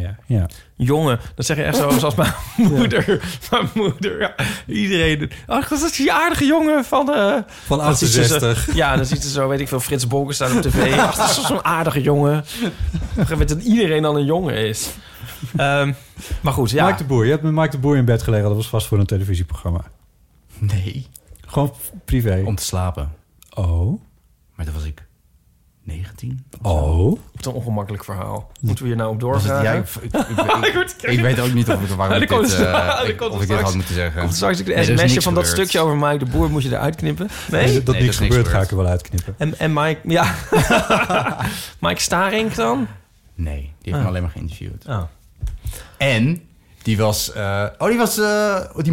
Speaker 4: ja, ja, ja, ja. ja.
Speaker 2: Jongen, dat zeg je echt zo zoals mijn moeder. Mijn moeder, ja. Iedereen. Ach, dat is die aardige jongen van... eh,
Speaker 4: Van
Speaker 2: dan ziet ze zo-
Speaker 4: 68.
Speaker 2: ja, dan ziet ze zo, weet ik veel, Frits Bolken staan op tv. Ach, dat is toch zo'n aardige jongen. Ik weet dat iedereen dan een jongen is. Ehm, maar goed, ja.
Speaker 4: Mike de Boer. Je hebt met Mike de Boer in bed gelegen. Dat was vast voor een televisieprogramma.
Speaker 3: Nee.
Speaker 4: Gewoon privé.
Speaker 3: Om te slapen.
Speaker 4: Oh.
Speaker 3: Maar dat was ik 19.
Speaker 4: Oh.
Speaker 2: Wat een ongemakkelijk verhaal. Moeten we hier nou op
Speaker 3: Was
Speaker 2: doorgaan?
Speaker 3: het, ja, ik, ik, ik- ik- ik weet ook niet of ik, waarom
Speaker 2: Ja,
Speaker 3: ik
Speaker 2: dat
Speaker 3: dit,
Speaker 2: komt-
Speaker 3: eh,
Speaker 2: dat
Speaker 3: ik-
Speaker 2: komt
Speaker 3: of ik dit
Speaker 2: straks.
Speaker 3: had moeten zeggen.
Speaker 2: Komt straks
Speaker 3: Nee,
Speaker 2: de
Speaker 3: er is
Speaker 2: sms'je
Speaker 3: niks
Speaker 2: van dat
Speaker 3: gebeurd.
Speaker 2: stukje over Mike de Boer moet je eruit knippen. Nee?
Speaker 4: Dat dat
Speaker 3: Nee,
Speaker 4: niks
Speaker 3: dat is niks
Speaker 4: gebeurt, ga
Speaker 3: gebeurd.
Speaker 4: ik er wel uitknippen.
Speaker 2: En, en Mike, ja. Mike Staring dan?
Speaker 3: Nee, die
Speaker 2: Ah.
Speaker 3: heeft me alleen maar geïnterviewd.
Speaker 2: Oh.
Speaker 3: En die was... eh, oh, die was eh, die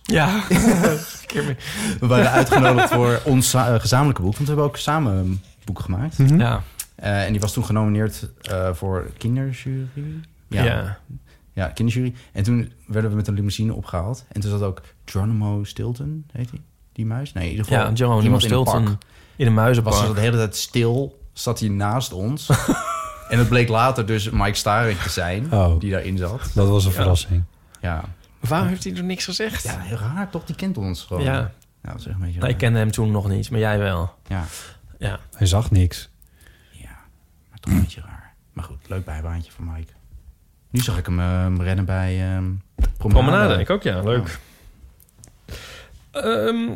Speaker 2: Ja.
Speaker 3: We waren uitgenodigd voor ons za- eh, gezamenlijke boek. Want we hebben ook samen een boek gemaakt.
Speaker 2: Hm? ja.
Speaker 3: Eh, en die was toen genomineerd eh, voor kinderjury.
Speaker 2: Ja.
Speaker 3: Ja, kinderjury. En toen werden we met een limousine opgehaald. En toen zat ook Geronimo Stilton, heet hij? Die muis? Nee, in ieder geval
Speaker 2: Ja, Jeroen
Speaker 3: iemand in een
Speaker 2: Stilton
Speaker 3: pak.
Speaker 2: in een muizenbak.
Speaker 3: Was ze de hele tijd stil, zat hij naast ons. en het bleek later dus Mike Staring te zijn,
Speaker 4: Oh.
Speaker 3: die daarin zat.
Speaker 4: Dat was een verrassing.
Speaker 3: Ja.
Speaker 2: Waarom heeft hij nog niks gezegd?
Speaker 3: ja, heel raar toch? Die kent ons gewoon.
Speaker 2: Ja.
Speaker 3: Nou, dat is echt een beetje
Speaker 2: Nou, ik
Speaker 3: raar.
Speaker 2: kende hem toen nog niet, maar jij wel.
Speaker 3: Ja.
Speaker 2: Ja.
Speaker 4: Hij zag niks.
Speaker 3: ja, maar toch een beetje raar. Maar goed, leuk bijbaantje van Mike. Nu zag ik hem eh, rennen bij ehm Promenade.
Speaker 2: Promenade, ik ook, ja. Leuk. Ehm,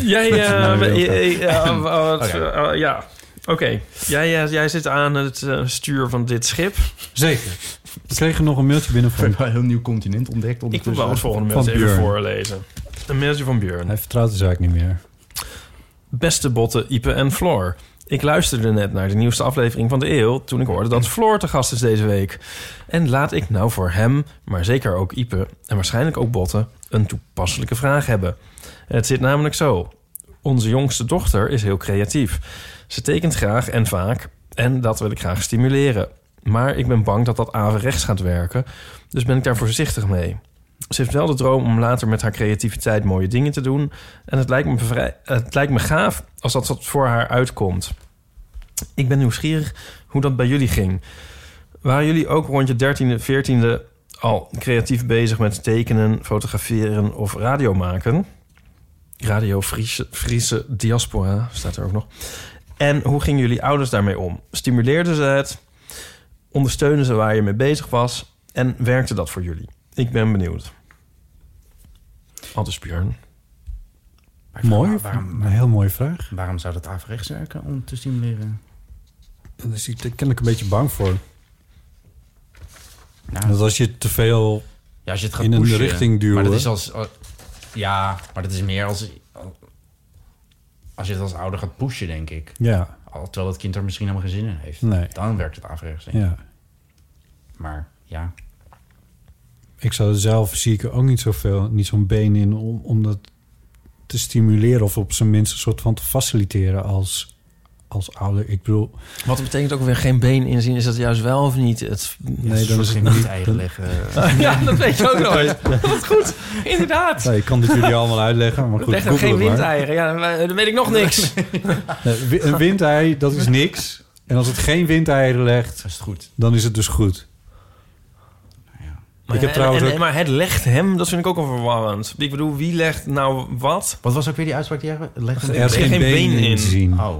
Speaker 2: jij...
Speaker 4: dat is nou
Speaker 2: eh,
Speaker 4: weer heel
Speaker 2: eh, eh, eh, wat,
Speaker 3: Oké.
Speaker 2: eh, eh, Ja, oké. Jij, eh, jij zit aan het eh, stuur van dit schip.
Speaker 4: gaaf. Zeker. We kregen nog een mailtje binnen
Speaker 3: We
Speaker 4: van...
Speaker 3: hebben een heel nieuw continent ontdekt.
Speaker 2: Ik wil wel het volgende
Speaker 4: Van
Speaker 2: mailtje even
Speaker 4: Björn.
Speaker 2: voorlezen. Een mailtje van Björn.
Speaker 4: Hij vertrouwt de zaak niet meer.
Speaker 2: Beste botten, Ipe en Floor. Ik luisterde net naar de nieuwste aflevering van de eeuw... toen ik hoorde dat Floor te gast is deze week. En laat ik nou voor hem, maar zeker ook Ipe... en waarschijnlijk ook botten, een toepasselijke vraag hebben. Het zit namelijk zo. Onze jongste dochter is heel creatief. Ze tekent graag en vaak en dat wil ik graag stimuleren. Maar ik ben bang dat dat averechts gaat werken... dus ben ik daar voorzichtig mee. Ze heeft wel de droom om later met haar creativiteit mooie dingen te doen... En het lijkt me, vrij, het lijkt me gaaf als dat wat voor haar uitkomt. Ik ben nieuwsgierig hoe dat bij jullie ging. Waren jullie ook rond je 13e, 14e al creatief bezig met tekenen, fotograferen of radio maken? Radio Friese, Friese Diaspora staat er ook nog. En hoe gingen jullie ouders daarmee om? Stimuleerden ze het? Ondersteunen ze waar je mee bezig was? En werkte dat voor jullie? Ik ben benieuwd. Anders Björn.
Speaker 4: Mooi.
Speaker 3: waarom-
Speaker 4: Een heel mooie vraag.
Speaker 3: Waarom zou dat averechts werken om te stimuleren?
Speaker 4: Daar is hij te- kennelijk een beetje bang voor.
Speaker 3: Nou,
Speaker 4: Dat als je te veel...
Speaker 3: ja, als je het gaat
Speaker 4: in een
Speaker 3: pushen,
Speaker 4: richting duwen.
Speaker 3: Maar dat is als, als- ja, maar dat is meer als, als je het als ouder gaat pushen, denk ik.
Speaker 4: Ja,
Speaker 3: Al- Terwijl het kind er misschien helemaal geen zin in heeft.
Speaker 4: Nee.
Speaker 3: Dan werkt het averechts. denk ik.
Speaker 4: ja.
Speaker 3: Maar ja,
Speaker 4: Ik zou zelf zie ik er ook niet zoveel, niet zo'n been in om, om dat te stimuleren of op zijn minst een soort van te faciliteren als als ouder. Ik bedoel,
Speaker 2: Wat dat betekent ook weer geen been inzien. Is dat juist wel of niet? Het,
Speaker 4: nee, dan is het
Speaker 3: Niet
Speaker 4: niet.
Speaker 3: eieren leggen.
Speaker 2: ja, dat weet je ook nooit. Wat goed, inderdaad.
Speaker 4: Nee, ik kan dit jullie allemaal uitleggen, maar goed.
Speaker 2: Leg er
Speaker 4: google
Speaker 2: geen
Speaker 4: het maar.
Speaker 2: windeieren. Ja, dan, eh, dan weet ik nog niks.
Speaker 4: Nee, wi- een windei, dat is niks. En als het geen windeieren legt,
Speaker 3: Dat is het goed.
Speaker 4: dan is het dus goed.
Speaker 2: Maar,
Speaker 4: Ik heb trouwens
Speaker 2: en- en-
Speaker 4: ook-
Speaker 2: maar het legt hem, dat vind ik ook al verwarrend. Ik bedoel, wie legt nou wat?
Speaker 3: Wat was ook weer die uitspraak die jij... Leg
Speaker 4: Er is
Speaker 2: geen
Speaker 4: geen,
Speaker 2: been
Speaker 4: been
Speaker 2: in.
Speaker 4: in te zien.
Speaker 3: Oh.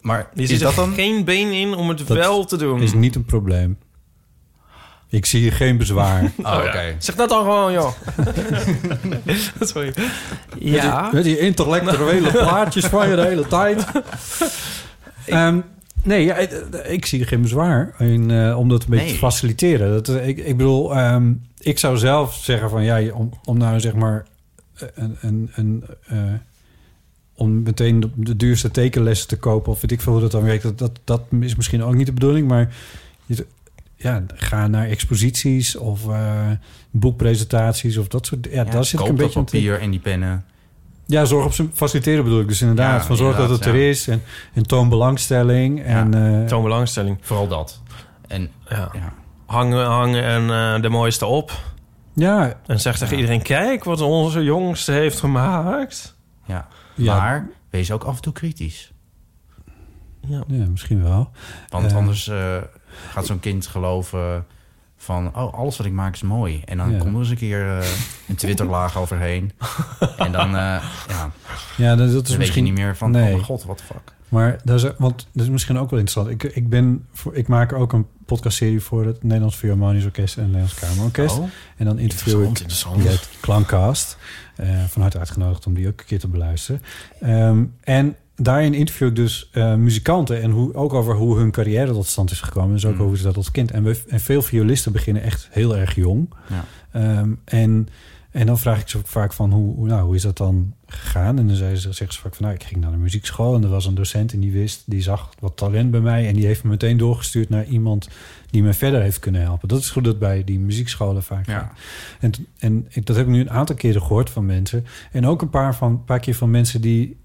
Speaker 3: Maar
Speaker 2: Er
Speaker 3: is,
Speaker 2: zit
Speaker 3: dat
Speaker 2: er
Speaker 3: dan...
Speaker 2: geen been in om het
Speaker 4: Dat
Speaker 2: wel te doen.
Speaker 4: Is niet een probleem. Ik zie hier geen bezwaar.
Speaker 3: Oh, oké.
Speaker 2: Zeg dat dan gewoon, joh. Sorry. Ja.
Speaker 4: Met die intellectuele plaatjes van je de hele tijd. Ehm, nee, ja, ik, ik zie er geen bezwaar in eh, om dat een beetje
Speaker 3: Nee.
Speaker 4: te faciliteren. Dat, eh, ik, ik bedoel, ehm, ik zou zelf zeggen van ja, je- om, om nou zeg maar een, een, een, eh, om meteen de, de duurste tekenlessen te kopen of weet ik veel hoe dat dan werkt. Dat, dat, dat is misschien ook niet de bedoeling, maar je- ja, ga naar exposities of eh, boekpresentaties of dat soort. Ja, daar zit ik
Speaker 3: Koop
Speaker 4: een
Speaker 3: dat
Speaker 4: beetje aan te-
Speaker 3: papier en die pennen.
Speaker 4: ja, zorg op zijn faciliteren bedoel ik. Dus inderdaad,
Speaker 3: Ja,
Speaker 4: van zorg dat het
Speaker 3: inderdaad,
Speaker 4: er is. En, en toon belangstelling. En, eh,
Speaker 2: Toon belangstelling.
Speaker 3: Vooral dat. En
Speaker 2: Ja.
Speaker 3: ja,
Speaker 2: Hangen, hangen en eh, de mooiste op.
Speaker 4: ja,
Speaker 2: En zeg tegen iedereen, kijk wat onze jongste heeft gemaakt.
Speaker 3: ja.
Speaker 4: Ja.
Speaker 3: Maar wees ook af en toe kritisch.
Speaker 4: ja, misschien wel.
Speaker 3: Want
Speaker 4: Eh.
Speaker 3: anders eh, gaat zo'n kind geloven van... Oh, alles wat ik maak is mooi. En dan
Speaker 4: Ja.
Speaker 3: komt er eens een keer eh, een Twitterlaag overheen. en dan, eh, ja,
Speaker 4: Ja, dat, dat is
Speaker 3: dan weet je
Speaker 4: Dus misschien
Speaker 3: niet meer van...
Speaker 4: nee.
Speaker 3: Oh mijn god, what the fuck.
Speaker 4: Maar dat is, want dat is misschien ook wel interessant. Ik, ik, ben voor, ik maak ook een podcastserie voor het Nederlands Philharmonisch Orkest en het Nederlands Kamerorkest.
Speaker 3: Oh,
Speaker 4: En dan interview ik
Speaker 2: interessant.
Speaker 4: via het Klankcast. Eh, van harte uitgenodigd om die ook een keer te beluisteren. Ehm, en daarin interview ik dus eh, muzikanten en hoe, ook over hoe hun carrière tot stand is gekomen. Dus ook
Speaker 3: Mm.
Speaker 4: hoe ze dat als kind. En, we, en veel violisten beginnen echt heel erg jong.
Speaker 3: Ja.
Speaker 4: Ehm, en, en dan vraag ik ze ook vaak van hoe, hoe, nou, hoe is dat dan gegaan? En dan zei ze, zeggen ze vaak van nou, ik ging naar de muziekschool en er was een docent en die wist, die zag wat talent bij mij en die heeft me meteen doorgestuurd naar iemand die me verder heeft kunnen helpen. Dat is hoe dat bij die muziekscholen vaak
Speaker 3: Ja.
Speaker 4: gaat. En, t- en ik- dat heb ik nu een aantal keren gehoord van mensen. En ook een paar, van, een paar keer van mensen die...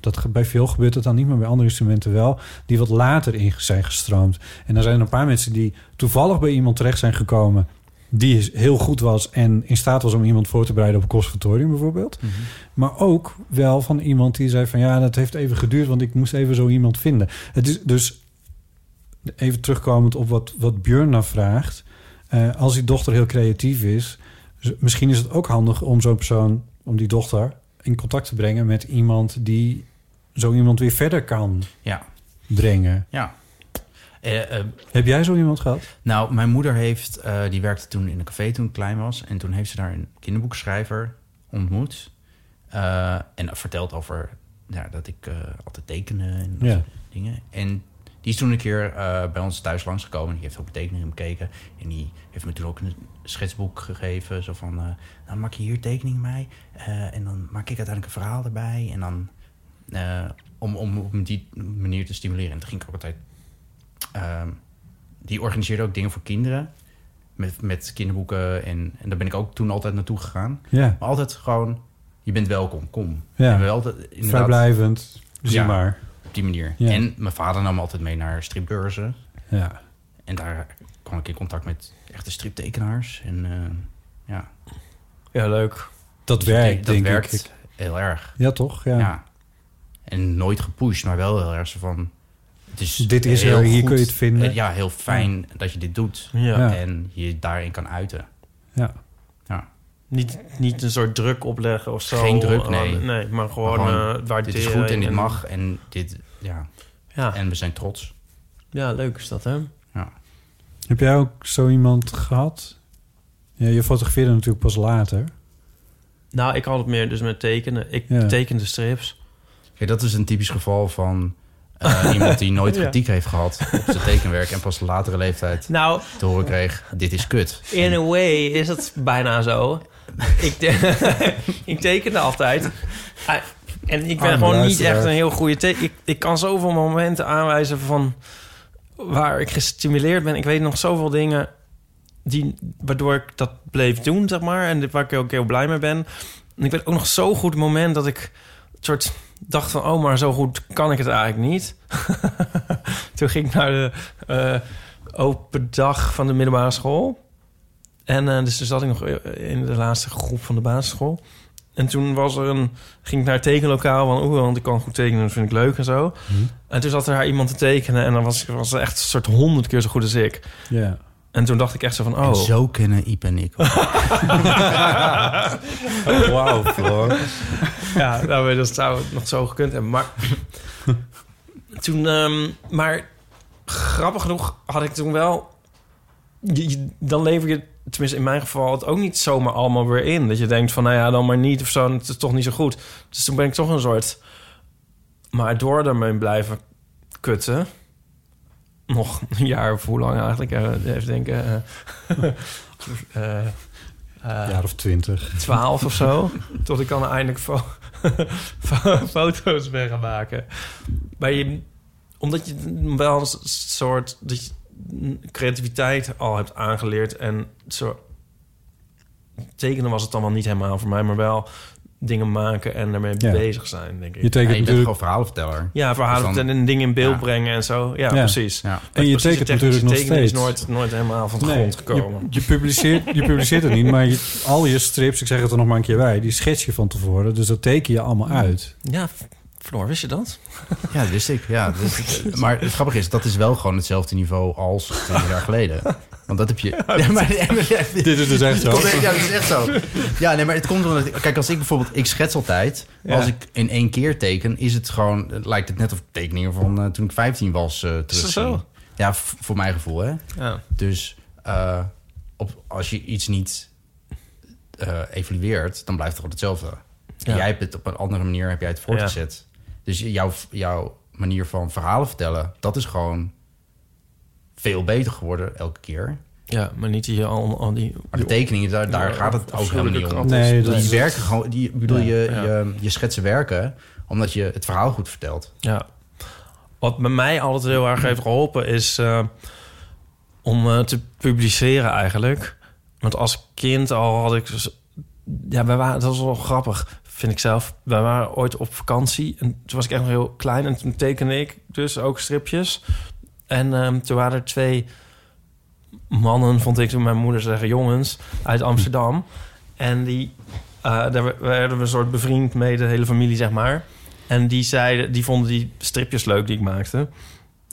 Speaker 4: Dat ge- bij veel gebeurt dat dan niet, maar bij andere instrumenten wel. Die wat later in zijn gestroomd. En dan zijn er een paar mensen die toevallig bij iemand terecht zijn gekomen... die is- heel goed was en in staat was om iemand voor te bereiden... op een conservatorium bijvoorbeeld.
Speaker 3: Mhm.
Speaker 4: Maar ook wel van iemand die zei van... ja, dat heeft even geduurd, want ik moest even zo iemand vinden. Het is dus even terugkomend op wat, wat Björn nou vraagt. Eh, als die dochter heel creatief is, z- misschien is het ook handig om zo'n persoon, om die dochter, in contact te brengen met iemand die zo iemand weer verder kan
Speaker 3: ja,
Speaker 4: brengen.
Speaker 3: ja. Eh, eh,
Speaker 4: Heb jij zo iemand gehad?
Speaker 3: Nou, mijn moeder heeft, eh, die werkte toen in een café toen ik klein was. En toen heeft ze daar een kinderboekschrijver ontmoet. Eh, en verteld over ja, dat ik eh, altijd tekenen en dat
Speaker 4: Ja.
Speaker 3: soort dingen. En die is toen een keer eh, bij ons thuis langsgekomen. Die heeft ook mijn tekeningen bekeken. En die heeft me toen ook een schetsboek gegeven. Zo van, eh, nou maak je hier tekeningen bij. eh, en dan maak ik uiteindelijk een verhaal erbij. En dan eh, om, om op die manier te stimuleren. En toen ging ik ook altijd... ehm, die organiseerde ook dingen voor kinderen. Met, met kinderboeken. En, en daar ben ik ook toen altijd naartoe gegaan.
Speaker 4: Ja,
Speaker 3: Maar altijd gewoon, je bent welkom, kom.
Speaker 4: Ja.
Speaker 3: En we altijd, inderdaad,
Speaker 4: vrijblijvend. Zie
Speaker 3: Ja.
Speaker 4: maar.
Speaker 3: op die manier.
Speaker 4: Ja.
Speaker 3: En mijn vader nam me altijd mee naar stripbeurzen.
Speaker 4: Ja.
Speaker 3: En daar kwam ik in contact met echte striptekenaars. En eh, ja,
Speaker 2: Ja, leuk.
Speaker 4: Dat
Speaker 3: dat-
Speaker 4: werkt,
Speaker 3: dat
Speaker 4: denk
Speaker 3: werkt
Speaker 4: ik.
Speaker 3: heel erg.
Speaker 4: Ja, toch? Ja.
Speaker 3: Ja. En nooit gepusht, maar wel heel erg zo van... Het is
Speaker 4: Dit is
Speaker 3: heel
Speaker 4: er, hier
Speaker 3: goed.
Speaker 4: kun je het vinden.
Speaker 3: Eh, Ja, heel fijn dat je dit doet.
Speaker 2: Ja.
Speaker 4: Ja.
Speaker 3: En je daarin kan uiten.
Speaker 4: Ja.
Speaker 3: Ja.
Speaker 2: Niet, niet een soort druk opleggen of zo.
Speaker 3: Geen druk,
Speaker 2: Eh,
Speaker 3: nee.
Speaker 2: nee, maar gewoon,
Speaker 3: Maar
Speaker 2: waar
Speaker 3: gewoon,
Speaker 2: dit waarderen.
Speaker 3: Dit is goed en Ah. dit mag en dit, ja.
Speaker 2: Ja.
Speaker 3: En we zijn trots.
Speaker 2: ja, leuk is dat, hè?
Speaker 4: Heb jij ook zo iemand gehad? Ja, je fotografeerde natuurlijk pas later.
Speaker 2: Nou, ik had het meer dus met tekenen. Ik
Speaker 4: Ja.
Speaker 2: tekende strips.
Speaker 3: Kijk, dat is een typisch geval van eh, iemand die nooit
Speaker 2: Ja.
Speaker 3: kritiek heeft gehad op zijn tekenwerk en pas latere leeftijd
Speaker 2: Nou,
Speaker 3: te horen kreeg: dit is kut.
Speaker 2: in a way is het bijna zo. ik, te- ik tekende altijd. Ah, En ik ben
Speaker 4: Arme
Speaker 2: gewoon niet
Speaker 4: luisteraar.
Speaker 2: echt een heel goede teken. Ik, ik kan zoveel momenten aanwijzen van waar ik gestimuleerd ben. Ik weet nog zoveel dingen die, waardoor ik dat bleef doen, zeg maar. En waar ik ook heel blij mee ben. En ik weet ook nog zo goed het moment dat ik een soort dacht van, oh, maar zo goed kan ik het eigenlijk niet. Toen ging ik naar de eh, open dag van de middelbare school. En eh, dus toen zat ik nog in de laatste groep van de basisschool. En toen was er een, ging ik naar het tekenlokaal. Van, oeh, want ik kan goed tekenen, dat vind ik leuk en zo.
Speaker 3: Mhm.
Speaker 2: En toen zat er haar iemand te tekenen. En dan was, was ze echt een soort honderd keer zo goed als ik.
Speaker 4: Ja.
Speaker 2: En toen dacht ik echt zo van, oh...
Speaker 3: En zo kunnen Iep en ik.
Speaker 4: Wauw, Floor.
Speaker 2: Ja, nou, maar dat zou het nog zo gekund hebben. Maar toen, ehm, maar grappig genoeg had ik toen wel. je- je- dan lever je, tenminste in mijn geval, het ook niet zomaar allemaal weer in. Dat je denkt van, nou ja, dan maar niet of zo, het is toch niet zo goed. Dus toen ben ik toch een soort. Maar door daarmee blijven kutten. Nog een jaar of hoe lang eigenlijk? eh, Even denken. eh, eh, eh,
Speaker 4: jaar of twintig.
Speaker 2: 12 of zo. Tot ik dan eindelijk fo- fo- foto's ben gaan maken. Maar je, omdat je wel een s- soort dat je creativiteit al hebt aangeleerd. En zo, tekenen was het dan wel niet helemaal voor mij, maar wel dingen maken en daarmee
Speaker 4: Ja.
Speaker 2: bezig zijn, denk ik.
Speaker 4: Je tekent
Speaker 3: je bent
Speaker 4: natuurlijk
Speaker 3: gewoon verhalenverteller.
Speaker 2: ja, verhalen
Speaker 3: Dus dan-
Speaker 2: en dingen in beeld
Speaker 3: Ja.
Speaker 2: brengen en zo. Ja,
Speaker 4: Ja.
Speaker 2: precies.
Speaker 3: Ja.
Speaker 4: En je
Speaker 2: Het precieze
Speaker 4: tekent natuurlijk nog
Speaker 2: tekenen
Speaker 4: steeds.
Speaker 2: is nooit, nooit helemaal van de
Speaker 4: Nee,
Speaker 2: grond gekomen.
Speaker 4: Je, je, publiceert, je publiceert het niet, maar je- al je strips, ik zeg het er nog maar een keer bij, die schets je van tevoren. Dus dat teken je allemaal uit.
Speaker 2: Ja, Floor, wist je dat?
Speaker 3: Ja, dat wist ik. Ja, dat wist ik. Maar het grappige is, dat is wel gewoon hetzelfde niveau als 20 jaar geleden. Want dat heb je... Ja, maar,
Speaker 4: Dit is dus echt zo.
Speaker 3: Komt- Ja, dat is echt zo. Ja, nee, maar het komt omdat... ik- Kijk, als ik bijvoorbeeld... Ik schets altijd. maar Als ik in één keer teken, is het gewoon... Het lijkt het net of ik tekeningen van eh, toen ik 15 was eh terugzie.
Speaker 2: dat zo?
Speaker 3: Ja, v- voor mijn gevoel, hè.
Speaker 2: Ja.
Speaker 3: Dus eh, op, als je iets niet eh, evalueert, dan blijft het gewoon hetzelfde.
Speaker 2: Ja.
Speaker 3: Jij hebt het op een andere manier heb jij het voortgezet. Dus jouw, jouw manier van verhalen vertellen, dat is gewoon veel beter geworden elke keer.
Speaker 2: Ja, maar niet die, al, al die
Speaker 3: Maar de tekeningen, daar, daar
Speaker 2: Ja,
Speaker 3: gaat het ook helemaal
Speaker 2: afschuwelijke
Speaker 3: niet om.
Speaker 2: krat
Speaker 4: is. Nee,
Speaker 3: Dus die
Speaker 4: dat is-
Speaker 3: werken gewoon, die, ik bedoel, je,
Speaker 2: Ja.
Speaker 3: je, je schetsen werken omdat je het verhaal goed vertelt.
Speaker 2: Ja. Wat bij mij altijd heel erg heeft geholpen is eh, om eh, te publiceren eigenlijk. Want als kind al had ik... dus- Ja, wij waren, dat was wel grappig, vind ik zelf. Wij waren ooit op vakantie en toen was ik echt nog heel klein. En toen tekende ik dus ook stripjes. En ehm, toen waren er twee mannen, vond ik toen mijn moeder zeggen, jongens uit Amsterdam. En die, eh, daar werden we een soort bevriend mee, de hele familie zeg maar. En die, zeiden, die vonden die stripjes leuk die ik maakte.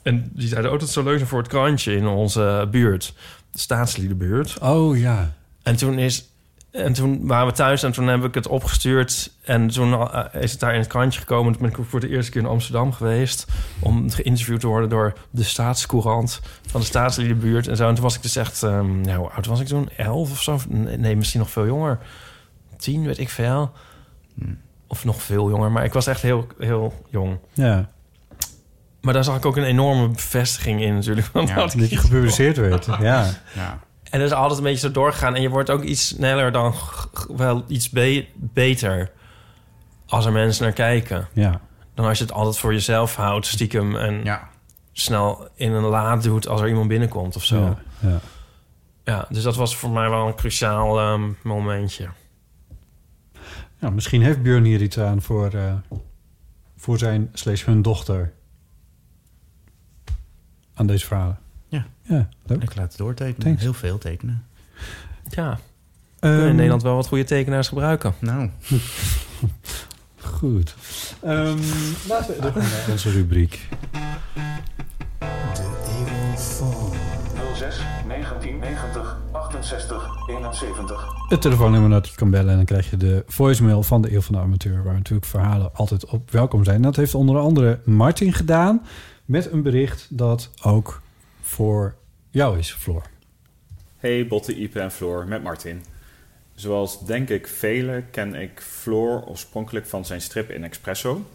Speaker 2: En die zeiden, oh, dat zou leuk zijn voor het krantje in onze buurt. De staatsliedenbuurt.
Speaker 4: Oh ja.
Speaker 2: En toen, is, en toen waren we thuis en toen heb ik het opgestuurd. En toen eh, is het daar in het krantje gekomen. Toen ben ik ook voor de eerste keer in Amsterdam geweest... om geïnterviewd te worden door de staatscourant van de staatsliedenbuurt. En, zo. en toen was ik dus echt... ehm, nou, hoe oud was ik toen? Elf of zo? Nee, nee, misschien nog veel jonger. Tien, weet ik veel. Of nog veel jonger. Maar ik was echt heel, heel jong.
Speaker 4: Ja,
Speaker 2: Maar daar zag ik ook een enorme bevestiging in natuurlijk. Want
Speaker 3: Ja.
Speaker 2: dat
Speaker 4: dat je gepubliceerd werd. Ja.
Speaker 3: Ja.
Speaker 2: En dat is altijd een beetje zo doorgegaan. En je wordt ook iets sneller dan g- g- wel iets be- beter als er mensen naar kijken.
Speaker 4: ja.
Speaker 2: Dan als je het altijd voor jezelf houdt, stiekem en
Speaker 3: ja.
Speaker 2: snel in een laad doet als er iemand binnenkomt of zo.
Speaker 4: Ja.
Speaker 2: Ja,
Speaker 4: ja.
Speaker 2: dus dat was voor mij wel een cruciaal ehm, momentje.
Speaker 4: Nou, misschien heeft Björn hier iets aan voor, eh, voor zijn slechts hun dochter. Aan deze verhalen.
Speaker 3: Ja.
Speaker 4: Ja, leuk.
Speaker 3: Ik laat het doortekenen.
Speaker 4: Thanks.
Speaker 3: Heel veel tekenen.
Speaker 2: Ja,
Speaker 4: Ehm,
Speaker 2: in Nederland wel wat goede tekenaars gebruiken.
Speaker 3: Nou,
Speaker 4: Goed. Ehm, laten we door naar onze rubriek.
Speaker 6: 06 1990 68 71.
Speaker 4: Het telefoonnummer dat je kan bellen en dan krijg je de voicemail van de Eeuw van de Amateur, waar natuurlijk verhalen altijd op welkom zijn. En dat heeft onder andere Martin gedaan met een bericht dat ook voor jou is, Floor.
Speaker 7: Hey Botte, Ipe en Floor, met Martin. Zoals denk ik velen ken ik Floor oorspronkelijk van zijn strip in Espresso.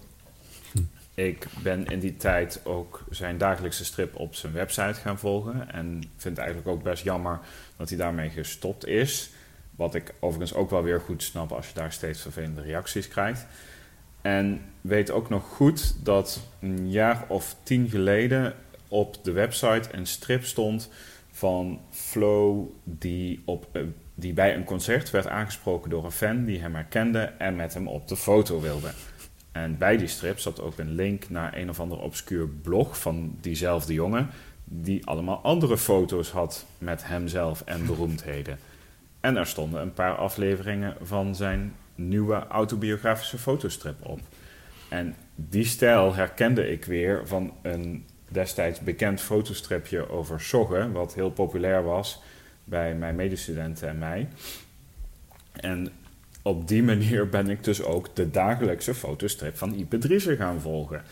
Speaker 7: Ik ben in die tijd ook zijn dagelijkse strip op zijn website gaan volgen. En vind het eigenlijk ook best jammer dat hij daarmee gestopt is. Wat ik overigens ook wel weer goed snap als je daar steeds vervelende reacties krijgt. En weet ook nog goed dat een jaar of tien geleden op de website een strip stond van Flo, die, op, een- die bij een concert werd aangesproken door een fan die hem herkende en met hem op de foto wilde. En bij die strip zat ook een link naar een of ander obscuur blog van diezelfde jongen. Die allemaal andere foto's had met hemzelf en beroemdheden. En er stonden een paar afleveringen van zijn nieuwe autobiografische fotostrip op. En die stijl herkende ik weer van een destijds bekend fotostripje over soggen, wat heel populair was bij mijn medestudenten en mij. En op die manier ben ik dus ook de dagelijkse fotostrip van Ipe Driessen gaan volgen.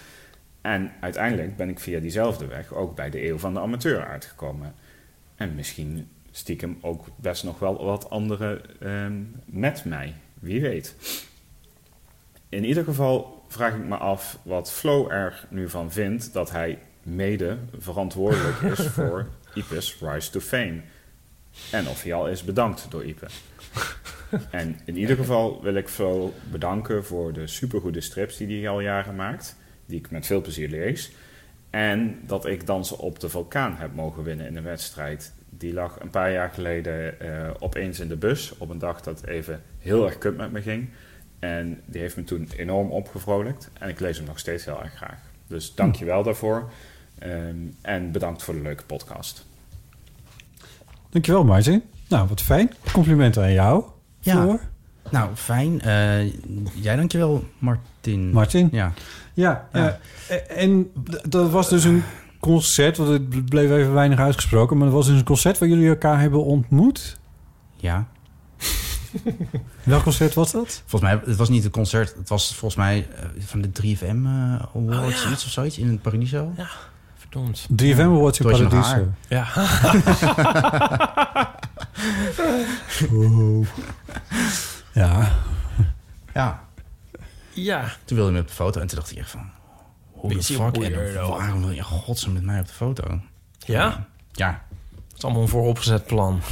Speaker 7: En uiteindelijk ben ik via diezelfde weg ook bij de Eeuw van de Amateur uitgekomen. En misschien stiekem ook best nog wel wat anderen ehm, met mij. Wie weet. In ieder geval vraag ik me af wat Flo er nu van vindt dat hij mede verantwoordelijk is voor Ipe's Rise to Fame. En of hij al is bedankt door Ipe. En in ieder geval wil ik Flo bedanken voor de supergoede strips die hij al jaren maakt. Die ik met veel plezier lees. En dat ik Dansen op de Vulkaan heb mogen winnen in een wedstrijd. Die lag een paar jaar geleden eh, opeens in de bus. Op een dag dat even heel erg kut met me ging. En die heeft me toen enorm opgevrolijkt. En ik lees hem nog steeds heel erg graag. Dus dank je wel daarvoor. Ehm, en bedankt voor de leuke podcast.
Speaker 4: Dankjewel, Martin. Nou, wat fijn. Complimenten aan jou.
Speaker 3: Ja.
Speaker 4: Floor.
Speaker 3: Nou, fijn. Eh, jij dankjewel, Martin.
Speaker 4: Martin?
Speaker 3: Ja.
Speaker 4: Ja, eh, en d- dat was dus een concert, want het bleef even weinig uitgesproken, maar dat was dus een concert waar jullie elkaar hebben ontmoet.
Speaker 3: Ja.
Speaker 4: Welk concert was dat?
Speaker 3: Volgens mij, het was niet een concert. Het was volgens mij eh, van de 3FM eh Awards
Speaker 2: Oh, ja.
Speaker 3: iets of zoiets in het Paradiso. Ja.
Speaker 2: Verdomd.
Speaker 4: 3FM Awards in
Speaker 3: Toen had je nog
Speaker 4: Paradiso.
Speaker 3: haar.
Speaker 2: Ja.
Speaker 4: Ja.
Speaker 3: Ja.
Speaker 2: ja.
Speaker 3: Toen wilde hij me op de foto en toen dacht ik echt van... Hoe de
Speaker 2: Beetje
Speaker 3: fuck,
Speaker 2: weirdo.
Speaker 3: Adam, waarom wil je in godsnaam met mij op de foto?
Speaker 2: Ja?
Speaker 3: Ja,
Speaker 2: Het is allemaal een vooropgezet plan.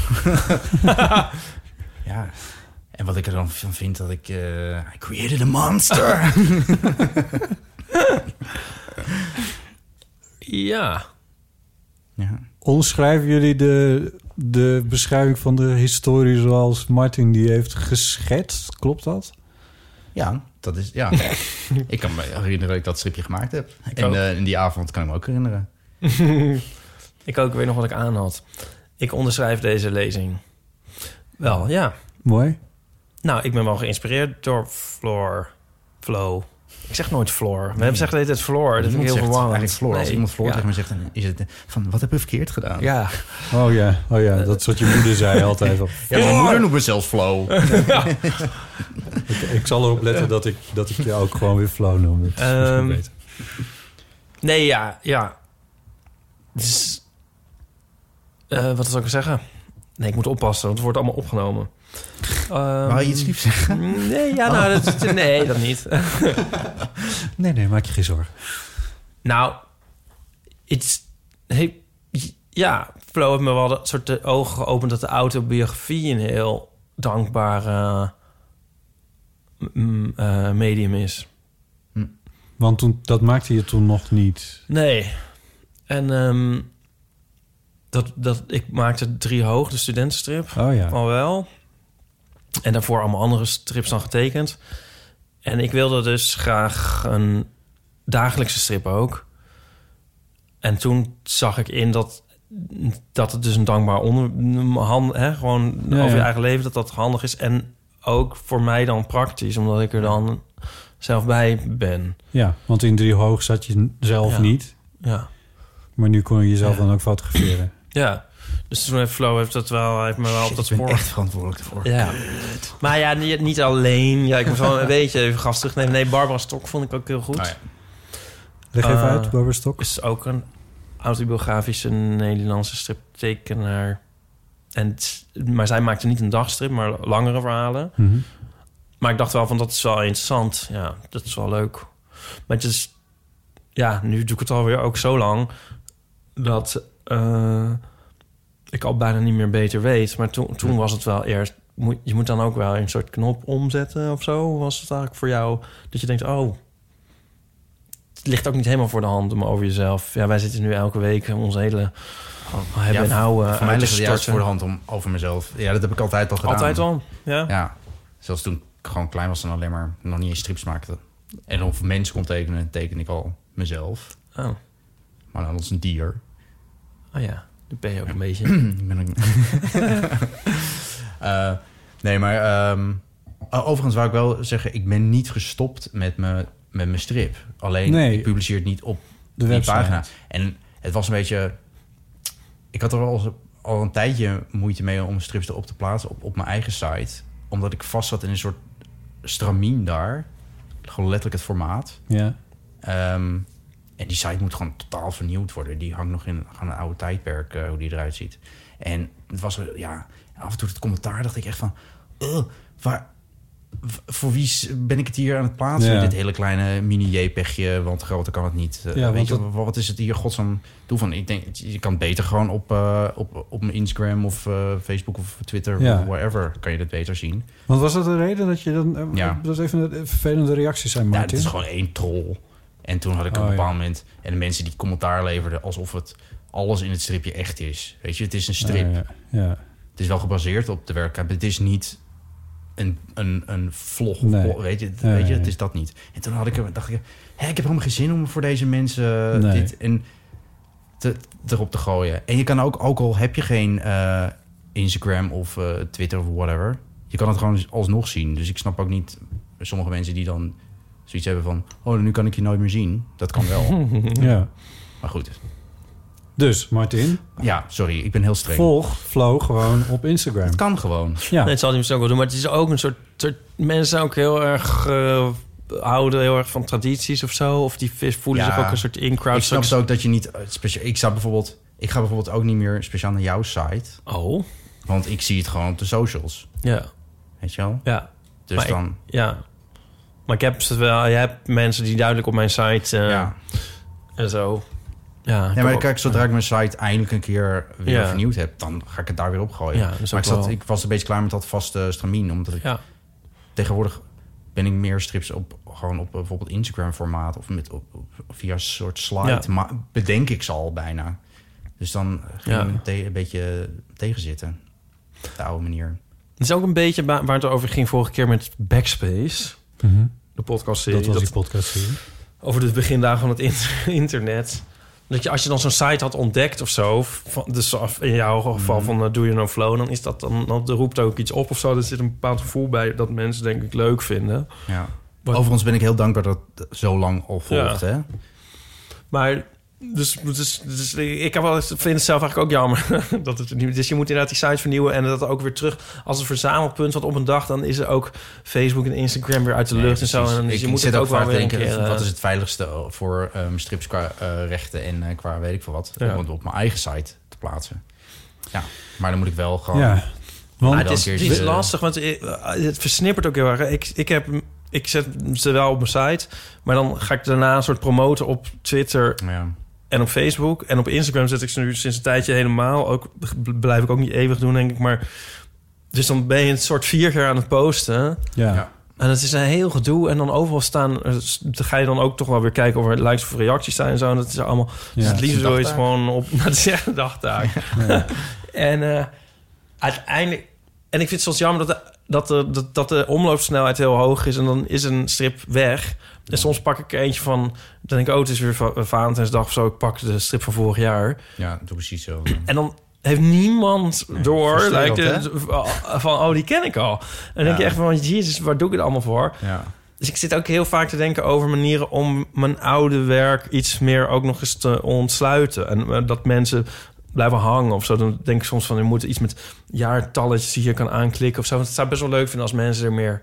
Speaker 3: ja. En wat ik er dan van vind, dat ik... eh, I created a monster!
Speaker 2: Ja.
Speaker 3: ja.
Speaker 4: Omschrijven jullie de, de beschrijving van de historie zoals Martin die heeft geschetst? Klopt dat?
Speaker 3: ja, dat is... Ja. ik kan me herinneren dat ik dat stripje gemaakt heb. en
Speaker 2: ook.
Speaker 3: eh, in die avond kan ik me ook herinneren.
Speaker 2: Ik ook weet nog wat ik aan had. Ik onderschrijf deze lezing. Wel, ja.
Speaker 4: Mooi.
Speaker 2: Nou, ik ben wel geïnspireerd door Floor. Flow. Ik zeg nooit Floor. We hebben zeggen het Floor. Dat vind ik
Speaker 3: Hmm. Niemand
Speaker 2: heel
Speaker 3: zegt
Speaker 2: verwarrend.
Speaker 3: Eigenlijk Floor. Als
Speaker 2: Nee,
Speaker 3: iemand Floor
Speaker 2: ja.
Speaker 3: tegen me zegt, dan is het eh, van... Wat heb je verkeerd gedaan?
Speaker 2: Ja.
Speaker 4: Oh ja, oh ja, dat is wat je moeder zei altijd. al.
Speaker 3: Ja, mijn moeder noemt me zelfs Flo.
Speaker 4: Ik, ik zal erop letten dat ik, dat ik je ook gewoon weer flow noem. Dat is misschien
Speaker 2: Ehm,
Speaker 4: beter.
Speaker 2: Nee, ja. ja. Dus, eh, wat zou ik zeggen? Nee, ik moet oppassen, want het wordt allemaal opgenomen. Ehm,
Speaker 3: Wou je iets liefs zeggen?
Speaker 2: Nee, ja, nou, dat, nee, dat niet.
Speaker 4: Nee, nee, maak je geen zorgen.
Speaker 2: Nou, iets. Hey, ja, Flo heeft me wel dat soort de ogen geopend dat de autobiografie een heel dankbaar eh, m- eh, medium is.
Speaker 4: Want toen, dat maakte je toen nog niet.
Speaker 2: Nee. En ehm, dat, dat, ik maakte drie hoog, de studentenstrip.
Speaker 4: Oh ja.
Speaker 2: al wel. En daarvoor allemaal andere strips dan getekend. En ik wilde dus graag een dagelijkse strip ook. En toen zag ik in dat, dat het dus een dankbaar onder... hand- Hè, gewoon
Speaker 4: Ja,
Speaker 2: over je
Speaker 4: ja.
Speaker 2: eigen leven, dat dat handig is. En ook voor mij dan praktisch, omdat ik er dan zelf bij ben.
Speaker 4: Ja, want in drie hoog zat je n- zelf
Speaker 2: Ja.
Speaker 4: niet.
Speaker 2: Ja.
Speaker 4: Maar nu kon je jezelf
Speaker 2: Ja.
Speaker 4: dan ook fotograferen.
Speaker 2: ja. Dus toen heeft Flo heeft dat wel, heeft me wel op
Speaker 3: Shit,
Speaker 2: dat
Speaker 3: ik
Speaker 2: spoor
Speaker 3: ben echt verantwoordelijk ervoor.
Speaker 2: Ja. Maar ja, niet, niet alleen. Ja, ik moest wel een beetje even gas terugnemen. Nee, Barbara Stok vond ik ook heel goed.
Speaker 3: Nou ja.
Speaker 4: Leg even
Speaker 2: Eh,
Speaker 4: uit, Barbara Stok.
Speaker 2: Is ook een autobiografische Nederlandse striptekenaar. En, het- maar zij maakte niet een dagstrip, maar langere verhalen.
Speaker 4: Mhm.
Speaker 2: Maar ik dacht wel van, dat is wel interessant. Ja, dat is wel leuk. Maar het is... Ja, nu doe ik het alweer ook zo lang... dat eh, ik al bijna niet meer beter weet. Maar toen, toen was het wel eerst... moet- Je moet dan ook wel een soort knop omzetten of zo. Hoe Was het eigenlijk voor jou dat je denkt... oh, het ligt ook niet helemaal voor de hand om over jezelf... Ja, wij zitten nu elke week ons hele hebben en houden
Speaker 3: Oh, Voor mij
Speaker 2: uit te
Speaker 3: ligt het juist
Speaker 2: storten.
Speaker 3: voor de hand om over mezelf. Ja, dat heb ik altijd al gedaan.
Speaker 2: Altijd al, ja.
Speaker 3: Ja. Zelfs toen ik gewoon klein was en alleen maar nog niet eens strips maakte. En of mensen kon tekenen, teken ik al mezelf.
Speaker 2: Oh.
Speaker 3: Maar dan als een dier.
Speaker 2: Oh ja, dat ben je ook een beetje.
Speaker 3: Ik ben ook- Eh, nee, maar ehm, oh, overigens wou ik wel zeggen, ik ben niet gestopt met mijn, met mijn strip. Alleen
Speaker 4: Nee.
Speaker 3: ik publiceer het niet op
Speaker 4: De
Speaker 3: die
Speaker 4: website.
Speaker 3: pagina. En het was een beetje. Ik had er al, al een tijdje moeite mee om strips erop te plaatsen op, op mijn eigen site. Omdat ik vast zat in een soort stramien daar. Gewoon letterlijk het formaat.
Speaker 4: Ja.
Speaker 3: Ehm, en die site moet gewoon totaal vernieuwd worden. Die hangt nog in gewoon een oude tijdperk, eh, hoe die eruit ziet. En het was, eh, ja, af en toe het commentaar dacht ik echt van... "Ugh, waar, v- voor wie s- ben ik het hier aan het plaatsen?
Speaker 4: Ja.
Speaker 3: Dit hele kleine mini-JPEG-je, want groter kan het niet. Eh,
Speaker 4: Ja, want
Speaker 3: weet je,
Speaker 4: dat-
Speaker 3: wa- wat is het hier godsnaam toe van? Ik denk, je kan het beter gewoon op, eh, op, op mijn Instagram of eh, Facebook of Twitter...
Speaker 4: Ja.
Speaker 3: of whatever, kan je dat beter zien.
Speaker 4: Want was dat de reden dat je dan... eh,
Speaker 3: Ja.
Speaker 4: Dat even een vervelende reacties zijn,
Speaker 3: Ja,
Speaker 4: Martin?
Speaker 3: het is gewoon één troll. En toen had ik op
Speaker 4: Oh,
Speaker 3: een
Speaker 4: ja.
Speaker 3: bepaald moment... En de mensen die commentaar leverden... alsof het alles in het stripje echt is. Weet je, het is een strip.
Speaker 4: Oh, ja. Ja.
Speaker 3: Het is wel gebaseerd op de werkelijkheid. maar Het is niet een, een, een vlog. of
Speaker 4: Nee.
Speaker 3: blog, weet je, het-
Speaker 4: Nee,
Speaker 3: weet je, het
Speaker 4: nee.
Speaker 3: is dat niet. En toen had ik, er- dacht ik... Hé, ik heb helemaal geen zin om voor deze mensen eh,
Speaker 4: Nee.
Speaker 3: dit en te, erop te gooien. En je kan ook, ook al heb je geen eh, Instagram of eh, Twitter of whatever... je kan het gewoon alsnog zien. Dus ik snap ook niet sommige mensen die dan zoiets hebben van... oh, nu kan ik je nooit meer zien. Dat kan wel.
Speaker 4: ja.
Speaker 3: maar goed.
Speaker 4: Dus, Martin,
Speaker 3: Ja, sorry, ik ben heel streng.
Speaker 4: volg Flow gewoon op Instagram.
Speaker 3: Het kan gewoon.
Speaker 4: Ja.
Speaker 2: Nee, het zal hij misschien ook wel doen. Maar het is ook een soort... soort mensen zijn ook heel erg... eh, houden heel erg van tradities of zo. Of die vis- voelen
Speaker 3: Ja.
Speaker 2: zich ook een soort
Speaker 3: ik
Speaker 2: in-crowd.
Speaker 3: snap het ook dat je niet eh, speciaal... Ik, zou bijvoorbeeld, ik ga bijvoorbeeld ook niet meer speciaal naar jouw site.
Speaker 2: Oh,
Speaker 3: Want ik zie het gewoon op de socials.
Speaker 2: ja.
Speaker 3: Weet je wel?
Speaker 2: Ja,
Speaker 3: Dus
Speaker 2: Maar ik-
Speaker 3: dan...
Speaker 2: ja. Maar ik heb ze wel... Je hebt mensen die duidelijk op mijn site eh,
Speaker 3: ja.
Speaker 2: en zo... Ja,
Speaker 3: Nee, maar
Speaker 2: ook-
Speaker 3: kijk, zodra ik mijn site eindelijk een keer weer
Speaker 2: Ja.
Speaker 3: vernieuwd heb... dan ga ik het daar weer op gooien.
Speaker 2: Ja, dat is
Speaker 3: maar ik,
Speaker 2: ook
Speaker 3: zat,
Speaker 2: wel-
Speaker 3: ik was een beetje klaar met dat vaste stramien. Omdat ik
Speaker 2: Ja.
Speaker 3: tegenwoordig ben ik meer strips op gewoon op eh, bijvoorbeeld Instagram formaat of met op, op- via een soort slide
Speaker 2: Ja.
Speaker 3: maar bedenk ik ze al bijna dus dan ging
Speaker 2: Ja.
Speaker 3: ik te- een beetje tegenzitten op de oude manier
Speaker 2: Het is ook een beetje ba- waar het over ging vorige keer met Backspace.
Speaker 4: Mhm.
Speaker 2: De podcast
Speaker 4: Dat was die
Speaker 2: dat
Speaker 4: podcast hier.
Speaker 2: over de begindagen van het in- internet. Dat je als je dan zo'n site had ontdekt of zo, van, dus af- in jouw
Speaker 3: Mhm.
Speaker 2: geval van eh, Do You Know Flow, dan is dat dan, dan roept ook iets op of zo. Er zit een bepaald gevoel bij dat mensen denk ik leuk vinden.
Speaker 3: ja
Speaker 2: Wat-
Speaker 3: overigens ben ik heel dankbaar dat het zo lang al volgt
Speaker 2: Ja.
Speaker 3: hè
Speaker 2: Maar dus, dus, dus ik heb wel, eens- vind het zelf eigenlijk ook jammer. dat het, niet- dus je moet inderdaad die site vernieuwen en dat ook weer terug als een verzamelpunt. Want op een dag dan is er ook Facebook en Instagram weer uit de lucht en zo. En
Speaker 3: precies.
Speaker 2: dan, dus
Speaker 3: ik,
Speaker 2: je
Speaker 3: ik
Speaker 2: moet
Speaker 3: zit
Speaker 2: het ook
Speaker 3: ook
Speaker 2: wel
Speaker 3: vaak
Speaker 2: weer een
Speaker 3: denken,
Speaker 2: keer... eh,
Speaker 3: wat is het veiligste voor ehm, strips qua eh, rechten en eh, qua weet ik veel wat.
Speaker 2: Ja.
Speaker 3: Om het op mijn eigen site te plaatsen. Ja, maar dan moet ik wel gewoon...
Speaker 4: Ja.
Speaker 3: Oh. Maar
Speaker 4: Want,
Speaker 2: Het
Speaker 3: dan
Speaker 2: is,
Speaker 3: een
Speaker 2: het
Speaker 3: keertje-
Speaker 2: is lastig, want eh, het versnippert ook heel erg. Ik, ik, heb, ik zet ze wel op mijn site, maar dan ga ik daarna een soort promoten op Twitter
Speaker 3: Ja.
Speaker 2: en op Facebook. En op Instagram zet ik ze nu sinds een tijdje helemaal. Ook b- blijf ik ook niet eeuwig doen, denk ik. Maar, dus dan ben je een soort vier keer aan het posten.
Speaker 4: ja.
Speaker 3: Ja.
Speaker 2: En dat is een heel gedoe. En dan overal staan, eh, s- dan ga je dan ook toch wel weer kijken of er likes of reacties zijn en zo. En dat is allemaal. Dus
Speaker 4: Ja,
Speaker 2: het liefst
Speaker 3: het is een
Speaker 2: wil je het
Speaker 3: dagtaak.
Speaker 2: gewoon op. Dat is echt een dagtaak. en eh, uiteindelijk. En ik vind het soms jammer dat de, dat, de, dat, dat de omloopsnelheid heel hoog is. En dan is een strip weg. En soms pak ik er eentje van. Dan denk ik, oh, het is weer Va- Valentijnsdag of zo. Ik pak de strip van vorig jaar.
Speaker 3: ja, doe precies zo.
Speaker 2: En dan heeft niemand door.
Speaker 3: frustrerend,
Speaker 2: Lijkt het, van, oh, die ken ik al. En dan denk je
Speaker 3: Ja.
Speaker 2: echt van, jezus, waar doe ik het allemaal voor?
Speaker 3: Ja.
Speaker 2: Dus ik zit ook heel vaak te denken over manieren om mijn oude werk iets meer ook nog eens te ontsluiten. En eh, dat mensen blijven hangen of zo. Dan denk ik soms van, je moet iets met jaartalletjes die je kan aanklikken of zo. Want het zou best wel leuk vinden als mensen er meer...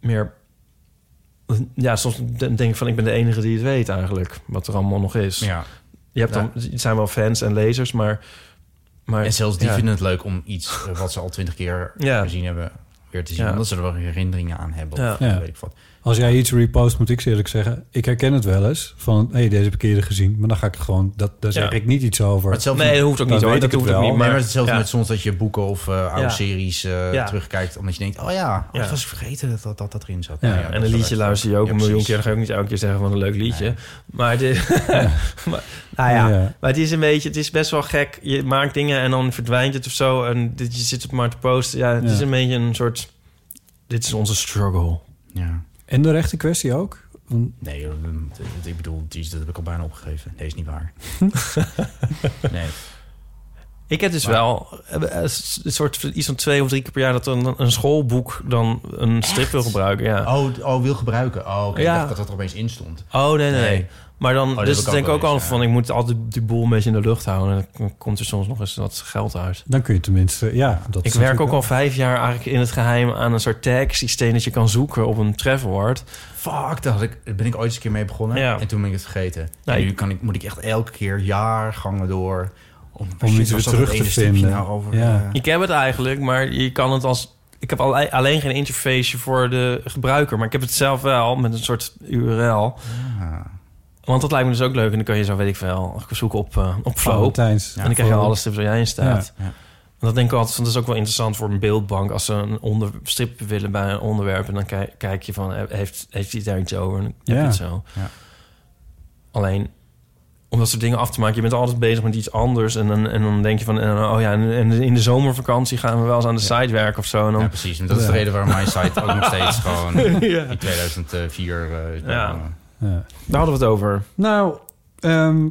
Speaker 2: meer ja, soms denk ik van, ik ben de enige die het weet eigenlijk. Wat er allemaal nog is.
Speaker 3: ja.
Speaker 2: Je hebt
Speaker 3: Ja.
Speaker 2: dan, het zijn wel fans en lezers, maar... maar
Speaker 3: En zelfs die
Speaker 2: ja.
Speaker 3: vinden het leuk om iets eh, wat ze al twintig keer
Speaker 2: Ja.
Speaker 3: gezien hebben weer te zien.
Speaker 2: Ja.
Speaker 3: Omdat ze er wel herinneringen aan hebben. Of
Speaker 2: Ja.
Speaker 4: Ja.
Speaker 3: weet ik wat.
Speaker 4: Als jij iets repost, moet ik ze eerlijk zeggen... ik herken het wel eens van... hé, hey, deze heb ik eerder gezien, maar dan ga ik er gewoon... Dat, daar zeg
Speaker 2: Ja.
Speaker 4: ik niet iets over.
Speaker 3: Maar hetzelfde,
Speaker 2: Nee, dat hoeft ook
Speaker 4: Dan
Speaker 2: niet hoor.
Speaker 4: weet ik
Speaker 2: Dat
Speaker 4: het
Speaker 2: hoeft ook
Speaker 4: wel.
Speaker 2: niet.
Speaker 3: nee, maar
Speaker 2: Maar,
Speaker 3: hetzelfde
Speaker 2: ja.
Speaker 3: met soms dat je boeken of eh, oude
Speaker 2: Ja.
Speaker 3: series eh,
Speaker 2: Ja.
Speaker 3: terugkijkt. Omdat je denkt, oh ja, oh,
Speaker 2: Ja.
Speaker 3: dat was ik vergeten dat dat, dat, dat erin zat.
Speaker 4: Ja.
Speaker 3: Nou dat
Speaker 2: En een
Speaker 3: is wel
Speaker 2: liedje
Speaker 3: echt-
Speaker 2: luister je ook
Speaker 3: Ja,
Speaker 2: een miljoen
Speaker 3: precies.
Speaker 2: keer. Dan ga ik ook niet elke keer zeggen van een leuk liedje.
Speaker 3: Nee.
Speaker 2: Maar, het is, maar,
Speaker 3: Ah,
Speaker 2: nou ja,
Speaker 4: Ja.
Speaker 2: maar het is een beetje, het is best wel gek. Je maakt dingen en dan verdwijnt het of zo. En dit, je zit het maar te posten. Ja, het
Speaker 4: Ja.
Speaker 2: is een beetje een soort, dit is onze struggle.
Speaker 3: Ja.
Speaker 4: En de rechte kwestie ook?
Speaker 3: Nee, joh, dat- dat- ik bedoel, die, dat heb ik al bijna opgegeven. Nee, is niet waar. nee.
Speaker 2: Ik heb dus wel eh, eh, s- een soort, iets van twee of drie keer per jaar dat een, een schoolboek dan een strip wil gebruiken. Ja.
Speaker 3: Oh, d- oh wil gebruiken. Oh, oké.
Speaker 2: Ja.
Speaker 3: Ik dacht dat dat er opeens in stond.
Speaker 2: Oh, nee, nee. nee. Maar dan,
Speaker 3: Oh, dat
Speaker 2: dus
Speaker 3: heb ik
Speaker 2: ik denk ik
Speaker 3: ook
Speaker 2: ook
Speaker 3: wel
Speaker 2: al
Speaker 3: eens,
Speaker 2: van, ik moet altijd die boel een beetje in de lucht houden. En dan komt er soms nog eens wat geld uit.
Speaker 4: Dan kun je tenminste, ja. Dat
Speaker 2: ik
Speaker 4: is
Speaker 2: werk
Speaker 4: natuurlijk
Speaker 2: ook al vijf jaar eigenlijk in het geheim aan een soort tag-systeem dat je kan zoeken op een trefwoord.
Speaker 3: Fuck, daar had ik- daar ben ik ooit eens een keer mee begonnen. En toen ben ik het vergeten. En
Speaker 2: Nee.
Speaker 3: nu kan ik, moet ik echt elke keer jaargangen door... Om,
Speaker 4: iets
Speaker 3: shit,
Speaker 4: weer
Speaker 3: was dat
Speaker 4: terug
Speaker 3: het
Speaker 4: te
Speaker 3: ene stukje
Speaker 4: vinden.
Speaker 3: Nou over,
Speaker 4: Ja.
Speaker 3: eh,
Speaker 2: Ik heb het eigenlijk, maar je kan het als... Ik heb alle- alleen geen interface voor de gebruiker. Maar ik heb het zelf wel met een soort URL.
Speaker 3: Ah.
Speaker 2: Want dat lijkt me dus ook leuk. En dan kan je zo, weet ik veel, zoeken op, eh, op Flow.
Speaker 4: Valentijns.
Speaker 2: en dan krijg je
Speaker 4: Flow.
Speaker 2: alles tips waar jij in staat.
Speaker 3: Ja, ja.
Speaker 2: En dat denk ik altijd, van, dat is ook wel interessant voor een beeldbank. Als ze een onder, strip willen bij een onderwerp... en dan kijk, kijk je van, eh, heeft, heeft hij daar iets over? En dan heb
Speaker 4: Ja.
Speaker 2: je het zo.
Speaker 3: Ja.
Speaker 2: Alleen, om dat soort dingen af te maken... je bent altijd bezig met iets anders. En dan, en dan denk je van, en, oh ja, en- en in de zomervakantie... gaan we wel eens aan de site werken of zo. En dan,
Speaker 3: Ja, precies. En dat is de
Speaker 4: Ja.
Speaker 3: reden waarom mijn site ook nog steeds gewoon
Speaker 2: Ja.
Speaker 3: in 2004... eh, is
Speaker 2: Ja.
Speaker 3: begonnen.
Speaker 4: Ja.
Speaker 2: Daar hadden we het over.
Speaker 4: Nou, ehm,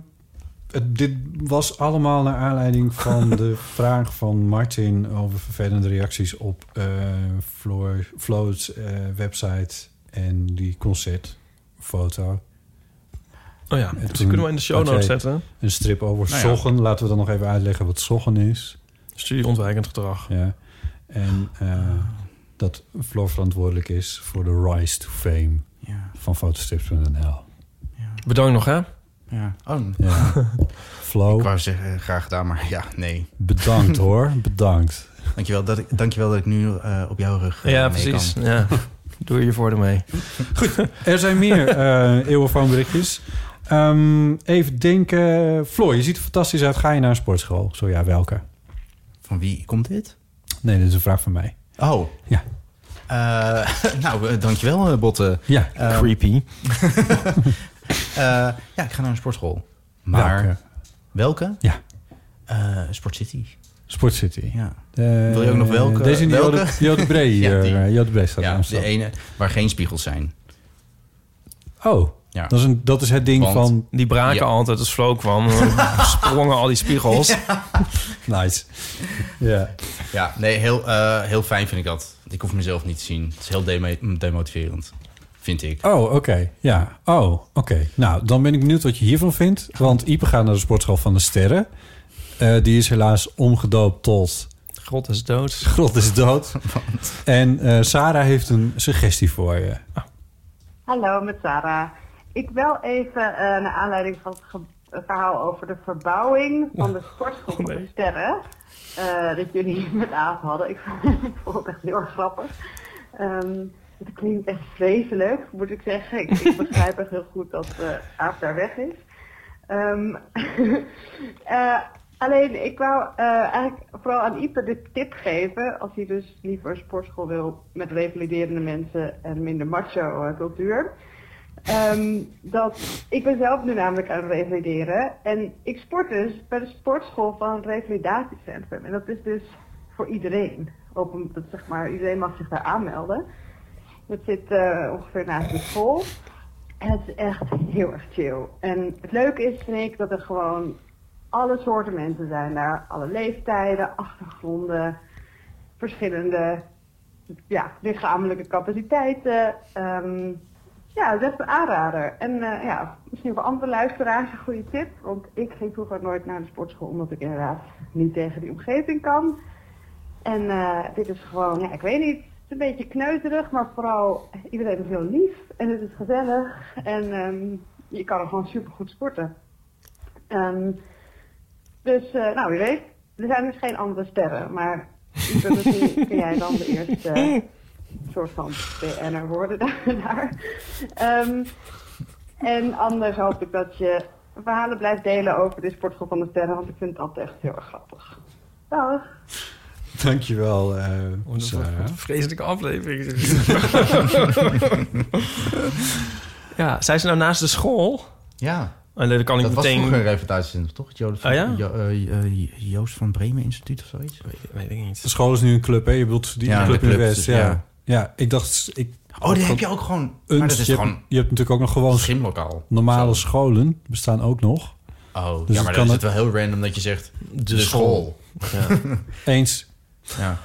Speaker 4: het, dit was allemaal naar aanleiding van de vraag van Martin over vervelende reacties op eh Floor, Flo's eh, website en die concertfoto.
Speaker 2: Oh ja,
Speaker 4: En
Speaker 2: dus
Speaker 4: toen
Speaker 2: kunnen we in de show
Speaker 4: had
Speaker 2: notes
Speaker 4: jij
Speaker 2: zetten.
Speaker 4: Een strip over
Speaker 3: Nou ja.
Speaker 4: soggen. Laten we dan nog even uitleggen wat soggen is.
Speaker 2: Studieontwijkend gedrag.
Speaker 4: Ja. En eh, dat Floor verantwoordelijk is voor de rise to fame
Speaker 3: Ja,
Speaker 4: van fotostrips.nl.
Speaker 3: ja,
Speaker 2: Bedankt nog, hè?
Speaker 3: ja. Oh,
Speaker 4: Ja.
Speaker 3: ik
Speaker 4: Flo,
Speaker 3: wou zeggen, eh, graag gedaan, maar ja, nee.
Speaker 4: bedankt hoor. Bedankt.
Speaker 3: Dankjewel dat ik, dankjewel dat ik nu eh, op jouw rug eh,
Speaker 2: Ja,
Speaker 3: mee
Speaker 2: precies.
Speaker 3: kan.
Speaker 2: Ja. Doe je voordeel mee.
Speaker 4: Er zijn meer eh eeuwenfoonberichtjes. Ehm, even denken. Floor, je ziet er fantastisch uit. Ga je naar een sportschool? Zo ja, welke?
Speaker 3: Van wie komt dit?
Speaker 4: Nee, dit is een vraag van mij.
Speaker 3: Oh.
Speaker 4: Ja.
Speaker 3: Eh, nou, eh, dankjewel, eh, Botte.
Speaker 4: Ja,
Speaker 3: Eh,
Speaker 2: Creepy.
Speaker 3: eh, ja, ik ga naar een sportschool. Maar
Speaker 4: welke?
Speaker 3: welke?
Speaker 4: Ja.
Speaker 3: Eh, Sport City.
Speaker 4: Sport City.
Speaker 3: Ja,
Speaker 4: Eh,
Speaker 3: Wil je ook nog welke?
Speaker 4: Deze in de
Speaker 3: Welke?
Speaker 4: Jode- Jode Bree.
Speaker 3: Ja, die.
Speaker 4: eh, Jode Bree staat in
Speaker 3: ja de
Speaker 4: Amsterdam.
Speaker 3: ene waar geen spiegels zijn.
Speaker 4: Oh,
Speaker 3: e- Ja.
Speaker 4: dat, is een, dat is het ding
Speaker 3: Want-
Speaker 4: van...
Speaker 2: Die braken
Speaker 3: Ja.
Speaker 2: altijd als Flo kwam. Dan sprongen al die spiegels.
Speaker 4: Nice. ja.
Speaker 3: Ja, nee, heel, eh, heel fijn vind ik dat. Want Ik hoef mezelf niet te zien. Het is heel demo- demotiverend, vind ik.
Speaker 4: Oh, oké. Ja. Oh, oké. Nou, dan ben ik benieuwd wat je hiervan vindt. Want Ipe gaat naar de sportschool van de Sterren. Eh, die is helaas omgedoopt tot...
Speaker 2: God is dood.
Speaker 4: Grot is dood. En eh, Sarah heeft een suggestie voor je.
Speaker 8: Hallo, met Sarah. Ik wel even eh, naar aanleiding van het ge- eh, verhaal over de verbouwing van de sportschool van de sterren. eh, dat jullie met Aaf hadden. Ik, vond- ik vond het echt heel erg grappig. Ehm, het klinkt echt vreselijk, moet ik zeggen. Ik, ik begrijp echt heel goed dat eh Aaf daar weg is. Ehm, eh, alleen, ik wou eh, eigenlijk vooral aan Ipe de tip geven, als hij dus liever een sportschool wil met revaliderende mensen en minder macho eh, cultuur. Ehm, dat ik ben zelf nu namelijk aan het revalideren en ik sport dus bij de sportschool van het revalidatiecentrum. En dat is dus voor iedereen. Open, dat zeg maar, iedereen mag zich daar aanmelden. Dat zit eh, ongeveer naast de school. En het is echt heel erg chill. En het leuke is, vind ik, dat er gewoon alle soorten mensen zijn daar. Alle leeftijden, achtergronden, verschillende ja, lichamelijke capaciteiten. Ehm, ja, dat is echt een aanrader. En eh, ja, misschien voor andere luisteraars een goede tip. Want ik ging vroeger nooit naar de sportschool, omdat ik inderdaad niet tegen die omgeving kan. En eh, dit is gewoon, ja, ik weet niet, het is een beetje kneuterig, maar vooral iedereen is heel lief en het is gezellig. En ehm, je kan er gewoon supergoed sporten. Ehm, dus, eh, nou, wie weet, er zijn dus geen andere sterren, maar ik wil misschien kun jij dan de eerste eh, soort van BN'er worden daar. daar. Ehm, en anders hoop ik dat je verhalen blijft delen over de sportschool van de sterren, want ik vind het altijd echt heel erg grappig. Dag!
Speaker 4: Dankjewel, eh Sarah.
Speaker 2: Wat een vreselijke aflevering. ja, zijn ze nou naast de school?
Speaker 3: Ja,
Speaker 2: Oh, nee, dan kan ik
Speaker 3: dat was
Speaker 2: meteen...
Speaker 3: vroeger een reputatiecentrum, toch? Het Joost van,
Speaker 2: Ah, ja?
Speaker 3: Jo- eh, eh, Joost van Bremen Instituut of zoiets?
Speaker 2: Weet, weet ik niet.
Speaker 4: De school is nu een club, hè? Je bedoelt die
Speaker 3: Ja,
Speaker 4: club
Speaker 3: de
Speaker 4: in de
Speaker 3: club,
Speaker 4: West.
Speaker 3: dus
Speaker 4: Ja.
Speaker 3: ja.
Speaker 4: Ja. Ja, ik dacht... Ik
Speaker 3: Oh, die heb je ook gewoon.
Speaker 4: Een,
Speaker 3: maar dat is
Speaker 4: je,
Speaker 3: gewoon.
Speaker 4: hebt, je hebt natuurlijk ook nog gewoon...
Speaker 3: Gymlokaal.
Speaker 4: Normale scholen bestaan ook nog. Dus
Speaker 3: Oh, ja,
Speaker 4: het
Speaker 3: maar
Speaker 4: kan
Speaker 3: dan is
Speaker 4: ook-
Speaker 3: het wel heel random dat je zegt. De, school.
Speaker 4: Eens.
Speaker 3: Ja.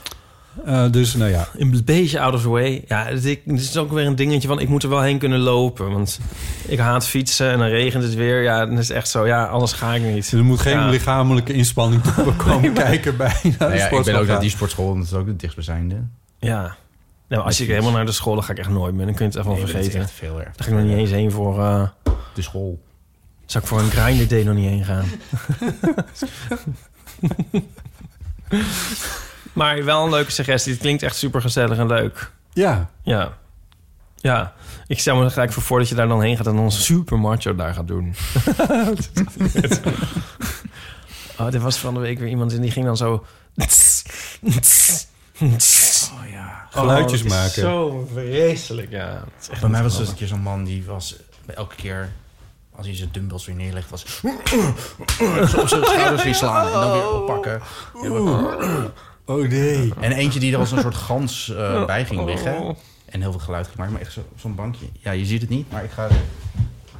Speaker 4: Eh, dus nou ja.
Speaker 2: Een beetje out of the way. Ja, het is- het is ook weer een dingetje van... ik moet er wel heen kunnen lopen. Want ik haat fietsen en dan regent het weer. Ja, dan is het echt zo. Ja, anders ga ik niet.
Speaker 4: Er moet geen
Speaker 2: Ja.
Speaker 4: lichamelijke inspanning komen kijken bij naar de
Speaker 3: Nou ja, ik ben ook
Speaker 4: sportlokaal.
Speaker 3: naar die sportschool, dat is ook de dichtstbijzijnde.
Speaker 2: Ja. Nou, als ik helemaal naar de school, dan ga ik echt nooit meer. Dan kun je het even
Speaker 3: Nee, dat is
Speaker 2: vergeten.
Speaker 3: echt veel erg.
Speaker 2: Daar ga ik nog niet eens heen voor... eh,
Speaker 3: de school.
Speaker 2: Zou ik voor een grinder day nog niet heen gaan. maar wel een leuke suggestie. Het klinkt echt super gezellig en leuk.
Speaker 4: Ja.
Speaker 2: Ja. Ja. Ik stel me er gelijk voor voor dat je daar dan heen gaat... en dan super macho daar gaat doen. oh, er was van de week weer iemand en die ging dan zo... Oh ja.
Speaker 4: Geluidjes maken.
Speaker 2: Zo vreselijk, ja. Het is echt
Speaker 3: Bij mij
Speaker 2: niet
Speaker 3: was dus een
Speaker 2: grappig.
Speaker 3: keer zo'n man die was bij elke keer als hij zijn dumbbells weer neerlegt, was zo op zijn schouders weer slaan en dan weer oppakken. En dan-
Speaker 4: Oh nee.
Speaker 3: En eentje die er als een soort gans eh, bij ging
Speaker 4: Oh.
Speaker 3: liggen en heel veel geluid gemaakt, maar echt zo- zo'n bankje. Ja, je ziet het niet, maar ik ga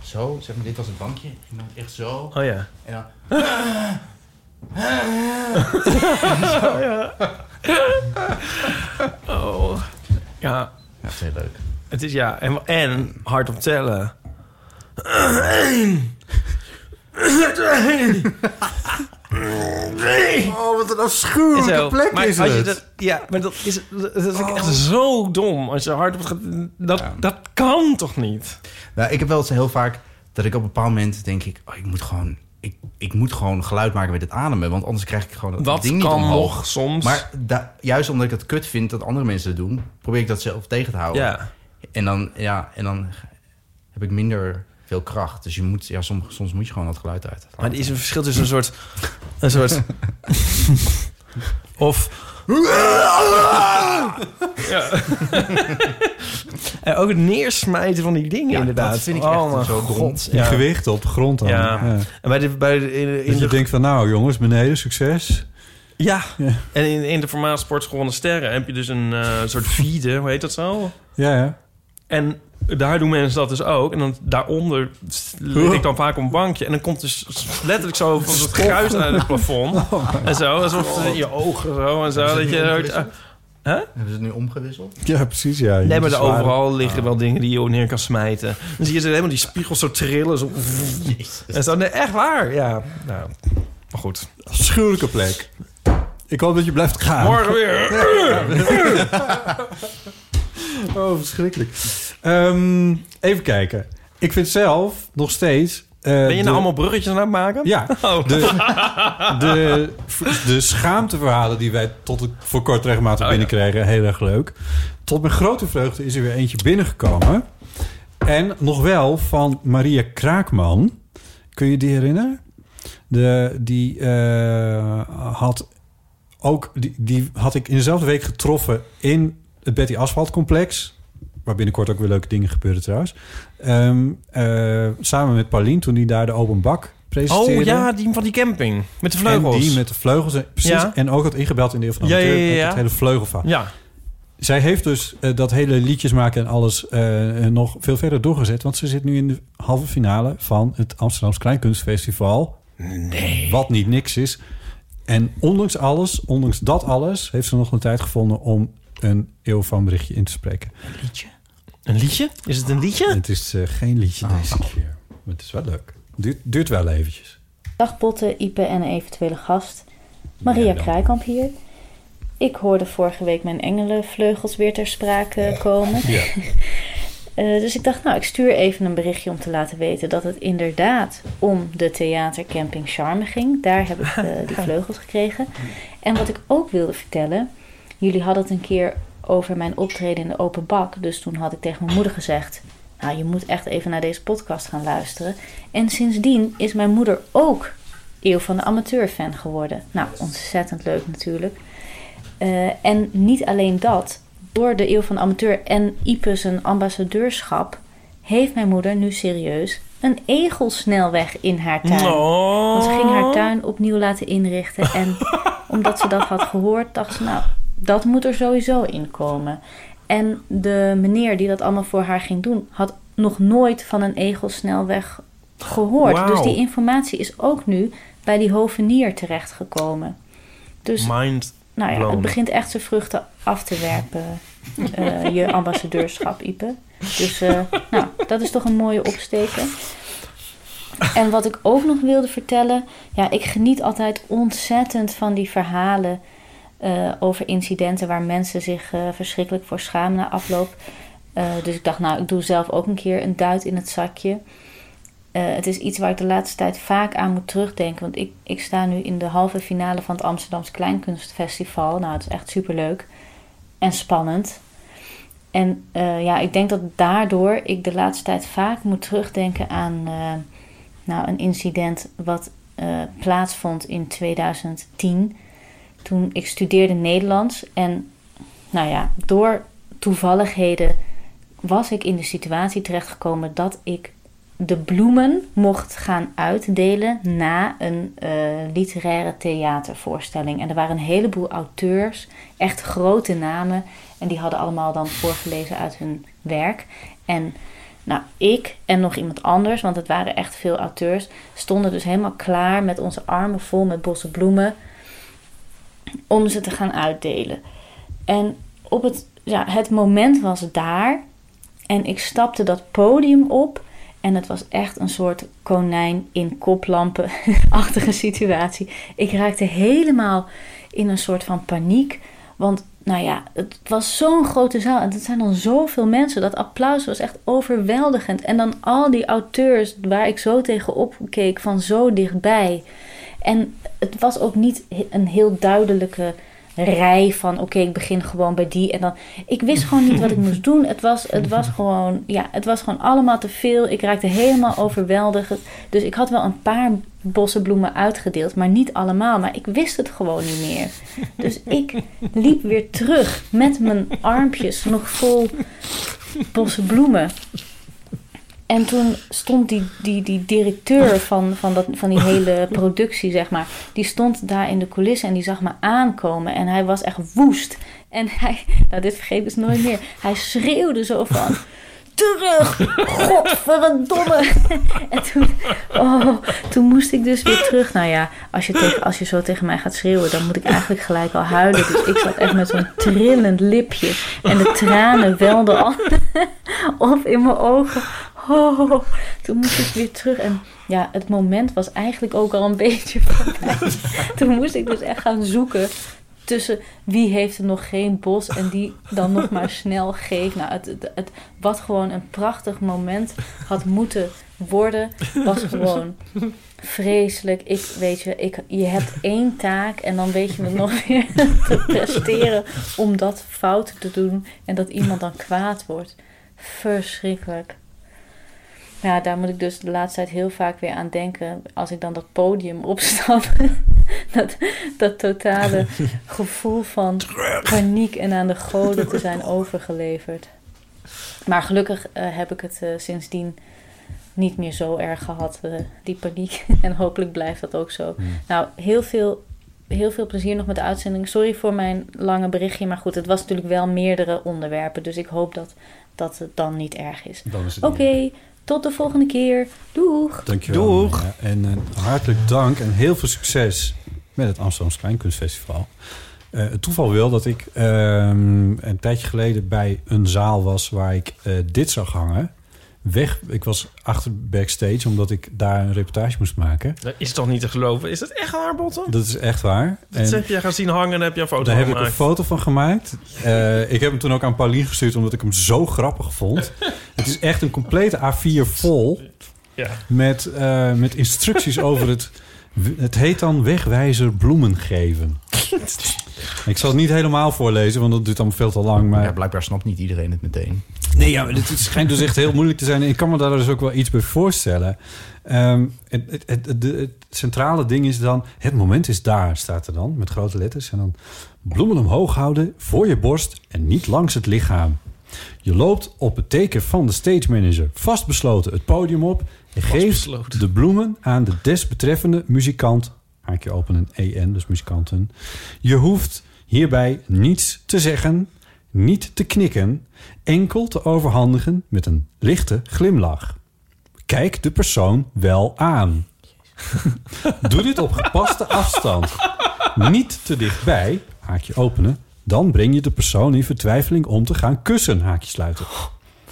Speaker 3: zo, zeg maar, dit was het bankje. En dan echt zo.
Speaker 2: Oh ja.
Speaker 3: En dan...
Speaker 2: Oh, ja. Oh. Ja.
Speaker 3: Ja, heel leuk.
Speaker 2: Het is ja. En, en hard op tellen.
Speaker 4: Oh, wat een
Speaker 2: En
Speaker 4: afschuwelijke
Speaker 2: zo.
Speaker 4: plek
Speaker 2: maar
Speaker 4: is
Speaker 2: als je
Speaker 4: het. Oh.
Speaker 2: dat, ja, maar dat is, dat vind ik echt zo dom. Als je hard op gaat, dat, dat kan toch niet?
Speaker 3: Nou, ik heb wel eens heel vaak dat ik op een bepaald moment denk ik, oh, ik moet gewoon, ik, ik moet gewoon geluid maken met het ademen, want anders krijg ik gewoon dat,
Speaker 2: Dat
Speaker 3: ding niet
Speaker 2: kan
Speaker 3: omhoog.
Speaker 2: nog soms.
Speaker 3: Maar da- juist omdat ik het kut vind dat andere mensen het doen, probeer ik dat zelf tegen te houden.
Speaker 2: Ja.
Speaker 3: En dan, ja, en dan heb ik minder veel kracht. Dus je moet, ja, soms, soms moet je gewoon dat geluid uit.
Speaker 2: Maar er is een verschil tussen een soort... Een soort of... Ja. en ook het neersmijten van die dingen, inderdaad.
Speaker 4: dat vind ik
Speaker 2: oh,
Speaker 4: echt
Speaker 2: mijn
Speaker 4: zo dom.
Speaker 2: god.
Speaker 4: Die gewichten op de grond dan.
Speaker 2: Ja.
Speaker 4: Ja.
Speaker 2: En bij de, bij de, in, de-
Speaker 4: dat
Speaker 2: in
Speaker 4: je
Speaker 2: de
Speaker 4: denkt van nou jongens, beneden, succes.
Speaker 2: Ja. En in, in de formaat sportschool van de sterren heb je dus een eh, soort vide, hoe heet dat zo?
Speaker 4: Ja, ja.
Speaker 2: En daar doen mensen dat dus ook. En dan daaronder lig ik dan vaak op een bankje. En dan komt dus letterlijk zo van het
Speaker 4: Stof.
Speaker 2: kruis naar het plafond.
Speaker 4: Oh my
Speaker 2: en zo, alsof
Speaker 3: God.
Speaker 2: in je ogen zo en
Speaker 3: Hebben
Speaker 2: zo.
Speaker 3: ze
Speaker 2: Dat je
Speaker 3: het nu
Speaker 2: zo-
Speaker 3: omgewisseld?
Speaker 2: Hè?
Speaker 3: Hebben ze het nu omgewisseld?
Speaker 4: Ja, precies. Ja.
Speaker 2: Nee, maar
Speaker 4: Die
Speaker 2: er
Speaker 4: zware- Ah.
Speaker 2: overal liggen wel dingen die je neer kan smijten. Dan zie je ze helemaal die spiegels zo trillen. Zo. En zo, nee, echt waar, ja. Nou, maar goed.
Speaker 4: Afschuwelijke plek. Ik hoop dat je blijft gaan.
Speaker 2: Morgen weer.
Speaker 4: oh, verschrikkelijk. Ehm, even kijken. Ik vind zelf nog steeds... eh, ben
Speaker 2: Ben je nou allemaal bruggetjes aan het maken?
Speaker 4: Ja,
Speaker 2: Oh.
Speaker 4: de- de, de schaamteverhalen die wij tot het- voor kort
Speaker 2: Oh,
Speaker 4: regelmatig binnenkregen, heel erg leuk. Tot mijn grote vreugde is er weer eentje binnengekomen. En nog wel van Maria Kraakman. Kun je die herinneren? De, die eh, had ook, die, die had ik in dezelfde week getroffen in het Betty Asphalt complex. Waar binnenkort ook weer leuke dingen gebeuren trouwens. Ehm, eh, samen met Paulien toen die daar de open bak presenteerde.
Speaker 2: Oh ja, die van die camping. Met de vleugels.
Speaker 4: En die met de vleugels. en- Precies.
Speaker 2: Ja.
Speaker 4: En ook had ingebeld in de heel van de
Speaker 2: Ja,
Speaker 4: amateur.
Speaker 2: ja, ja,
Speaker 4: met
Speaker 2: ja.
Speaker 4: Het hele vleugelvaar.
Speaker 2: Ja.
Speaker 4: Zij heeft dus eh, dat hele liedjes maken en alles eh, eh, nog veel verder doorgezet. Want ze zit nu in de halve finale van het Amsterdamse Kleinkunstfestival.
Speaker 2: Nee.
Speaker 4: Wat niet niks is. En ondanks alles, ondanks dat alles, heeft ze nog een tijd gevonden om een eeuw van berichtje in te spreken. Een
Speaker 3: liedje?
Speaker 2: Een liedje? Is het een liedje?
Speaker 4: Het is eh, geen liedje deze keer. Maar het is wel leuk. Duurt, duurt wel eventjes.
Speaker 9: Dag Botte, Ipe en een eventuele gast. Maria Kraaikamp hier. Ik hoorde vorige week mijn engelenvleugels weer ter sprake komen. Eh, dus ik dacht, nou, ik stuur even een berichtje om te laten weten dat het inderdaad om de theatercamping Charme ging. Daar heb ik eh, die vleugels gekregen. En wat ik ook wilde vertellen, jullie hadden het een keer over mijn optreden in de open bak. Dus toen had ik tegen mijn moeder gezegd, nou, je moet echt even naar deze podcast gaan luisteren. En sindsdien is mijn moeder ook Eeuw van de Amateur fan geworden. Nou, ontzettend leuk natuurlijk. Eh, en niet alleen dat, door de Eeuw van de Amateur en Ipe zijn ambassadeurschap heeft mijn moeder nu serieus een egelsnelweg in haar tuin.
Speaker 2: Oh.
Speaker 9: Want ze ging haar tuin opnieuw laten inrichten. En omdat ze dat had gehoord, dacht ze, nou, dat moet er sowieso in komen. En de meneer die dat allemaal voor haar ging doen, had nog nooit van een egelsnelweg gehoord.
Speaker 2: Wauw.
Speaker 9: Dus die informatie is ook nu bij die hovenier terechtgekomen. Dus
Speaker 2: Mind
Speaker 9: nou ja, het
Speaker 2: blown.
Speaker 9: begint echt zijn vruchten af te werpen, eh, je ambassadeurschap, Ipe. Dus eh, nou, dat is toch een mooie opsteken. En wat ik ook nog wilde vertellen, ja, ik geniet altijd ontzettend van die verhalen eh, over incidenten waar mensen zich eh, verschrikkelijk voor schamen na afloop. Eh, dus ik dacht, nou, ik doe zelf ook een keer een duit in het zakje. Eh, het is iets waar ik de laatste tijd vaak aan moet terugdenken. Want ik, ik sta nu in de halve finale van het Amsterdamse Kleinkunstfestival. Nou, het is echt superleuk en spannend. En eh, ja, ik denk dat daardoor ik de laatste tijd vaak moet terugdenken aan eh, nou, een incident wat eh, plaatsvond in 2010. Toen ik studeerde Nederlands en nou ja, door toevalligheden was ik in de situatie terechtgekomen dat ik de bloemen mocht gaan uitdelen na een eh, literaire theatervoorstelling. En er waren een heleboel auteurs, echt grote namen, en die hadden allemaal dan voorgelezen uit hun werk. En nou, ik en nog iemand anders, want het waren echt veel auteurs, stonden dus helemaal klaar met onze armen vol met bossen bloemen om ze te gaan uitdelen. En op het, ja, het moment was daar. En ik stapte dat podium op. En het was echt een soort konijn in koplampen-achtige situatie. Ik raakte helemaal in een soort van paniek. Want nou ja, het was zo'n grote zaal. En het zijn dan zoveel mensen. Dat applaus was echt overweldigend. En dan al die auteurs waar ik zo tegenop keek van zo dichtbij. En het was ook niet he- een heel duidelijke rij van oké, ik begin gewoon bij die en dan. Ik wist gewoon niet wat ik moest doen. Het was, het was gewoon, ja, het was gewoon allemaal te veel. Ik raakte helemaal overweldigd. Dus ik had wel een paar bossen bloemen uitgedeeld, maar niet allemaal. Maar ik wist het gewoon niet meer. Dus ik liep weer terug met mijn armpjes nog vol bossen bloemen. En toen stond die, die, die directeur van, van, dat, van die hele productie, zeg maar, die stond daar in de coulissen en die zag me aankomen. En hij was echt woest. En hij, nou dit vergeet ik dus nooit meer, hij schreeuwde zo van, terug, godverdomme. En toen, oh, toen moest ik dus weer terug. Nou ja, als je, tegen, als je zo tegen mij gaat schreeuwen, dan moet ik eigenlijk gelijk al huilen. Dus ik zat echt met zo'n trillend lipje en de tranen welden al of in mijn ogen. Oh, toen moest ik weer terug. En ja, het moment was eigenlijk ook al een beetje voorbij. Toen moest ik dus echt gaan zoeken tussen wie heeft er nog geen bos en die dan nog maar snel geeft. Nou, het, het, het- wat gewoon een prachtig moment had moeten worden, was gewoon vreselijk. Ik weet je, ik, je hebt één taak en dan weet je het nog weer te presteren om dat fout te doen en dat iemand dan kwaad wordt. Verschrikkelijk. Ja, daar moet ik dus de laatste tijd heel vaak weer aan denken. Als ik dan dat podium opstap. dat, dat totale gevoel van paniek en aan de goden te zijn overgeleverd. Maar gelukkig eh, heb ik het eh, sindsdien niet meer zo erg gehad, eh, die paniek. en hopelijk blijft dat ook zo. Nou, heel veel, heel veel plezier nog met de uitzending. Sorry voor mijn lange berichtje, maar goed, het was natuurlijk wel meerdere onderwerpen. Dus ik hoop dat, dat het dan niet erg is.
Speaker 4: Dan is het
Speaker 9: Oké, tot de volgende keer. Doeg!
Speaker 4: Dankjewel. Marina. En eh, hartelijk dank en heel veel succes met het Amsterdamse Kleinkunstfestival. Eh, het toeval wil dat ik ehm, een tijdje geleden bij een zaal was waar ik eh, dit zag hangen. Weg, ik was achter backstage omdat ik daar een reportage moest maken.
Speaker 2: Dat is toch niet te geloven? Is dat echt haar botten?
Speaker 4: Dat is echt waar.
Speaker 2: Dat
Speaker 4: En-
Speaker 2: heb jij gaan zien hangen en heb je een foto
Speaker 4: daar heb ik
Speaker 2: gemaakt.
Speaker 4: een foto van gemaakt. Eh, ik heb hem toen ook aan Paulien gestuurd, omdat ik hem zo grappig vond. het is echt een complete A4 vol
Speaker 2: Ja.
Speaker 4: met, eh, met instructies over het... Het heet dan wegwijzer bloemen geven. Ik zal het niet helemaal voorlezen, want dat duurt allemaal veel te lang. Maar...
Speaker 3: blijkbaar snapt niet iedereen het meteen.
Speaker 4: Nee, ja, maar dit schijnt dus echt heel moeilijk te zijn. En ik kan me daar dus ook wel iets bij voorstellen. Ehm, het, het, het, het- het centrale ding is dan... Het moment is daar, staat er dan, met grote letters. En dan bloemen omhoog houden, voor je borst en niet langs het lichaam. Je loopt op het teken van de stage manager vastbesloten het podium op... en geeft de bloemen aan de desbetreffende muzikant. Haakje E open een EN, dus muzikanten. Je hoeft hierbij niets te zeggen, niet te knikken, enkel te overhandigen met een lichte glimlach. Kijk de persoon wel aan. Doe dit op gepaste afstand. Niet te dichtbij, haakje openen. Dan breng je de persoon in vertwijfeling om te gaan kussen, haakje sluiten.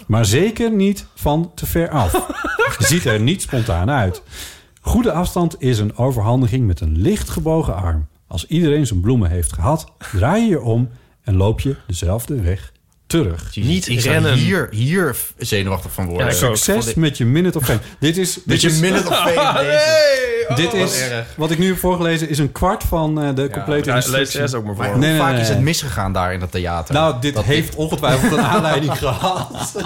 Speaker 4: Maar zeker niet van te ver af. Ziet er niet spontaan uit. Goede afstand is een overhandiging met een licht gebogen arm. Als iedereen zijn bloemen heeft gehad, draai je je om en loop je dezelfde weg terug.
Speaker 3: Niet Ik zou rennen. hier- hier zenuwachtig van worden. Ja, ik ook.
Speaker 4: Succes met je minute of fame. Dit is... dit
Speaker 3: Met je
Speaker 4: is-
Speaker 3: minute of fame, deze. Oh,
Speaker 4: dit
Speaker 3: wat
Speaker 4: is...
Speaker 3: erg.
Speaker 4: Wat ik nu heb voorgelezen is een kwart van eh, de complete
Speaker 3: maar daar-
Speaker 4: instructie.
Speaker 3: lees de rest ook maar voor. Maar hoe vaak is het misgegaan daar in dat theater?
Speaker 4: Nou, dit
Speaker 3: Dat
Speaker 4: heeft
Speaker 3: dit-
Speaker 4: ongetwijfeld een aanleiding gehad.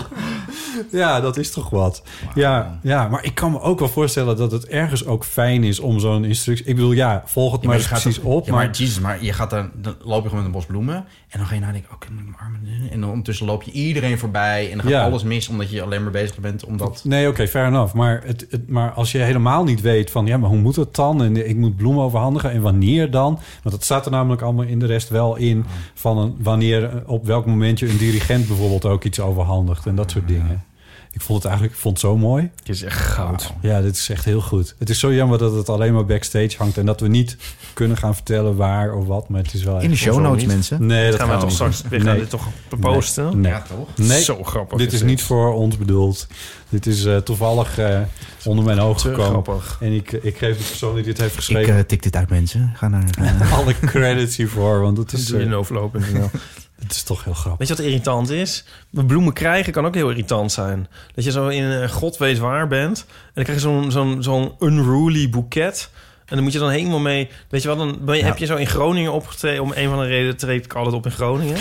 Speaker 4: Ja, dat is toch wat. Ja, ja, maar ik kan me ook wel voorstellen dat het ergens ook fijn is om zo'n instructie... Ik bedoel, ja, volg het
Speaker 3: Ja,
Speaker 4: maar,
Speaker 3: je gaat
Speaker 4: precies
Speaker 3: er-
Speaker 4: op.
Speaker 3: ja, maar,
Speaker 4: maar
Speaker 3: Jesus, maar je gaat dan, dan loop je gewoon met een bos bloemen. En dan ga je nadenken, oké, moet ik mijn armen doen? En dan ondertussen loop je iedereen voorbij. En dan gaat
Speaker 4: Ja.
Speaker 3: alles mis, omdat je alleen maar bezig bent. Omdat...
Speaker 4: Nee, oké, fair enough. Maar, het, het, maar als je helemaal niet weet van... ja, maar hoe moet het dan? En ik moet bloemen overhandigen. En wanneer dan? Want dat staat er namelijk allemaal in de rest wel in... van een, wanneer, eh, op welk moment je een dirigent bijvoorbeeld ook iets overhandigt. En dat soort dingen. Ik vond het eigenlijk ik vond het zo mooi.
Speaker 2: Het is echt goud.
Speaker 4: Ja, dit is echt heel goed. Het is zo jammer dat het alleen maar backstage hangt... en dat we niet kunnen gaan vertellen waar of wat. Maar het is wel echt-
Speaker 3: In de show
Speaker 4: Hoezo
Speaker 3: notes,
Speaker 4: niet?
Speaker 3: mensen.
Speaker 4: Nee,
Speaker 3: Dat
Speaker 4: dat
Speaker 3: gaan we
Speaker 4: we
Speaker 3: toch straks- we gaan dit toch posten?
Speaker 4: Nee.
Speaker 3: Ja, toch?
Speaker 4: Nee.
Speaker 3: Zo grappig
Speaker 4: Dit
Speaker 3: is
Speaker 4: is
Speaker 3: dit.
Speaker 4: niet voor ons bedoeld. Dit is eh, toevallig eh, onder mijn ogen gekomen.
Speaker 3: grappig.
Speaker 4: En ik, ik geef de persoon die dit heeft
Speaker 3: Ik
Speaker 4: geschreven
Speaker 3: eh, tik dit uit, mensen. Ga naar...
Speaker 2: eh,
Speaker 4: alle credits hiervoor. Want het is...
Speaker 2: Doe je
Speaker 4: eh,
Speaker 2: in overloop.nl.
Speaker 4: Het is toch heel grappig.
Speaker 2: Weet je wat irritant is? Bloemen krijgen kan ook heel irritant zijn. Dat je zo in eh, god weet waar bent. En dan krijg je zo'n zo'n zo'n unruly boeket. En dan moet je dan helemaal mee... Weet je wat, dan ben je,
Speaker 3: Ja.
Speaker 2: heb je zo in Groningen opgetreden. Om een van de redenen treed ik altijd op in Groningen. En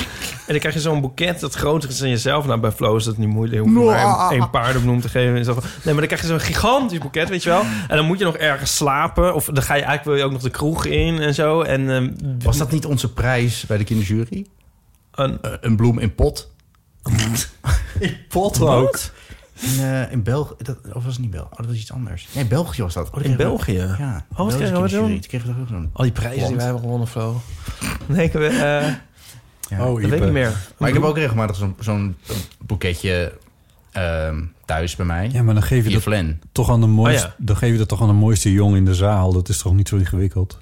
Speaker 2: dan krijg je zo'n boeket dat groter is dan jezelf. Nou, bij Flo is dat niet moeilijk. Hoef je
Speaker 3: Nou,
Speaker 2: maar
Speaker 3: ah,
Speaker 2: één paardenbloem te geven. En zo. Nee, maar dan krijg je zo'n gigantisch boeket, weet je wel. En dan moet je nog ergens slapen. Of dan ga je eigenlijk wil je ook nog de kroeg in en zo. En, ehm,
Speaker 3: Was dat niet onze prijs bij de kinderjury?
Speaker 2: Een,
Speaker 3: eh, een bloem in pot. in pot
Speaker 2: ook?
Speaker 3: In, eh, in België. Dat, of was het niet België? Oh, dat was iets anders. Nee, België was dat. Oh, dat
Speaker 2: In
Speaker 3: kregen we-
Speaker 2: België?
Speaker 3: Ja.
Speaker 2: Oh, wat kregen we
Speaker 3: Belgische
Speaker 2: dan?
Speaker 3: kinderjury. Toen kregen we toch ook zo'n
Speaker 2: Al die prijzen die
Speaker 3: plant.
Speaker 2: wij hebben gewonnen, Flo. Nee, ik heb... eh,
Speaker 3: Ja.
Speaker 4: Oh,
Speaker 2: dat weet ik niet meer.
Speaker 3: Maar ik heb ook regelmatig zo'n zo'n boeketje ehm, thuis bij mij.
Speaker 4: Ja, maar dan geef je
Speaker 3: Via
Speaker 4: dat
Speaker 3: Flan.
Speaker 4: toch aan de mooiste,
Speaker 3: Oh, ja.
Speaker 4: dan geef je dat toch aan de mooiste jong in de zaal. Dat is toch niet zo ingewikkeld.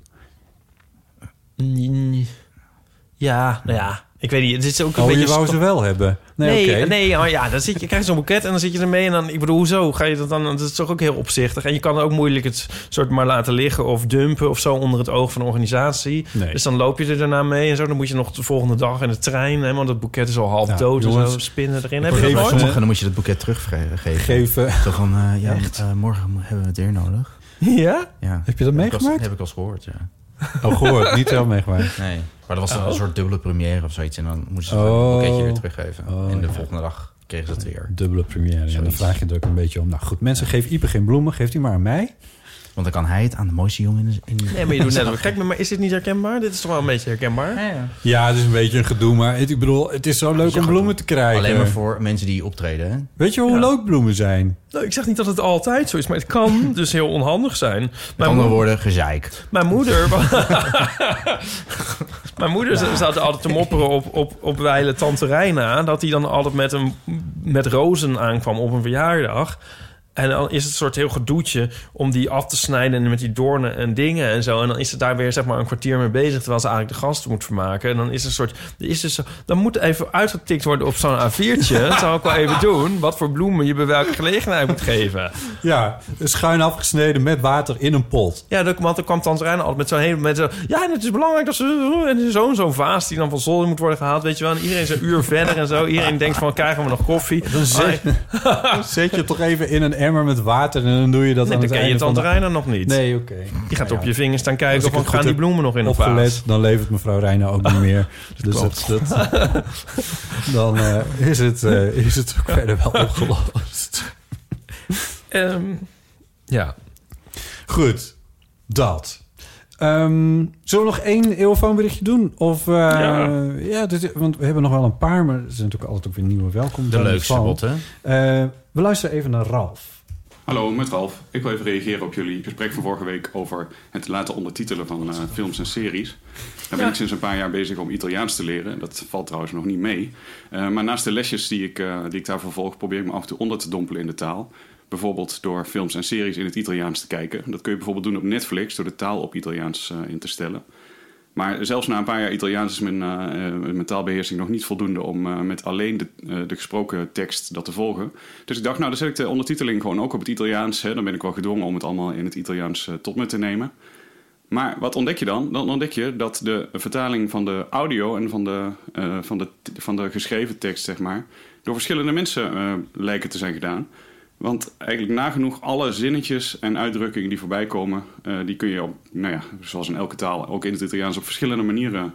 Speaker 2: Ja, nou ja. Ik weet niet, het is ook een
Speaker 4: oh,
Speaker 2: beetje...
Speaker 4: je wou ze
Speaker 2: sto-
Speaker 4: wel hebben. Nee,
Speaker 2: Nee,
Speaker 4: oké.
Speaker 2: nee, oh ja, dan zit je, krijg je zo'n boeket en dan zit je ermee. En dan, ik bedoel, hoezo ga je dat dan... Dat is toch ook heel opzichtig. En je kan ook moeilijk het soort maar laten liggen of dumpen of zo onder het oog van de organisatie.
Speaker 4: Nee.
Speaker 2: Dus dan loop je er daarna mee en zo. Dan moet je nog de volgende dag in de trein, hè, want dat boeket is al half
Speaker 3: Ja,
Speaker 2: dood. en
Speaker 3: jongens,
Speaker 2: zo spinnen erin. Heb je
Speaker 3: Geef
Speaker 2: dat nooit?
Speaker 3: sommigen, dan moet je dat boeket teruggeven.
Speaker 4: Geven.
Speaker 3: Zo van, eh, ja,
Speaker 2: Echt?
Speaker 3: eh, morgen mo- hebben we het weer nodig.
Speaker 2: Ja?
Speaker 3: Ja.
Speaker 4: Heb je dat
Speaker 3: Heb ik als-
Speaker 4: meegemaakt?
Speaker 3: heb ik als gehoord, ja.
Speaker 4: Oh, gehoord. Niet zelf meegemaakt.
Speaker 3: Nee. Maar dat was dan
Speaker 4: Oh.
Speaker 3: een soort dubbele première of zoiets. En dan moesten ze
Speaker 4: Oh.
Speaker 3: het boeketje weer teruggeven.
Speaker 4: Oh,
Speaker 3: en de
Speaker 4: ja.
Speaker 3: volgende dag kregen ze het weer.
Speaker 4: Dubbele première. Ja, dan vraag je het ook een beetje om. Nou goed, mensen, geef Ipe geen bloemen. Geef die maar aan mij.
Speaker 3: Want dan kan hij het aan de mooiste jongen in de... in de-
Speaker 2: Nee, maar je doet net wel gek. Maar is dit niet herkenbaar? Dit is toch wel een beetje herkenbaar?
Speaker 4: Ja, het is een beetje een gedoe, maar het, ik bedoel, het is zo leuk om bloemen te krijgen.
Speaker 3: Alleen maar voor mensen die optreden, hè?
Speaker 4: Weet je hoe leuk bloemen zijn?
Speaker 2: Nou, ik zeg niet dat het altijd zo is, maar het kan dus heel onhandig zijn.
Speaker 3: Met
Speaker 2: Mijn
Speaker 3: andere
Speaker 2: moeder-
Speaker 3: woorden, gezeik.
Speaker 2: Mijn moeder... mijn moeder ze- zat altijd te mopperen op, op, op wijle tante Reina... dat hij dan altijd met, een, met rozen aankwam op een verjaardag... En dan is het een soort heel gedoetje om die af te snijden en met die doornen en dingen en zo. En dan is ze daar weer zeg maar een kwartier mee bezig terwijl ze eigenlijk de gasten moet vermaken. En dan is er een soort. Er is dus, zo- dan moet even uitgetikt worden op zo'n A4'tje. Dat zou ik wel even doen. Wat voor bloemen je bij welke gelegenheid moet geven.
Speaker 4: Ja, schuin afgesneden met water in een pot.
Speaker 2: Ja, dat, want dan kwam Tante Reina altijd met zo'n hele... Met zo, ja, en het is belangrijk dat ze... En zo'n zo'n vaas die dan van zolder moet worden gehaald, weet je wel. En iedereen is een uur verder en zo. Iedereen denkt van, krijgen we nog koffie?
Speaker 4: Dan zet,
Speaker 2: Oh,
Speaker 4: dan zet je het toch even in een emmer met water en dan doe je dat
Speaker 2: nee,
Speaker 4: aan
Speaker 2: dan
Speaker 4: het
Speaker 2: ken je
Speaker 4: einde van
Speaker 2: Tante
Speaker 4: de...
Speaker 2: Reina nog niet.
Speaker 4: Nee, oké.
Speaker 2: Die gaat
Speaker 4: Ja,
Speaker 2: op
Speaker 4: ja.
Speaker 2: je vingers staan
Speaker 4: Als
Speaker 2: kijken
Speaker 4: ik
Speaker 2: of
Speaker 4: het goed
Speaker 2: gaan die
Speaker 4: heb
Speaker 2: bloemen nog in de vaas.
Speaker 4: opgelet, dan levert mevrouw Reina ook niet meer. dus dat, dat, dan eh, is, het, eh, is het ook verder wel opgelost.
Speaker 2: Ehm, ja.
Speaker 4: Goed, dat. Ehm, zullen we nog één eeuwfoonberichtje doen? Of, eh, ja,
Speaker 3: Ja.
Speaker 4: dit, want we hebben nog wel een paar, maar er zijn natuurlijk altijd ook weer nieuwe welkom.
Speaker 3: De leukste, Bot, hè?
Speaker 4: Eh, we luisteren even naar Ralf.
Speaker 10: Hallo, met Ralf. Ik wil even reageren op jullie gesprek van vorige week over het laten ondertitelen van eh, films en series. Daar ben ik sinds een paar jaar bezig om Italiaans te leren. Dat valt trouwens nog niet mee. Eh, maar naast de lesjes die ik, eh, die ik daarvoor volg, probeer ik me af en toe onder te dompelen in de taal. Bijvoorbeeld door films en series in het Italiaans te kijken. Dat kun je bijvoorbeeld doen op Netflix door de taal op Italiaans eh, in te stellen. Maar zelfs na een paar jaar Italiaans is mijn, eh, eh, mijn taalbeheersing nog niet voldoende om eh, met alleen de, eh, de gesproken tekst dat te volgen. Dus ik dacht, nou, dan zet ik de ondertiteling gewoon ook op het Italiaans. Hè. Dan ben ik wel gedwongen om het allemaal in het Italiaans eh, tot me te nemen. Maar wat ontdek je dan? Dan ontdek je dat de vertaling van de audio en van de, eh, van de, van de geschreven tekst, zeg maar, door verschillende mensen eh, lijken te zijn gedaan. Want eigenlijk nagenoeg alle zinnetjes en uitdrukkingen die voorbij komen, eh, die kun je op, nou ja, zoals in elke taal, ook in het Italiaans op verschillende manieren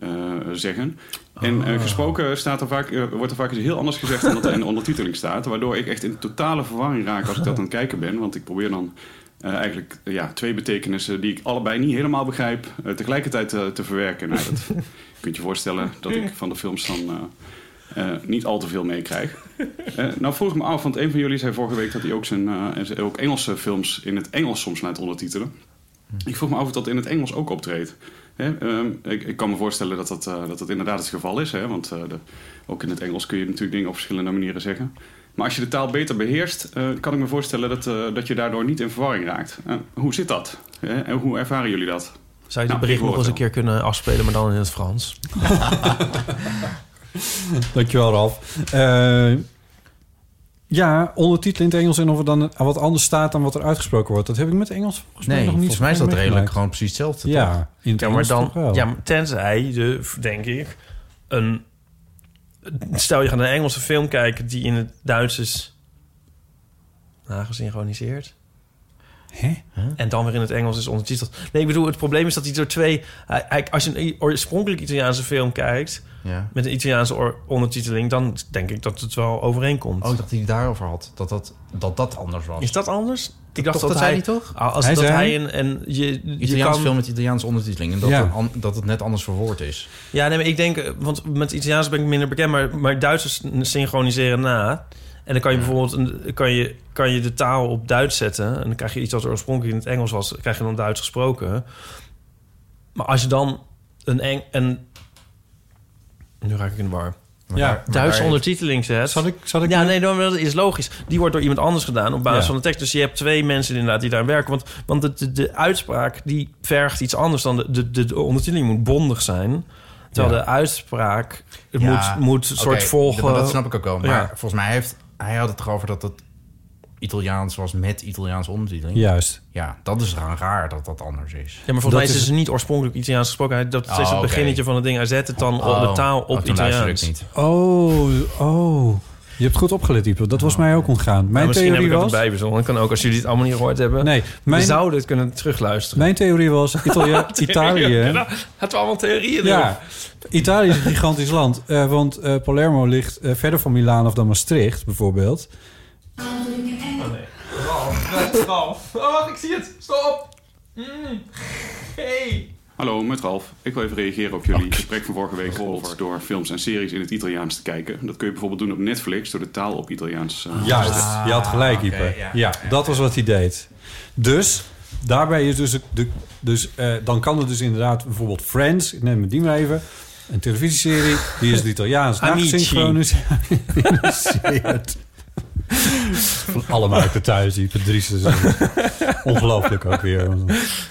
Speaker 10: eh, zeggen. En
Speaker 4: Ah.
Speaker 10: eh, gesproken staat er vaak, eh, wordt er vaak iets heel anders gezegd dan dat er in de ondertiteling staat. Waardoor ik echt in totale verwarring raak als ik dat aan het kijken ben. Want ik probeer dan eh, eigenlijk eh, ja, twee betekenissen die ik allebei niet helemaal begrijp, eh, tegelijkertijd eh, te verwerken. Nou, dat kunt je voorstellen dat ik van de films dan eh, eh, niet al te veel meekrijg. Eh, nou vroeg ik me af, want een van jullie zei vorige week dat hij ook, zijn, eh, ook Engelse films in het Engels soms laat ondertitelen. Ik vroeg me af of dat in het Engels ook optreedt. Hè, ehm, ik, ik kan me voorstellen dat dat, eh, dat dat inderdaad het geval is. Hè, want eh, de- ook in het Engels kun je natuurlijk dingen op verschillende manieren zeggen. Maar als je de taal beter beheerst, eh, kan ik me voorstellen dat, eh, dat je daardoor niet in verwarring raakt. Eh, hoe zit dat? Hè, en hoe ervaren jullie dat?
Speaker 2: Zou je dit
Speaker 10: Nou, ik
Speaker 2: bericht
Speaker 10: hoor
Speaker 2: nog eens een
Speaker 10: het
Speaker 2: keer kunnen afspelen, maar dan in het Frans?
Speaker 4: Dankjewel, Ralf. Eh, ja, ondertitelen in het Engels en of er dan wat anders staat dan wat er uitgesproken wordt. Dat heb ik met Engels volgens mij
Speaker 3: Nee,
Speaker 4: nog niet.
Speaker 3: volgens mij is dat
Speaker 4: meegemaakt.
Speaker 3: redelijk gewoon precies hetzelfde,
Speaker 4: Ja,
Speaker 3: toch?
Speaker 4: in het
Speaker 2: Ja, maar
Speaker 4: Engels
Speaker 2: dan,
Speaker 4: toch wel.
Speaker 2: ja, maar tenzij je, denk ik, een. Stel je gaat een Engelse film kijken die in het Duits is nagesynchroniseerd. En dan weer in het Engels is ondertiteld. Nee, ik bedoel, het probleem is dat hij door twee... hij- hij- Als je een i- oorspronkelijk Italiaanse film kijkt...
Speaker 3: Ja. Oh,
Speaker 2: met een Italiaanse or- ondertiteling... dan denk ik dat het wel overeenkomt.
Speaker 3: Oh, ik dacht dat hij het daarover had. Dat dat, dat, dat anders was.
Speaker 2: Is dat anders?
Speaker 3: Ik dacht dat, zei hij toch?
Speaker 2: Als dat hij een... en je, je
Speaker 3: Italiaans
Speaker 2: kan,
Speaker 3: film met Italiaanse ondertiteling. En dat,
Speaker 2: Ja.
Speaker 3: het an- dat het net anders verwoord is.
Speaker 2: Ja, nee, maar ik denk, eh, want met Italiaans ben ik minder bekend, maar, maar Duitsers synchroniseren na. En dan kan je bijvoorbeeld een, kan je, kan je de taal op Duits zetten. En dan krijg je iets wat oorspronkelijk in het Engels was, krijg je dan Duits gesproken. Maar als je dan een. Eng, een nu raak ik in de war.
Speaker 3: Maar daar-
Speaker 2: Ja,
Speaker 3: maar daar
Speaker 2: Duits
Speaker 3: heeft-
Speaker 2: ondertiteling zet. Zal ik, zal ik ja, nee, dan, dat is logisch. Die wordt door iemand anders gedaan op basis
Speaker 3: Ja.
Speaker 2: van de tekst. Dus je hebt twee mensen inderdaad die daar werken. Want, want de, de, de uitspraak die vergt iets anders dan de, de, de, de ondertiteling moet bondig zijn. Terwijl
Speaker 3: Ja.
Speaker 2: de uitspraak het
Speaker 3: Ja,
Speaker 2: moet, moet een
Speaker 3: oké,
Speaker 2: soort volgen.
Speaker 3: maar Dat snap ik ook wel. Maar
Speaker 2: Ja.
Speaker 3: volgens mij heeft hij had het erover dat het Italiaans was met Italiaans ondertiteling.
Speaker 4: Juist.
Speaker 3: Ja, dat is dan raar dat dat anders is.
Speaker 2: Ja, maar volgens mij is het dus niet oorspronkelijk Italiaans gesproken. Hij- Dat is
Speaker 3: Oh,
Speaker 2: het
Speaker 3: oké.
Speaker 2: beginnetje van het ding. Hij zet het dan op de
Speaker 3: Oh,
Speaker 2: taal
Speaker 3: oh,
Speaker 2: op
Speaker 3: toen luisterde
Speaker 2: Italiaans.
Speaker 3: ik niet.
Speaker 4: Oh, oh. Je hebt goed opgelet, Ipe. Dat was mij ook ontgaan.
Speaker 2: Maar
Speaker 4: Mijn
Speaker 2: Oh, misschien heb
Speaker 4: theorie
Speaker 2: ik
Speaker 4: was...
Speaker 2: het erbij verzonnen. Dat kan ook als jullie het allemaal niet gehoord hebben. Nee,
Speaker 4: mijn-
Speaker 2: We zouden het kunnen terugluisteren.
Speaker 4: Mijn theorie was Italië. Italië
Speaker 2: Nou, Laten we allemaal theorieën doen.
Speaker 4: ja, Italië is een gigantisch land. eh, want eh, Palermo ligt eh, verder van Milaan of dan Maastricht, bijvoorbeeld.
Speaker 2: Oh nee. Ralf, Ralf. Oh, wacht, ik zie het. Stop. Mm. Eh, Hey.
Speaker 10: Hallo, met Ralf. Ik wil even reageren op jullie gesprek van vorige week over door films en series in het Italiaans te kijken. Dat kun je bijvoorbeeld doen op Netflix door de taal op Italiaans. eh,
Speaker 4: Juist,
Speaker 10: te zetten.
Speaker 4: je had gelijk, Ieper. Ah, ja, dat was wat hij deed. Dus daarbij is dus... De, dus eh, dan kan het dus inderdaad bijvoorbeeld Friends... ik Neem die maar even. Een televisieserie, die is het Italiaans.
Speaker 2: Amici.
Speaker 4: nagesynchroniseerd. Van alle markten thuis, die Patrice. Ongelooflijk ook weer.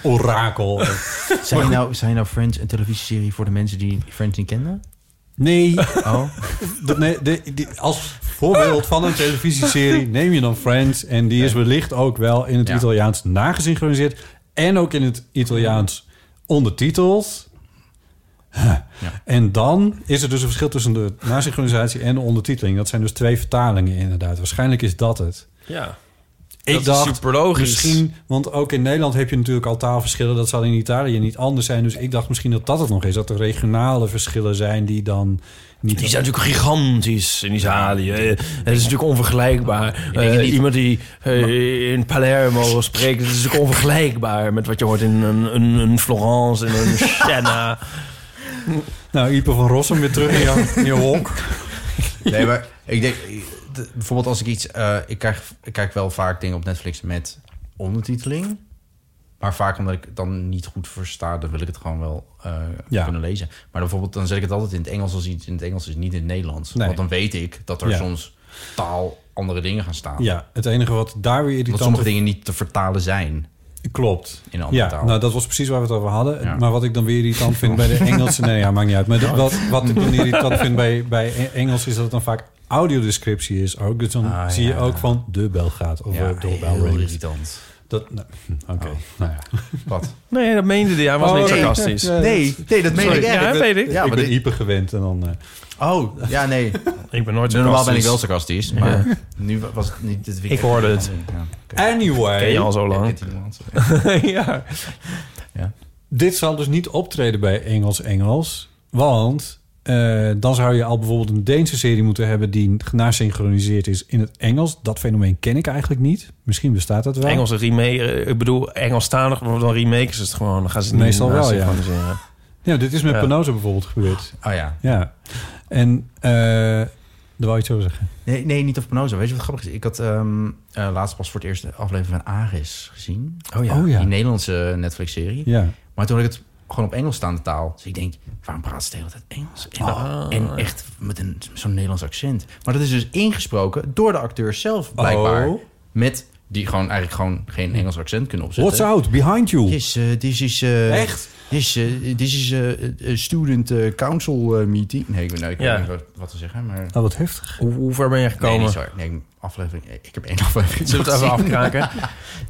Speaker 4: Orakel.
Speaker 3: Zijn nou, zijn nou Friends een televisieserie voor de mensen die Friends niet kenden?
Speaker 4: Nee.
Speaker 3: Oh.
Speaker 4: Dat- nee, de- die- als voorbeeld van een televisieserie neem je dan Friends. En die is wellicht ook wel in het Italiaans nagesynchroniseerd. En ook in het Italiaans ondertiteld. Huh. En dan is er dus een verschil tussen de nasynchronisatie en de ondertiteling. Dat zijn dus twee vertalingen inderdaad. Waarschijnlijk is dat het.
Speaker 2: Ja.
Speaker 4: Ik
Speaker 2: Dat is
Speaker 4: dacht
Speaker 2: superlogisch.
Speaker 4: misschien, want ook in Nederland heb je natuurlijk al taalverschillen. Dat zal in Italië niet anders zijn. Dus ik dacht misschien dat dat het nog is. Dat er regionale verschillen zijn die dan niet.
Speaker 2: Die zijn natuurlijk gigantisch in Italië. Eh, Het is natuurlijk onvergelijkbaar.
Speaker 4: denk
Speaker 2: Eh,
Speaker 4: niet.
Speaker 2: iemand die eh, in Palermo spreekt, dat is natuurlijk onvergelijkbaar met wat je hoort in een, een, een Florence, in een Siena.
Speaker 4: Nou, Ipe van Rossum weer terug in jouw, in jouw honk.
Speaker 3: Nee, maar ik denk... d- Bijvoorbeeld als ik iets... eh, ik, krijg, ik kijk wel vaak dingen op Netflix met ondertiteling. Maar vaak omdat ik het dan niet goed versta... dan wil ik het gewoon wel eh,
Speaker 4: Ja.
Speaker 3: kunnen lezen. Maar dan bijvoorbeeld dan zet ik het altijd in het Engels... als iets in het Engels is, niet in het Nederlands.
Speaker 4: Nee.
Speaker 3: Want dan weet ik dat er
Speaker 4: Ja.
Speaker 3: soms taal andere dingen gaan staan.
Speaker 4: Ja, het enige wat daar weer irritant...
Speaker 3: Want sommige dingen niet te vertalen zijn.
Speaker 4: Klopt.
Speaker 3: In een andere
Speaker 4: Ja,
Speaker 3: taal.
Speaker 4: nou dat was precies waar we het over hadden. Maar wat ik dan weer irritant vind bij de Engelsen... Nee, ja, maakt niet uit. Maar de- wat, wat ik dan irritant vind bij, bij E- Engels... is dat het dan vaak audiodescriptie is ook. Dus dan
Speaker 3: Ah,
Speaker 4: zie je
Speaker 3: ja.
Speaker 4: ook van de bel gaat of
Speaker 3: Ja,
Speaker 4: eh, door bel
Speaker 3: heel
Speaker 4: ringt.
Speaker 3: irritant. Oh.
Speaker 4: Dat, nou, hm, Oké, nou ja. Wat?
Speaker 2: Nee, dat meende hij. Hij was niet sarcastisch. Sorry. Ja, dat weet Oh, ik.
Speaker 4: ik ben hyper gewend en dan... eh,
Speaker 3: Oh, ja, nee.
Speaker 2: ik ben nooit sarcastisch.
Speaker 3: Normaal ben ik wel sarcastisch, maar
Speaker 2: Ja.
Speaker 3: nu was het niet het
Speaker 2: Ik hoorde het.
Speaker 4: Anyway.
Speaker 2: Ken je al zo lang.
Speaker 4: ja. Dit zal dus niet optreden bij Engels-Engels. Want eh, dan zou je al bijvoorbeeld een Deense serie moeten hebben... die genasynchroniseerd is in het Engels. Dat fenomeen ken ik eigenlijk niet. Misschien bestaat dat wel.
Speaker 2: Engelse remake, eh, ik bedoel, Engelstalig, maar dan remake is het gewoon. Dan gaan ze het
Speaker 4: Meestal
Speaker 2: niet
Speaker 4: wel,
Speaker 2: naast
Speaker 4: ja.
Speaker 2: synchroniseren.
Speaker 4: Ja, dit is met
Speaker 2: Ja.
Speaker 4: Penosa bijvoorbeeld gebeurd.
Speaker 3: Oh ja.
Speaker 4: Ja. En eh daar wou je iets over zeggen.
Speaker 3: Nee, nee, niet op Penosa. Weet je wat grappig is? Ik had ehm, eh, laatst pas voor het eerst de aflevering van Aris gezien.
Speaker 4: Oh ja. Oh ja.
Speaker 3: Die Nederlandse Netflix-serie.
Speaker 4: Ja.
Speaker 3: Maar toen had ik het gewoon op Engels staande taal. Dus ik denk, waarom praat ze de hele tijd Engels? En,
Speaker 4: Ah.
Speaker 3: en echt met een, zo'n Nederlands accent. Maar dat is dus ingesproken door de acteurs zelf, blijkbaar.
Speaker 4: Oh.
Speaker 3: Met die gewoon eigenlijk gewoon geen Engels accent kunnen opzetten.
Speaker 4: What's out? Behind you.
Speaker 3: Yes, eh, this is... eh,
Speaker 4: Echt?
Speaker 3: This, eh, this is eh, a student eh, council eh, meeting. Nee, ik weet nou, ik weet
Speaker 2: Ja.
Speaker 3: niet wat, wat te zeggen, maar...
Speaker 4: Oh, wat heftig.
Speaker 2: Hoe, hoe ver ben je gekomen?
Speaker 3: Nee, niet zo. Nee, aflevering. Ik heb één aflevering.
Speaker 2: Zullen we het even
Speaker 3: gezien.
Speaker 2: afkraken?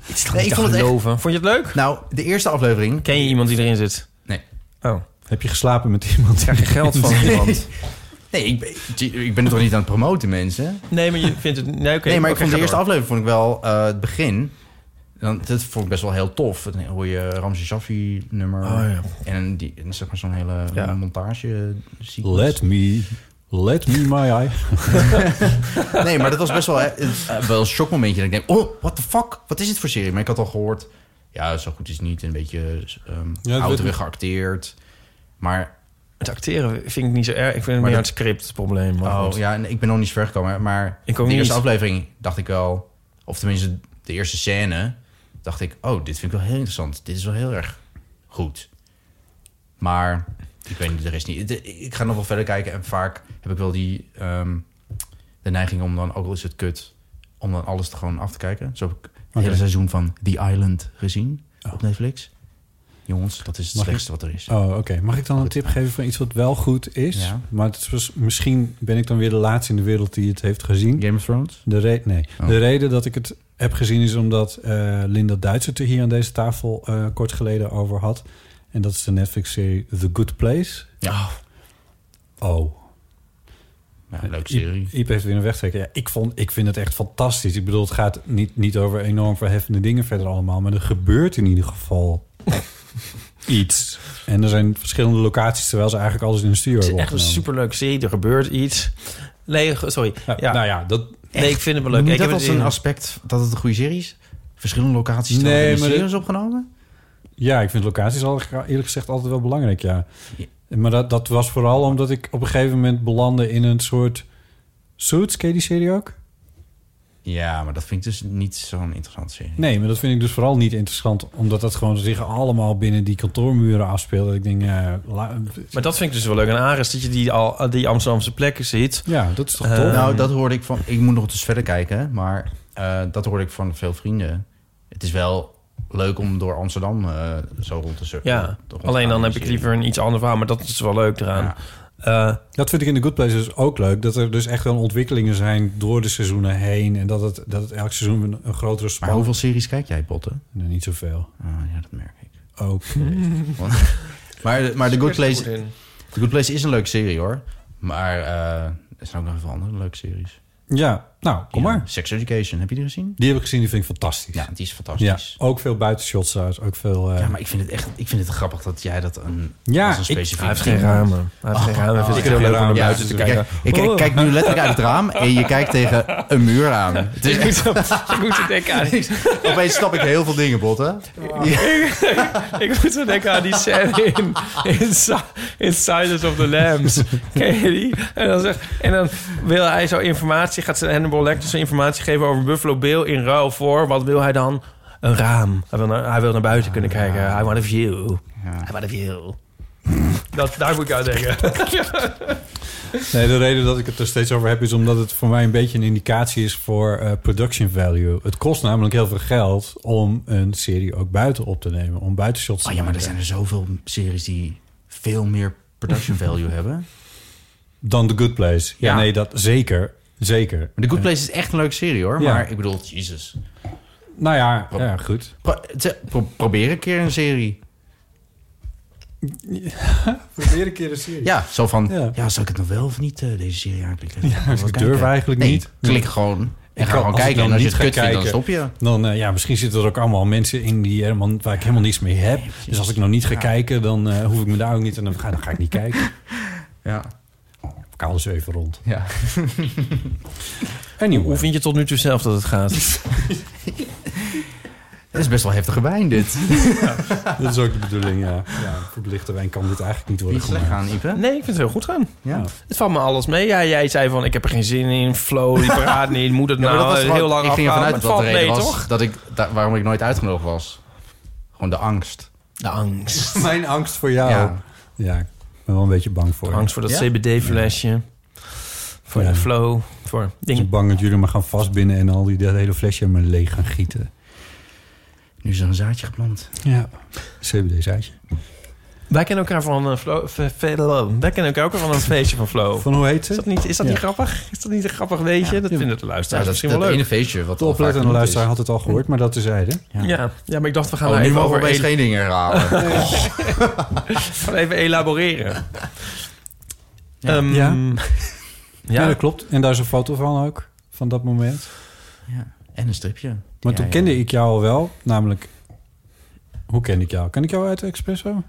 Speaker 3: Het is toch
Speaker 2: Nee,
Speaker 3: niet
Speaker 2: ik
Speaker 3: te
Speaker 2: vond het echt-
Speaker 3: geloven.
Speaker 2: Vond je het leuk?
Speaker 3: Nou, de eerste aflevering.
Speaker 2: Ken je iemand die erin zit?
Speaker 3: Nee.
Speaker 2: Oh.
Speaker 4: Heb je geslapen met iemand?
Speaker 2: Krijg je geld van iemand?
Speaker 3: Nee, ik, ben- ik ben het toch niet aan het promoten, mensen?
Speaker 2: Nee, maar je vindt het... Nee, oké,
Speaker 3: nee, maar ik
Speaker 2: oké,
Speaker 3: vond de
Speaker 2: ga
Speaker 3: eerste
Speaker 2: door.
Speaker 3: aflevering vond ik wel eh, het begin. Dan, dat vond ik best wel heel tof. Dan hoor je Ramse Shaffi nummer.
Speaker 4: Oh, ja.
Speaker 3: En die, en zeg maar zo'n hele montage. sequence.
Speaker 4: Let me... Let me my eye.
Speaker 3: nee, maar dat was best wel, eh, eh, wel een shockmomentje. Dat ik denk, oh, what the fuck? Wat is dit voor serie? Maar ik had al gehoord, ja, zo goed is het niet. Een beetje ehm
Speaker 2: Ja, het
Speaker 3: ouderig
Speaker 2: werd-
Speaker 3: geacteerd. Maar...
Speaker 2: Het acteren vind ik niet zo erg. Ik vind het
Speaker 3: Maar
Speaker 2: meer
Speaker 3: dat-
Speaker 2: het script het probleem. maar
Speaker 3: oh,
Speaker 2: goed.
Speaker 3: ja, en ik ben nog niet zo ver gekomen. Maar
Speaker 2: Ik ook
Speaker 3: de eerste
Speaker 2: niet.
Speaker 3: aflevering dacht ik wel... Of tenminste, de eerste scène dacht ik... Oh, dit vind ik wel heel interessant. Dit is wel heel erg goed. Maar ik weet niet, de rest niet. De- Ik ga nog wel verder kijken. En vaak heb ik wel die... ehm, de neiging om dan, ook al is het kut... om dan alles er gewoon af te kijken. Zo heb ik het
Speaker 4: Oké.
Speaker 3: hele seizoen van The Island gezien op Netflix. Jongens, dat is het
Speaker 4: Mag ik-
Speaker 3: slechtste wat er is.
Speaker 4: Oh, oké. Mag ik dan een tip geven van iets wat wel goed is?
Speaker 3: Ja.
Speaker 4: Maar het is, was- misschien ben ik dan weer de laatste in de wereld die het heeft gezien.
Speaker 3: Game of Thrones?
Speaker 4: De re- nee. De reden dat ik het heb gezien is omdat eh, Linda Duits het er hier aan deze tafel eh, kort geleden over had. En dat is de Netflix-serie The Good Place.
Speaker 3: Ja.
Speaker 4: Oh.
Speaker 3: Ja, leuke serie.
Speaker 4: Iep, Iep heeft weer een wegtrekker. Ja, ik, vond, ik vind het echt fantastisch. Ik bedoel, het gaat niet, niet over enorm verheffende dingen verder allemaal. Maar er gebeurt in ieder geval iets. En er zijn verschillende locaties, terwijl ze eigenlijk alles in een studio
Speaker 2: Het
Speaker 4: hebben
Speaker 2: is echt een
Speaker 4: opgenomen.
Speaker 2: superleuke serie. Er gebeurt iets. Nee, ge- sorry. Ja.
Speaker 4: nou ja, dat...
Speaker 2: Nee, ik vind het wel leuk.
Speaker 3: Noem je
Speaker 2: Ik
Speaker 3: dat
Speaker 2: heb
Speaker 3: als
Speaker 2: het in-
Speaker 3: een aspect dat het een goede serie is? Verschillende locaties nee,
Speaker 4: Nee,
Speaker 3: in de
Speaker 4: maar
Speaker 3: series
Speaker 4: dit-
Speaker 3: opgenomen?
Speaker 4: Ja, ik vind locaties al, eerlijk gezegd altijd wel belangrijk, ja. Maar dat, dat was vooral omdat ik op een gegeven moment belandde in een soort... Suits, ken je die serie ook?
Speaker 3: Ja, maar dat vind ik dus niet zo'n interessante serie.
Speaker 4: Nee, maar dat vind ik dus vooral niet interessant. Omdat dat gewoon zich allemaal binnen die kantoormuren afspeelt. Ik denk, eh, la-
Speaker 2: Maar dat vind ik dus wel leuk aan Ares. Dat je die, al, die Amsterdamse plekken ziet.
Speaker 4: Ja, dat is toch
Speaker 2: Eh,
Speaker 3: nou, dat hoorde ik van... Ik moet nog eens verder kijken, maar eh, dat hoorde ik van veel vrienden. Het is wel leuk om door Amsterdam eh, zo rond te surfen.
Speaker 2: Ja, alleen dan heb ik liever een iets ander verhaal. Maar dat is wel leuk eraan. Eh,
Speaker 4: dat vind ik in The Good Place dus ook leuk. Dat er dus echt wel ontwikkelingen zijn door de seizoenen heen. En dat het, dat het elk seizoen een, een grotere span...
Speaker 3: Maar hoeveel series kijk jij, Botten?
Speaker 4: Nee, niet zoveel.
Speaker 3: Ah, ja, dat merk ik.
Speaker 4: Oké.
Speaker 3: Want- maar, maar The,
Speaker 4: Scherp
Speaker 3: Good Place,
Speaker 4: goed in.
Speaker 3: The Good Place is een leuke serie, hoor. Maar eh, er zijn ook nog veel andere leuke series.
Speaker 4: Ja, nou, kom maar.
Speaker 3: Sex Education, heb je die gezien?
Speaker 4: Die heb ik gezien, die vind ik fantastisch.
Speaker 3: Ja, die is fantastisch.
Speaker 4: Ja, ook veel buitenshots uit, ook veel... eh,
Speaker 3: Ja, maar ik vind het echt ik vind het grappig dat jij dat een,
Speaker 4: Ja,
Speaker 3: als een
Speaker 4: ik-
Speaker 3: specifiek...
Speaker 4: hij heeft geen ramen. Hij heeft geen ramen.
Speaker 2: Oh,
Speaker 4: Hij vindt het heel leuk
Speaker 3: geen
Speaker 4: om naar
Speaker 3: ramen.
Speaker 4: buiten te
Speaker 3: dus ik
Speaker 4: kijken. Oh.
Speaker 3: kijk- Ik kijk, kijk nu letterlijk uit het raam en je kijkt tegen een muur aan. Het is echt,
Speaker 2: Ik moet er denken aan die,
Speaker 3: opeens snap ik heel veel dingen, Botten.
Speaker 4: Oh,
Speaker 2: ik moet er denken aan die scène in, in, Si- in Silence of the Lambs. Ken je die? En dan, zegt, en dan wil hij zo informatie, gaat zijn Hannibal Lecter zo informatie geven over Buffalo Bill in ruil voor. Wat wil hij dan? Een raam. Hij wil naar, hij wil naar buiten kunnen kijken. I want a view. I want a view. Dat, daar moet ik aan denken.
Speaker 4: Nee, de reden dat ik het er steeds over heb is omdat het voor mij een beetje een indicatie is voor eh, production value. Het kost namelijk heel veel geld om een serie ook buiten op te nemen, om buitenshots te
Speaker 3: Oh ja, maar er
Speaker 4: maken.
Speaker 3: zijn er zoveel series die veel meer production value hebben.
Speaker 4: Dan The Good Place. Ja,
Speaker 3: Ja.
Speaker 4: nee, dat zeker. Zeker. Maar
Speaker 3: The Good Place is echt een leuke serie hoor,
Speaker 4: Ja.
Speaker 3: maar ik bedoel, jezus.
Speaker 4: Nou ja, ja goed.
Speaker 3: Pro- te- pro- probeer een keer een serie.
Speaker 4: Probeer een keer een serie.
Speaker 3: Ja, zo van,
Speaker 4: Ja.
Speaker 3: ja, zal ik het nog wel of niet eh, deze serie
Speaker 4: Ja,
Speaker 3: aanklikken? Ik wil wel
Speaker 4: ik
Speaker 3: kijken.
Speaker 4: durf eigenlijk
Speaker 3: Nee,
Speaker 4: niet.
Speaker 3: klik gewoon en
Speaker 4: Ik
Speaker 3: ga gewoon
Speaker 4: als ik
Speaker 3: kijken.
Speaker 4: dan
Speaker 3: En als je
Speaker 4: niet
Speaker 3: het
Speaker 4: ga
Speaker 3: kut vindt, dan
Speaker 4: kijken,
Speaker 3: stop je.
Speaker 4: Dan, eh, ja, misschien zitten er ook allemaal mensen in die helemaal, waar ik helemaal niets mee heb. dus als ik nou niet ga kijken, dan eh, hoef ik me daar ook niet... en dan ga, dan ga ik niet kijken.
Speaker 3: Ja.
Speaker 4: Ik haal dus even rond.
Speaker 3: Ja.
Speaker 4: Anyway.
Speaker 2: Hoe vind je tot nu toe zelf dat het gaat?
Speaker 3: Het is best wel heftige wijn dit.
Speaker 4: Dat is ook de bedoeling, ja. ja voor de lichte wijn kan dit eigenlijk niet worden
Speaker 3: Niet slecht
Speaker 4: gemaakt.
Speaker 3: gaan, Ipe.
Speaker 2: Nee, ik vind het heel goed gaan.
Speaker 3: Ja.
Speaker 2: Het valt me alles mee. Ja, jij zei van, ik heb er geen zin in. Flow, die paraat niet. Moet het
Speaker 3: Ja, maar
Speaker 2: nou
Speaker 3: dat
Speaker 2: eh,
Speaker 3: was gewoon-
Speaker 2: heel lang
Speaker 3: Ik ging ervan
Speaker 2: afhouden.
Speaker 3: uit
Speaker 2: Het valt
Speaker 3: dat dat de reden
Speaker 2: mee,
Speaker 3: was
Speaker 2: toch?
Speaker 3: dat ik, da- waarom ik nooit uitgenodigd was. Gewoon de angst.
Speaker 2: De angst.
Speaker 4: Mijn angst voor jou. Ja.
Speaker 3: Ja.
Speaker 4: ik ben wel een beetje bang voor.
Speaker 2: Angst voor dat
Speaker 4: Ja?
Speaker 2: CBD-flesje. Voor
Speaker 4: Ja.
Speaker 2: de flow. Voor
Speaker 4: Ik
Speaker 2: dingen.
Speaker 4: ben bang dat jullie me gaan vastbinden en al die dat hele flesje me leeg gaan gieten.
Speaker 3: Nu is er een zaadje geplant.
Speaker 4: Ja. CBD-zaadje.
Speaker 2: Wij kennen elkaar van eh, een flow, fe- fe- lo- Wij kennen elkaar ook van een feestje van flow.
Speaker 4: Van hoe heet ze?
Speaker 2: Is dat niet, is dat
Speaker 4: Ja.
Speaker 2: niet grappig? Is dat niet een grappig weetje? dat vinden de luisteraars
Speaker 3: Ja, dat-
Speaker 2: misschien wel
Speaker 3: dat
Speaker 2: leuk.
Speaker 3: ene feestje wat
Speaker 4: De
Speaker 3: al vaak
Speaker 4: oplettende
Speaker 3: genoemd
Speaker 4: luisteraar
Speaker 3: is.
Speaker 4: had het al gehoord, maar dat is zijde.
Speaker 2: Ja. Ja. maar Nou, ik dacht, we gaan
Speaker 3: Oh,
Speaker 2: er
Speaker 3: nu
Speaker 2: even
Speaker 3: mogen we
Speaker 2: over
Speaker 3: opeens
Speaker 2: el-
Speaker 3: geen dingen herhalen.
Speaker 2: we gaan even elaboreren.
Speaker 4: Ja.
Speaker 2: Ehm,
Speaker 4: Ja. Ja.
Speaker 2: Ja.
Speaker 4: dat klopt. En daar is een foto van ook, van dat moment.
Speaker 3: Ja. En een stripje.
Speaker 4: Maar
Speaker 3: Ja,
Speaker 4: toen
Speaker 3: ja.
Speaker 4: kende ik jou al wel, namelijk... Hoe ken ik jou? Ken ik jou uit de Expresso?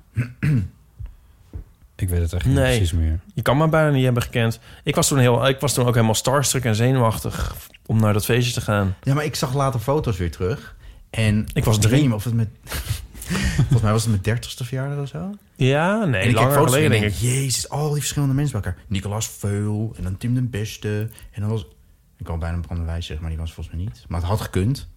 Speaker 4: ik weet het echt niet
Speaker 2: Nee.
Speaker 4: precies meer.
Speaker 2: Je kan me bijna niet hebben gekend. Ik was toen, heel, ik was toen ook helemaal starstruck en zenuwachtig om naar dat feestje te gaan.
Speaker 3: Ja, maar ik zag later foto's weer terug. En
Speaker 2: Ik was
Speaker 3: weet
Speaker 2: drie.
Speaker 3: niet of het met... Volgens mij was het mijn dertigste verjaardag of zo.
Speaker 2: Ja, nee,
Speaker 3: en ik heb
Speaker 2: langer
Speaker 3: foto's
Speaker 2: geleden
Speaker 3: geleden,
Speaker 2: denk
Speaker 3: denk,
Speaker 2: ik.
Speaker 3: jezus, al die verschillende mensen bij elkaar. Nicolaas Veul en dan Tim den Beste. En dan was... Ik wou bijna Bram de Wijs zeggen, maar die was volgens mij niet. Maar het had gekund.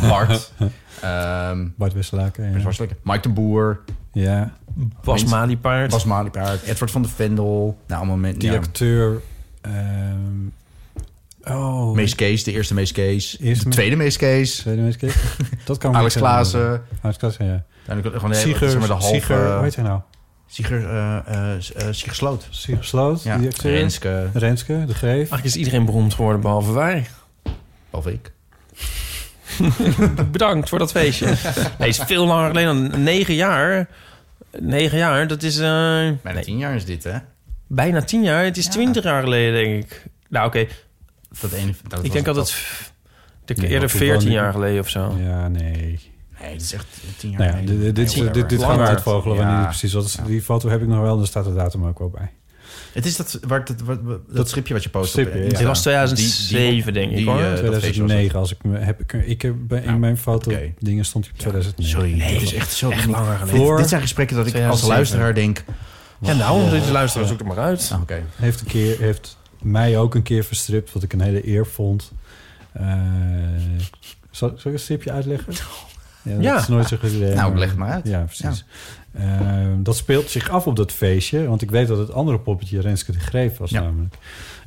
Speaker 3: Bart. Ehm
Speaker 4: Bart Westelaken.
Speaker 3: Prins
Speaker 4: Ja.
Speaker 3: Wasselik, Mike de Boer.
Speaker 4: ja.
Speaker 2: Bas
Speaker 3: Mensen-
Speaker 2: Maliepaard.
Speaker 3: Bas Maliepaard. Edward van de Vendel. Nou, allemaal mensen.
Speaker 4: Die
Speaker 3: Ja.
Speaker 4: acteur... ehm, oh,
Speaker 3: Mees Kees, de eerste Mees Kees.
Speaker 4: Eerste
Speaker 3: de
Speaker 4: Mees-
Speaker 3: tweede Mees Kees.
Speaker 4: tweede meest keer. Dat kan me
Speaker 3: Alex
Speaker 4: niet herinneren.
Speaker 3: Klaassen.
Speaker 4: Alex Klaassen, ja.
Speaker 3: Uiteindelijk gewoon de hele-
Speaker 4: Sieger,
Speaker 3: zeg maar de halve...
Speaker 4: Sieger, hoe heet hij nou?
Speaker 3: Sieger, eh, eh, S- eh, Sieger Sloot.
Speaker 4: Sieger Sloot,
Speaker 3: Ja,
Speaker 4: die acteur.
Speaker 3: Renske,
Speaker 4: Renske, de Greef.
Speaker 2: Eigenlijk is iedereen beroemd geworden, behalve wij.
Speaker 3: behalve ik.
Speaker 2: Bedankt voor dat feestje. Nee, het is veel langer geleden dan negen jaar. Negen jaar, dat is... eh,
Speaker 3: Bijna tien jaar is dit, hè?
Speaker 2: Bijna tien jaar. Het is twintig jaar geleden, denk ik. Nou, oké.
Speaker 3: Dat ene, dat
Speaker 2: Ik
Speaker 3: was
Speaker 2: denk
Speaker 3: het
Speaker 2: altijd...
Speaker 3: al.
Speaker 2: de
Speaker 4: Nee,
Speaker 2: eerder
Speaker 4: want toen woonde
Speaker 2: veertien
Speaker 4: ik-
Speaker 2: jaar geleden of
Speaker 3: Oh.
Speaker 2: zo.
Speaker 4: Ja, nee.
Speaker 3: Nee, het is echt tien jaar
Speaker 4: Nou ja,
Speaker 3: geleden.
Speaker 4: dit, dit,
Speaker 3: Nee,
Speaker 4: dit, dit, dit
Speaker 3: whatever.
Speaker 4: gaat
Speaker 2: Langer.
Speaker 4: uitvogelen wanneer
Speaker 3: Ja.
Speaker 4: het precies wat is. Die foto heb ik nog wel, daar staat de datum ook wel bij.
Speaker 3: Het is dat, waar, dat, wat- wat- dat,
Speaker 4: Dat
Speaker 3: stripje wat je post
Speaker 4: stripje, ja.
Speaker 3: op
Speaker 4: Dit
Speaker 2: was 2007 denk ik, hoor.
Speaker 3: eh, dat feestje was
Speaker 4: 2009, als ik me heb ik, ik heb bij- in
Speaker 3: Nou,
Speaker 4: mijn foto
Speaker 3: oké.
Speaker 4: dingen stond die op
Speaker 3: dat.
Speaker 4: 2009.
Speaker 3: Sorry, dit is echt zo
Speaker 2: Echt langer
Speaker 3: Dit-
Speaker 2: geleden.
Speaker 4: Floor,
Speaker 3: Dit zijn gesprekken dat ik als
Speaker 2: 2007.
Speaker 3: luisteraar denk...
Speaker 2: Ja, nou, dit luisteren, zoek het maar uit.
Speaker 3: Nou, oké.
Speaker 4: heeft, een keer, heeft mij ook een keer verstript, wat ik een hele eer vond. Eh, zal, zal ik een stripje uitleggen? Ja, dat
Speaker 2: Ja.
Speaker 4: is nooit zo gedaan.
Speaker 3: Nou, leg het maar uit.
Speaker 4: eh, Ja, precies. Ehm, dat speelt zich af op dat feestje. Want ik weet dat het andere poppetje Renske de Greef was
Speaker 3: Ja.
Speaker 4: namelijk.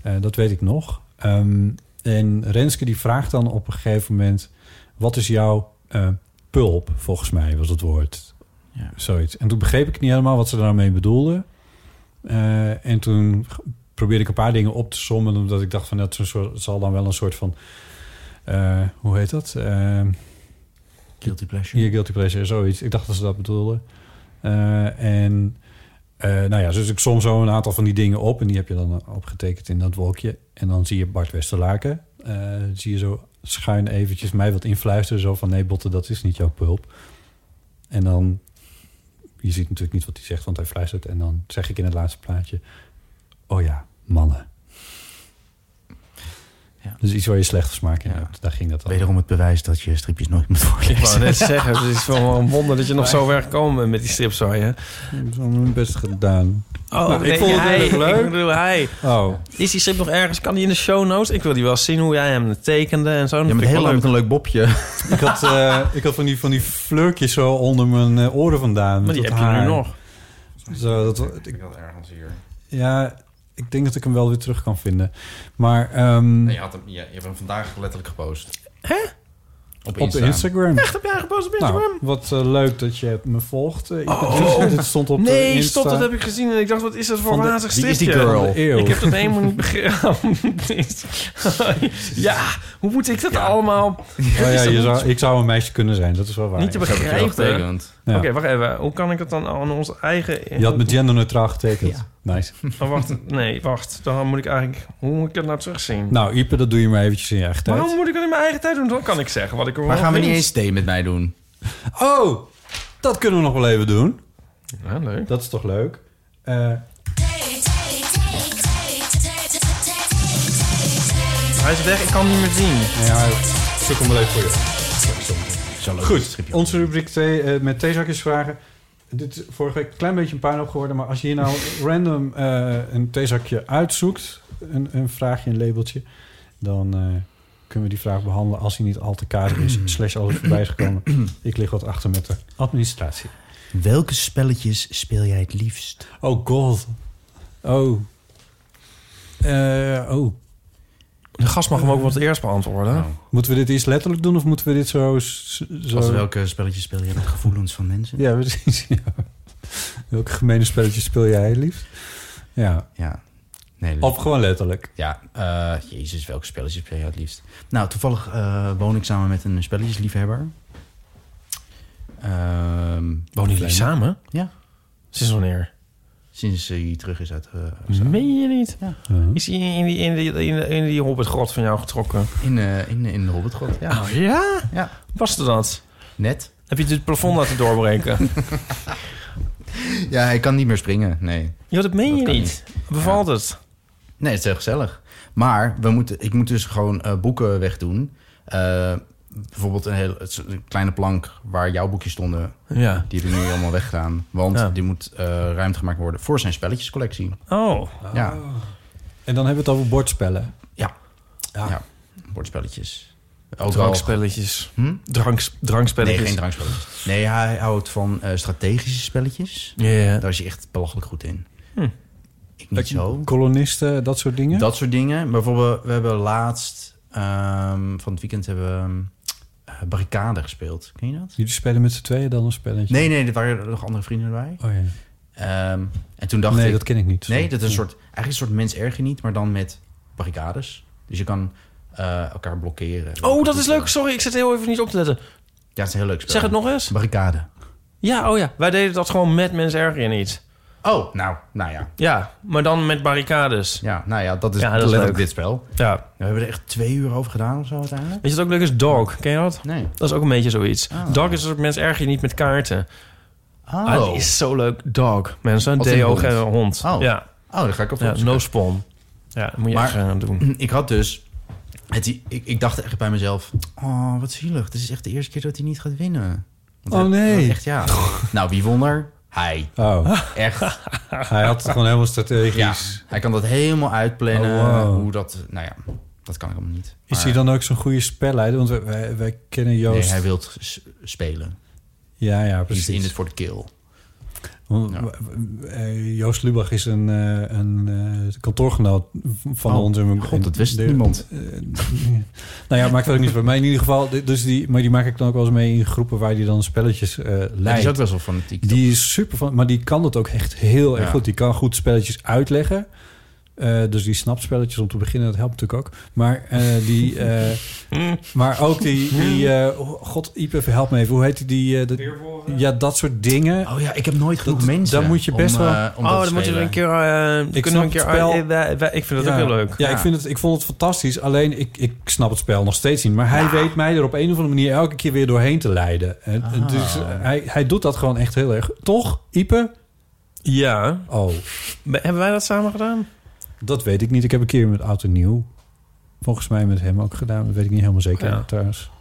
Speaker 4: Eh, dat weet ik nog. Ehm, en Renske die vraagt dan op een gegeven moment... wat is jouw eh, pulp, volgens mij was het woord.
Speaker 3: Ja.
Speaker 4: Zoiets. En toen begreep ik niet helemaal wat ze daarmee bedoelde. Eh, en toen g- probeerde ik een paar dingen op te sommen... omdat ik dacht van dat is een soort- het zal dan wel een soort van... eh, hoe heet dat? Ehm,
Speaker 3: Guilty pleasure.
Speaker 4: hier guilty pleasure, zoiets. Ik dacht dat ze dat bedoelden. Eh, en eh, Eh, nou ja, dus ik som zo een aantal van die dingen op. En die heb je dan opgetekend in dat wolkje. En dan zie je Bart Westerlaken. Eh, zie je zo schuin eventjes mij wat influisteren. Zo van, nee Botte, dat is niet jouw pulp. En dan, je ziet natuurlijk niet wat hij zegt, want hij fluistert. En dan zeg ik in het laatste plaatje, oh ja, mannen. Dus iets waar je slechte smaak in hebt. Daar ging dat dan.
Speaker 3: Wederom het bewijs dat je stripjes nooit moet voorlezen.
Speaker 2: Ik wou net zeggen, het is wel een wonder dat je nog zo ver gekomen bent met die strips, hoor je.
Speaker 4: Ik heb mijn best gedaan.
Speaker 2: Oh,
Speaker 4: Nou, ik
Speaker 2: nee,
Speaker 4: vond het
Speaker 2: hij,
Speaker 4: heel erg leuk.
Speaker 2: Ik bedoel, hij.
Speaker 4: Oh.
Speaker 2: Is die strip nog ergens? Kan die in de show notes? Ik wil die wel zien hoe jij hem tekende en zo. Ja,
Speaker 4: maar heel lang met
Speaker 3: een leuk bobje.
Speaker 4: ik, had, eh, ik had van die, van die flurkjes zo onder mijn eh, oren vandaan.
Speaker 2: Maar die
Speaker 4: Dat
Speaker 2: heb je nu
Speaker 4: haar.
Speaker 2: nog.
Speaker 4: Zo, dat,
Speaker 7: Ik had ergens hier.
Speaker 4: ja, ik denk dat ik hem wel weer terug kan vinden. Maar ehm,
Speaker 3: Nee, je, had hem, je, je hebt hem vandaag letterlijk gepost.
Speaker 2: Hè?
Speaker 3: Op,
Speaker 4: op
Speaker 3: Insta.
Speaker 4: Instagram.
Speaker 2: Echt, heb jij gepost op Instagram?
Speaker 4: Nou, wat eh, leuk dat je me volgt. Eh, dit stond op de
Speaker 2: Oh. nee,
Speaker 4: Insta.
Speaker 2: stop, dat heb ik gezien. En ik dacht, wat is dat voor
Speaker 4: Van de-
Speaker 2: wazig
Speaker 4: wie is
Speaker 2: stripje?
Speaker 4: die girl? Van de eeuw.
Speaker 2: Ik heb dat helemaal niet begrepen. ja, hoe moet ik dat allemaal...
Speaker 4: Oh
Speaker 2: Dat
Speaker 4: ja,
Speaker 2: is
Speaker 4: je
Speaker 2: dan
Speaker 4: zou, ik zou een meisje kunnen zijn, dat is wel waar.
Speaker 2: Niet te
Speaker 4: Dat heb ik wel
Speaker 2: begrijpen.
Speaker 4: getekend.
Speaker 2: Oké,
Speaker 4: Ja.
Speaker 2: wacht even. Hoe kan ik dat dan aan onze eigen...
Speaker 4: Je had me genderneutraal getekend. Nice.
Speaker 2: Oh, wacht. Nee, wacht. Dan moet ik eigenlijk... Hoe moet ik dat nou terugzien?
Speaker 4: Nou, Ipe, dat doe je maar eventjes in je eigen tijd.
Speaker 2: Waarom moet ik dat in mijn eigen tijd doen? Dan kan ik zeggen wat ik ervan
Speaker 4: Maar gaan we
Speaker 2: vind.
Speaker 4: niet eens
Speaker 3: thee met mij doen?
Speaker 4: Oh, dat kunnen we nog wel even doen.
Speaker 2: Ja, leuk.
Speaker 4: Dat is toch leuk? Eh,
Speaker 2: Hij is weg, ik kan hem niet meer zien.
Speaker 4: Ja, zoek hem wel even voor je. Goed, onze rubriek thee, eh, met theezakjesvragen. Dit is vorige week een klein beetje een puinhoop geworden... maar als je hier nou random eh, een theezakje uitzoekt... Een, een vraagje, een labeltje... dan eh, kunnen we die vraag behandelen als hij niet al te kader is... slash al is voorbij is gekomen. Ik lig wat achter met de administratie.
Speaker 3: Welke spelletjes speel jij het liefst?
Speaker 4: Oh, god. Oh. Eh, oh.
Speaker 2: De gast mag hem ook wat eerst beantwoorden.
Speaker 3: Nou,
Speaker 4: Moeten we dit eerst letterlijk doen of moeten we dit zo... s- zo...
Speaker 3: Als welke spelletjes speel jij met gevoelens van mensen?
Speaker 4: Ja, precies. Ja. Welke gemene spelletjes speel jij het liefst? Ja.
Speaker 3: ja. Nee,
Speaker 4: Of gewoon letterlijk.
Speaker 3: Ja, eh, jezus, welke spelletjes speel jij het liefst? Nou, toevallig eh, woon ik samen met een spelletjesliefhebber. Ehm, Wonen
Speaker 2: jullie Oh, samen?
Speaker 3: Ja.
Speaker 2: Sinds wanneer?
Speaker 3: Sinds eh, hij terug is uit... eh,
Speaker 2: Meen je niet?
Speaker 4: Mhm.
Speaker 2: Is hij in die, in die, in die, in die hobbitgrot van jou getrokken?
Speaker 3: In, eh, in, in de Hobbitgrot, ja.
Speaker 2: Oh ja?
Speaker 3: Ja.
Speaker 2: Paste dat?
Speaker 3: Net.
Speaker 2: Heb je het plafond laten doorbreken?
Speaker 3: Ja, hij kan niet meer springen, nee.
Speaker 2: Ja, dat meen je
Speaker 3: kan
Speaker 2: niet. Bevalt het?
Speaker 3: Nee, het is heel gezellig. Maar we moeten, ik moet dus gewoon eh, boeken wegdoen. Eh, bijvoorbeeld een, heel, het is een kleine plank waar jouw boekjes stonden.
Speaker 2: Ja.
Speaker 3: Die heb ik nu allemaal weggedaan. Want
Speaker 2: Ja.
Speaker 3: die moet eh, ruimte gemaakt worden voor zijn spelletjescollectie.
Speaker 2: Oh.
Speaker 3: Ja.
Speaker 4: En dan hebben we het over bordspellen.
Speaker 3: Ja. Ja. Bordspelletjes. Ook wel- Hm?
Speaker 2: Drankspelletjes. Dranks, drankspelletjes.
Speaker 3: Nee, geen drankspelletjes. Nee, hij houdt van eh, strategische spelletjes.
Speaker 2: Ja.
Speaker 3: Daar is hij echt belachelijk goed in.
Speaker 2: Hm.
Speaker 3: Ik niet zo.
Speaker 4: Kolonisten, dat soort dingen.
Speaker 3: Dat soort dingen. Bijvoorbeeld, we hebben laatst ehm, van het weekend hebben we ehm, eh, barricade gespeeld. Ken je dat?
Speaker 4: Jullie spelen met z'n tweeën dan een spelletje?
Speaker 3: Nee, nee, er waren nog andere vrienden erbij.
Speaker 4: Oh ja.
Speaker 3: Ehm, en toen dacht
Speaker 4: Nee,
Speaker 3: ik...
Speaker 4: dat ken ik niet. Hm.
Speaker 3: Nee, dat is een
Speaker 4: Ja.
Speaker 3: soort, eigenlijk een soort mens erg je niet, maar dan met barricades. Dus je kan eh, elkaar blokkeren.
Speaker 2: Oh, dat is leuk. Sorry, ik zit heel even niet op te letten.
Speaker 3: Ja, het is een heel leuk spel.
Speaker 2: Zeg het nog eens.
Speaker 3: Barricade.
Speaker 2: Ja, oh ja. Wij deden dat gewoon met mensen erger niet.
Speaker 3: Oh, nou, nou ja.
Speaker 2: Ja, maar dan met barricades.
Speaker 3: Ja, nou ja, dat is letterlijk dit spel.
Speaker 2: Ja.
Speaker 3: We hebben er echt twee uur over gedaan of zo uiteindelijk.
Speaker 2: Weet je wat ook leuk is? Dog. Ken je dat?
Speaker 3: Nee.
Speaker 2: Dat is ook een beetje zoiets.
Speaker 3: Ah.
Speaker 2: Dog is een soort mensen erg je niet met kaarten.
Speaker 3: Oh.
Speaker 2: Ah, dat is zo leuk. Dog. Mensen,
Speaker 3: Als in
Speaker 2: D-O-G,
Speaker 3: hond.
Speaker 2: hond.
Speaker 3: Oh.
Speaker 2: Ja.
Speaker 3: Oh, dan ga ik op
Speaker 2: ja,
Speaker 3: opzoeken.
Speaker 2: No spawn. Ja, dat moet je echt gaan doen.
Speaker 3: Ik had dus... Het, ik, ik dacht echt bij mezelf... Oh, wat zielig. Dit is echt de eerste keer dat hij niet gaat winnen. Want
Speaker 4: Oh,
Speaker 3: hij-
Speaker 4: nee.
Speaker 3: Echt, ja. nou, wie won er? Hij.
Speaker 4: Oh.
Speaker 3: Echt.
Speaker 4: Hij had het gewoon helemaal strategisch.
Speaker 3: Ja, hij kan dat helemaal uitplannen.
Speaker 4: Oh, wow.
Speaker 3: Hoe dat... Nou ja, dat kan ik allemaal niet.
Speaker 4: Is
Speaker 3: Maar-
Speaker 4: hij dan ook zo'n goede spelleider? Want wij- wij, wij kennen Joost...
Speaker 3: Nee, hij wil het s- spelen.
Speaker 4: Ja, ja,
Speaker 3: Precies.
Speaker 4: precies.
Speaker 3: in het voor de kill.
Speaker 4: Want, w- w- eh, Joost Lubach is een, eh, een eh, kantoorgenoot van
Speaker 3: Oh,
Speaker 4: ons. En-
Speaker 3: god, dat wist
Speaker 4: de-
Speaker 3: niemand.
Speaker 4: eh, nou ja, maakt wel ook niet bij mij in ieder geval. Di- Dus die, maar die maak ik dan ook wel eens mee in groepen waar die dan spelletjes eh leidt.
Speaker 3: Hij is ook best wel fanatiek.
Speaker 4: Die is super van, maar die kan dat ook echt heel erg
Speaker 3: Ja.
Speaker 4: goed. Die kan goed spelletjes uitleggen. Eh, dus die snapt spelletjes om te beginnen, dat helpt natuurlijk ook. Maar, eh, die, eh, maar ook die... die eh, God, Ipe, help me even. Hoe heet die? eh, dat- ja, dat soort dingen. Oh
Speaker 3: ja, ik heb nooit genoeg
Speaker 4: mensen Daar moet je best wel...
Speaker 2: oh, dan moeten we een keer. eh, kunnen we
Speaker 4: snap
Speaker 2: een keer.
Speaker 4: het spel.
Speaker 2: eh, wij- wij- ik vind dat
Speaker 4: Ja.
Speaker 2: ook heel leuk.
Speaker 4: Ja, Ik, vind het, ik vond het fantastisch. Alleen, ik, ik snap het spel nog steeds niet. Maar hij weet mij er op een of andere manier elke keer weer doorheen te leiden. En, en Dus eh, hij, hij doet dat gewoon echt heel erg. Toch, Ipe?
Speaker 2: Ja.
Speaker 4: Oh.
Speaker 2: Hebben wij dat samen gedaan?
Speaker 4: Dat weet ik niet. Ik heb een keer met Oud en Nieuw... volgens mij met hem ook gedaan. Dat weet ik niet helemaal zeker trouwens.